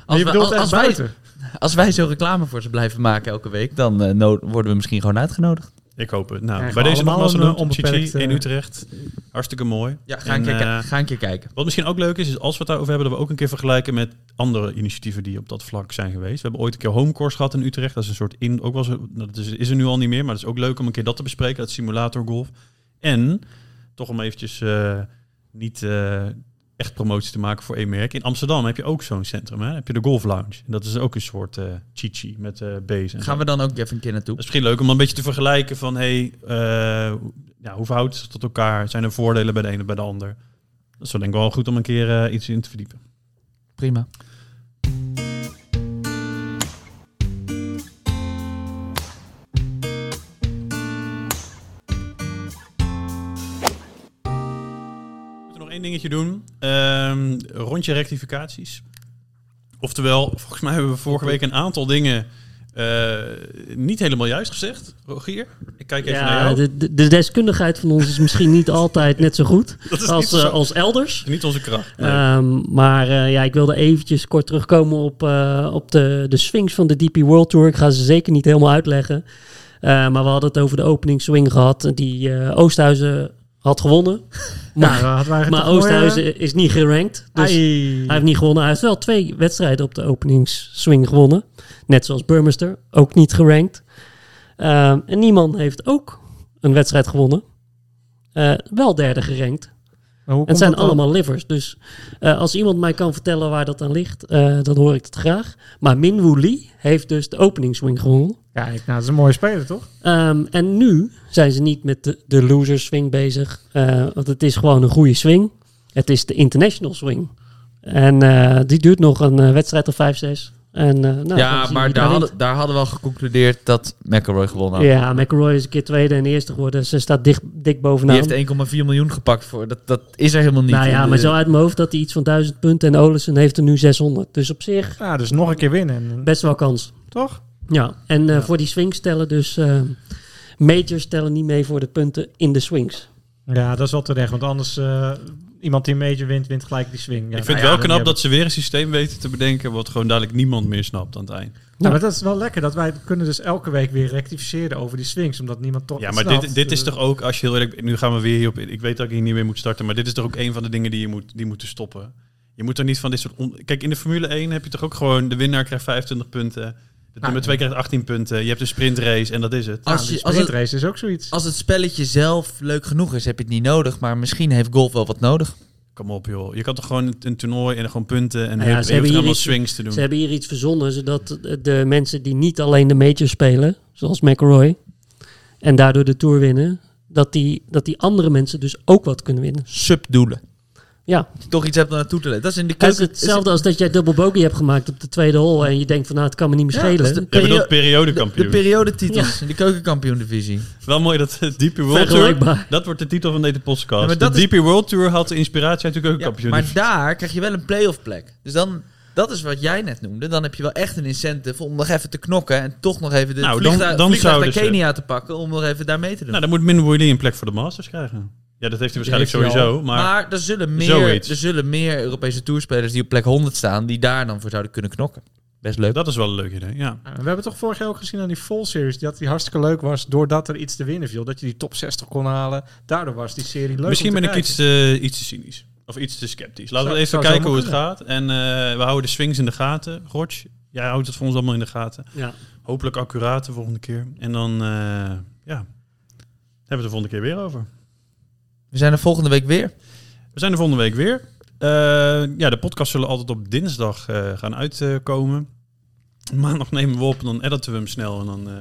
[SPEAKER 3] Als,
[SPEAKER 4] je
[SPEAKER 3] we,
[SPEAKER 4] bedoelt
[SPEAKER 3] als,
[SPEAKER 4] echt
[SPEAKER 3] als wij,
[SPEAKER 4] buiten?
[SPEAKER 3] als wij zo reclame voor ze blijven maken elke week, dan eh, no- worden we misschien gewoon uitgenodigd.
[SPEAKER 1] Ik hoop het. Nou,
[SPEAKER 4] Krijgen
[SPEAKER 1] bij
[SPEAKER 4] we
[SPEAKER 1] deze
[SPEAKER 4] allemaal
[SPEAKER 1] nogmaals
[SPEAKER 4] een,
[SPEAKER 1] een
[SPEAKER 4] eh, onbeperkt,
[SPEAKER 1] Chichi in
[SPEAKER 4] eh,
[SPEAKER 1] Utrecht. Hartstikke mooi.
[SPEAKER 3] Ja, ga een,
[SPEAKER 1] En,
[SPEAKER 3] keer, ki-
[SPEAKER 1] eh,
[SPEAKER 3] ga een keer kijken.
[SPEAKER 1] Wat misschien ook leuk is, is als we het daarover hebben, dat we ook een keer vergelijken met andere initiatieven die op dat vlak zijn geweest. We hebben ooit een keer Homecourse gehad in Utrecht. Dat is een soort in, ook was dat is, is er nu al niet meer, maar dat is ook leuk om een keer dat te bespreken, dat simulator golf. En toch om eventjes eh, niet eh, echt promotie te maken voor één merk. In Amsterdam heb je ook zo'n centrum, hè? Dan heb je de Golf Lounge. En dat is ook een soort eh chichi met eh bezen. en zo.
[SPEAKER 3] Gaan we dan ook even een keer naartoe?
[SPEAKER 1] Dat is misschien leuk om een beetje te vergelijken van, hey, eh, hoe- ja, hoe verhoudt het zich tot elkaar? Zijn er voordelen bij de ene bij de ander? Dat is wel denk ik wel goed om een keer eh, iets in te verdiepen.
[SPEAKER 3] Prima.
[SPEAKER 1] We moeten nog één dingetje doen. Ehm, rondje rectificaties. Oftewel, volgens mij hebben we vorige week een aantal dingen eh, niet helemaal juist gezegd. Rogier, ik kijk even naar
[SPEAKER 5] Ja,
[SPEAKER 1] jou.
[SPEAKER 5] de, de- de deskundigheid van ons is misschien niet altijd net zo goed
[SPEAKER 1] Dat is
[SPEAKER 5] als,
[SPEAKER 1] niet,
[SPEAKER 5] eh,
[SPEAKER 1] zo-
[SPEAKER 5] als elders.
[SPEAKER 1] niet onze kracht. Nee.
[SPEAKER 5] Ehm, maar eh, ja, ik wilde eventjes kort terugkomen op, eh, op de, de swings van de DP World Tour. Ik ga ze zeker niet helemaal uitleggen. Eh, maar we hadden het over de opening swing gehad. Die eh, Oosthuizen had gewonnen.
[SPEAKER 4] Nou,
[SPEAKER 5] Maar,
[SPEAKER 4] eh, hadden wij
[SPEAKER 5] maar
[SPEAKER 4] toch mooi, eh,
[SPEAKER 5] Oosthuizen is niet gerankt. Dus
[SPEAKER 4] ai.
[SPEAKER 5] hij heeft niet gewonnen. Hij heeft wel twee wedstrijden op de openingsswing gewonnen. Net zoals Burmester, ook niet gerankt. Ehm, en Nieman heeft ook een wedstrijd gewonnen. Eh, wel derde gerankt.
[SPEAKER 4] Maar hoe
[SPEAKER 5] Het
[SPEAKER 4] komt
[SPEAKER 5] zijn
[SPEAKER 4] dat dan?
[SPEAKER 5] allemaal livers. Dus eh, als iemand mij kan vertellen waar dat aan ligt, eh, dan hoor ik dat graag. Maar Min Woo Lee heeft dus de openingsswing gewonnen.
[SPEAKER 4] Kijk, nou, dat is een mooie speler, toch?
[SPEAKER 5] Ehm, en nu zijn ze niet met de, de loser swing bezig. eh, want het is gewoon een goede swing. Het is de international swing. En eh, die duurt nog een eh, wedstrijd of 5, 6. En, eh, nou, dan zien
[SPEAKER 3] ja,
[SPEAKER 5] we
[SPEAKER 3] maar
[SPEAKER 5] wie
[SPEAKER 3] daar
[SPEAKER 5] wint.
[SPEAKER 3] hadden, daar hadden we al geconcludeerd dat McElroy gewonnen had.
[SPEAKER 5] Ja, McElroy is een keer tweede en eerste geworden. Ze staat dicht, dik
[SPEAKER 3] Die
[SPEAKER 5] bovenaan.
[SPEAKER 3] heeft 1,4 miljoen gepakt voor. Dat, dat is er helemaal niet. eh,
[SPEAKER 5] nou ja,
[SPEAKER 3] In
[SPEAKER 5] maar
[SPEAKER 3] de-
[SPEAKER 5] zo uit mijn hoofd dat hij iets van 1000 punten. En Olesen heeft er nu 600. Dus op zich
[SPEAKER 4] Ja, dus nog een keer winnen, en-
[SPEAKER 5] best wel kans.
[SPEAKER 4] toch?
[SPEAKER 5] Ja, en eh, voor die swings tellen dus... eh, majors tellen niet mee voor de punten in de swings.
[SPEAKER 4] Ja, dat is wel terecht, want anders eh, iemand die een major wint, wint gelijk die swing. Ja,
[SPEAKER 1] ik vind
[SPEAKER 4] nou
[SPEAKER 1] het wel
[SPEAKER 4] ja,
[SPEAKER 1] knap
[SPEAKER 4] hebben-
[SPEAKER 1] dat ze weer een systeem weten te bedenken wat gewoon dadelijk niemand meer snapt aan het eind.
[SPEAKER 4] Nou, maar dat is wel lekker, dat wij kunnen dus elke week weer rectificeren over die swings, omdat niemand toch
[SPEAKER 1] Ja,
[SPEAKER 4] het
[SPEAKER 1] maar
[SPEAKER 4] snapt.
[SPEAKER 1] dit, dit is
[SPEAKER 4] Eh,
[SPEAKER 1] toch ook, als je heel eerlijk nu gaan we weer hierop in. Ik weet dat ik hier niet meer moet starten, maar dit is toch ook een van de dingen die je moet, die moeten stoppen. Je moet er niet van dit soort. on- Kijk, in de Formule 1 heb je toch ook gewoon de winnaar krijgt 25 punten, de nummer 2 krijgt 18 punten, je hebt een sprintrace en dat is het.
[SPEAKER 4] nou,
[SPEAKER 3] als,
[SPEAKER 4] die
[SPEAKER 3] je, als, het,
[SPEAKER 4] sprintrace is ook zoiets.
[SPEAKER 3] als het spelletje zelf leuk genoeg is, heb je het niet nodig. Maar misschien heeft golf wel wat nodig.
[SPEAKER 1] Kom op, joh. Je kan toch gewoon een- een toernooi en gewoon punten en
[SPEAKER 5] Nou ja,
[SPEAKER 1] je hoeft-
[SPEAKER 5] ze
[SPEAKER 1] je
[SPEAKER 5] hebben
[SPEAKER 1] hoeft
[SPEAKER 5] hier
[SPEAKER 1] helemaal
[SPEAKER 5] iets-
[SPEAKER 1] swings te doen.
[SPEAKER 5] Ze hebben hier iets verzonnen, zodat de mensen die niet alleen de majors spelen, zoals McElroy, en daardoor de Tour winnen, dat die, dat die andere mensen dus ook wat kunnen winnen.
[SPEAKER 3] Subdoelen.
[SPEAKER 5] Ja,
[SPEAKER 3] Dat je toch iets hebt om naartoe te letten. Dat is in de
[SPEAKER 5] het is
[SPEAKER 3] keuken.
[SPEAKER 5] hetzelfde als dat jij dubbel bogey hebt gemaakt op de tweede hole en je denkt van nou, het kan me niet meer
[SPEAKER 3] Ja,
[SPEAKER 5] schelen.
[SPEAKER 3] dat is de-
[SPEAKER 1] Je bedoelt
[SPEAKER 3] perio- de,
[SPEAKER 1] periodekampioen.
[SPEAKER 3] de periodetitels in de keukenkampioen-divisie.
[SPEAKER 1] Wel mooi dat de DP World Tour.
[SPEAKER 5] Vergelijkbaar.
[SPEAKER 1] Dat wordt de titel van deze podcast.
[SPEAKER 3] Ja, maar
[SPEAKER 1] de
[SPEAKER 3] dat is-
[SPEAKER 1] DP World Tour had de inspiratie uit de
[SPEAKER 3] Ja,
[SPEAKER 1] keukenkampioen.
[SPEAKER 3] maar daar krijg je wel een playoff plek. Dus dan, dat is wat jij net noemde. Dan heb je wel echt een incentive om nog even te knokken. En toch nog even de
[SPEAKER 1] Nou, dan-
[SPEAKER 3] vliegtuig,
[SPEAKER 1] dan
[SPEAKER 3] vliegtuig naar
[SPEAKER 1] zouden ze-
[SPEAKER 3] Kenia te pakken. Om nog even daar mee te doen.
[SPEAKER 1] nou, dan moet Min Woolley een plek voor de Masters krijgen. Ja, dat heeft hij waarschijnlijk
[SPEAKER 4] heeft hij al.
[SPEAKER 1] sowieso.
[SPEAKER 3] maar
[SPEAKER 1] Maar
[SPEAKER 3] er, zullen
[SPEAKER 1] zoiets.
[SPEAKER 3] meer, er zullen meer Europese toerspelers die op plek 100 staan. Die daar dan voor zouden kunnen knokken. Best leuk.
[SPEAKER 1] Dat is wel een leuk idee, ja.
[SPEAKER 4] Eh, We hebben toch vorig jaar ook gezien aan die full series dat die hartstikke leuk was doordat er iets te winnen viel. Dat je die top 60 kon halen. Daardoor was die serie leuk.
[SPEAKER 1] Misschien
[SPEAKER 4] om te
[SPEAKER 1] ben ik
[SPEAKER 4] kijken.
[SPEAKER 1] iets te, iets te cynisch. Of iets te sceptisch. Laten we
[SPEAKER 4] Zou-
[SPEAKER 1] even
[SPEAKER 4] zou
[SPEAKER 1] kijken hoe
[SPEAKER 4] zomaar
[SPEAKER 1] het gaat. En eh, we houden de swings in de gaten. Roch, jij houdt het voor ons allemaal in de gaten.
[SPEAKER 5] ja.
[SPEAKER 1] Hopelijk accuraat de volgende keer. En dan, eh, ja, hebben we het de volgende keer weer over.
[SPEAKER 3] We zijn er volgende week weer.
[SPEAKER 1] We zijn er volgende week weer. Eh, ja, de podcasts zullen altijd op dinsdag eh, gaan uitkomen. Maandag nemen we op en dan editen we hem snel. En dan eh,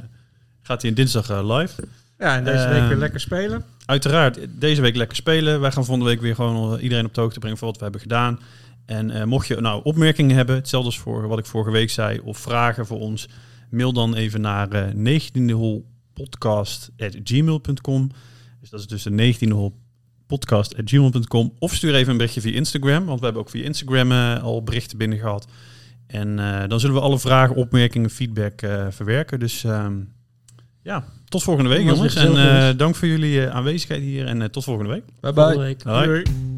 [SPEAKER 1] gaat hij dinsdag eh, live.
[SPEAKER 4] Ja, en deze week
[SPEAKER 1] Ehm,
[SPEAKER 4] weer lekker spelen.
[SPEAKER 1] uiteraard deze week lekker spelen. Wij gaan volgende week weer gewoon eh, iedereen op de hoogte brengen van wat we hebben gedaan. En eh, mocht je nou opmerkingen hebben, hetzelfde als voor wat ik vorige week zei, of vragen voor ons, mail dan even naar eh 19e hole podcast@gmail.com. Dus dat is dus de 19e hole podcast@gmail.com of stuur even een berichtje via Instagram, want we hebben ook via Instagram eh, al berichten binnen gehad. En eh, dan zullen we alle vragen, opmerkingen, feedback eh, verwerken. Dus ehm, ja, tot volgende week
[SPEAKER 5] Dat was weer
[SPEAKER 1] jongens. En
[SPEAKER 5] gezellig,
[SPEAKER 1] eh,
[SPEAKER 5] jongens.
[SPEAKER 1] dank voor jullie eh, aanwezigheid hier en eh, tot volgende week.
[SPEAKER 3] Bye
[SPEAKER 5] Volgende week.
[SPEAKER 1] Hoi.
[SPEAKER 4] Doei.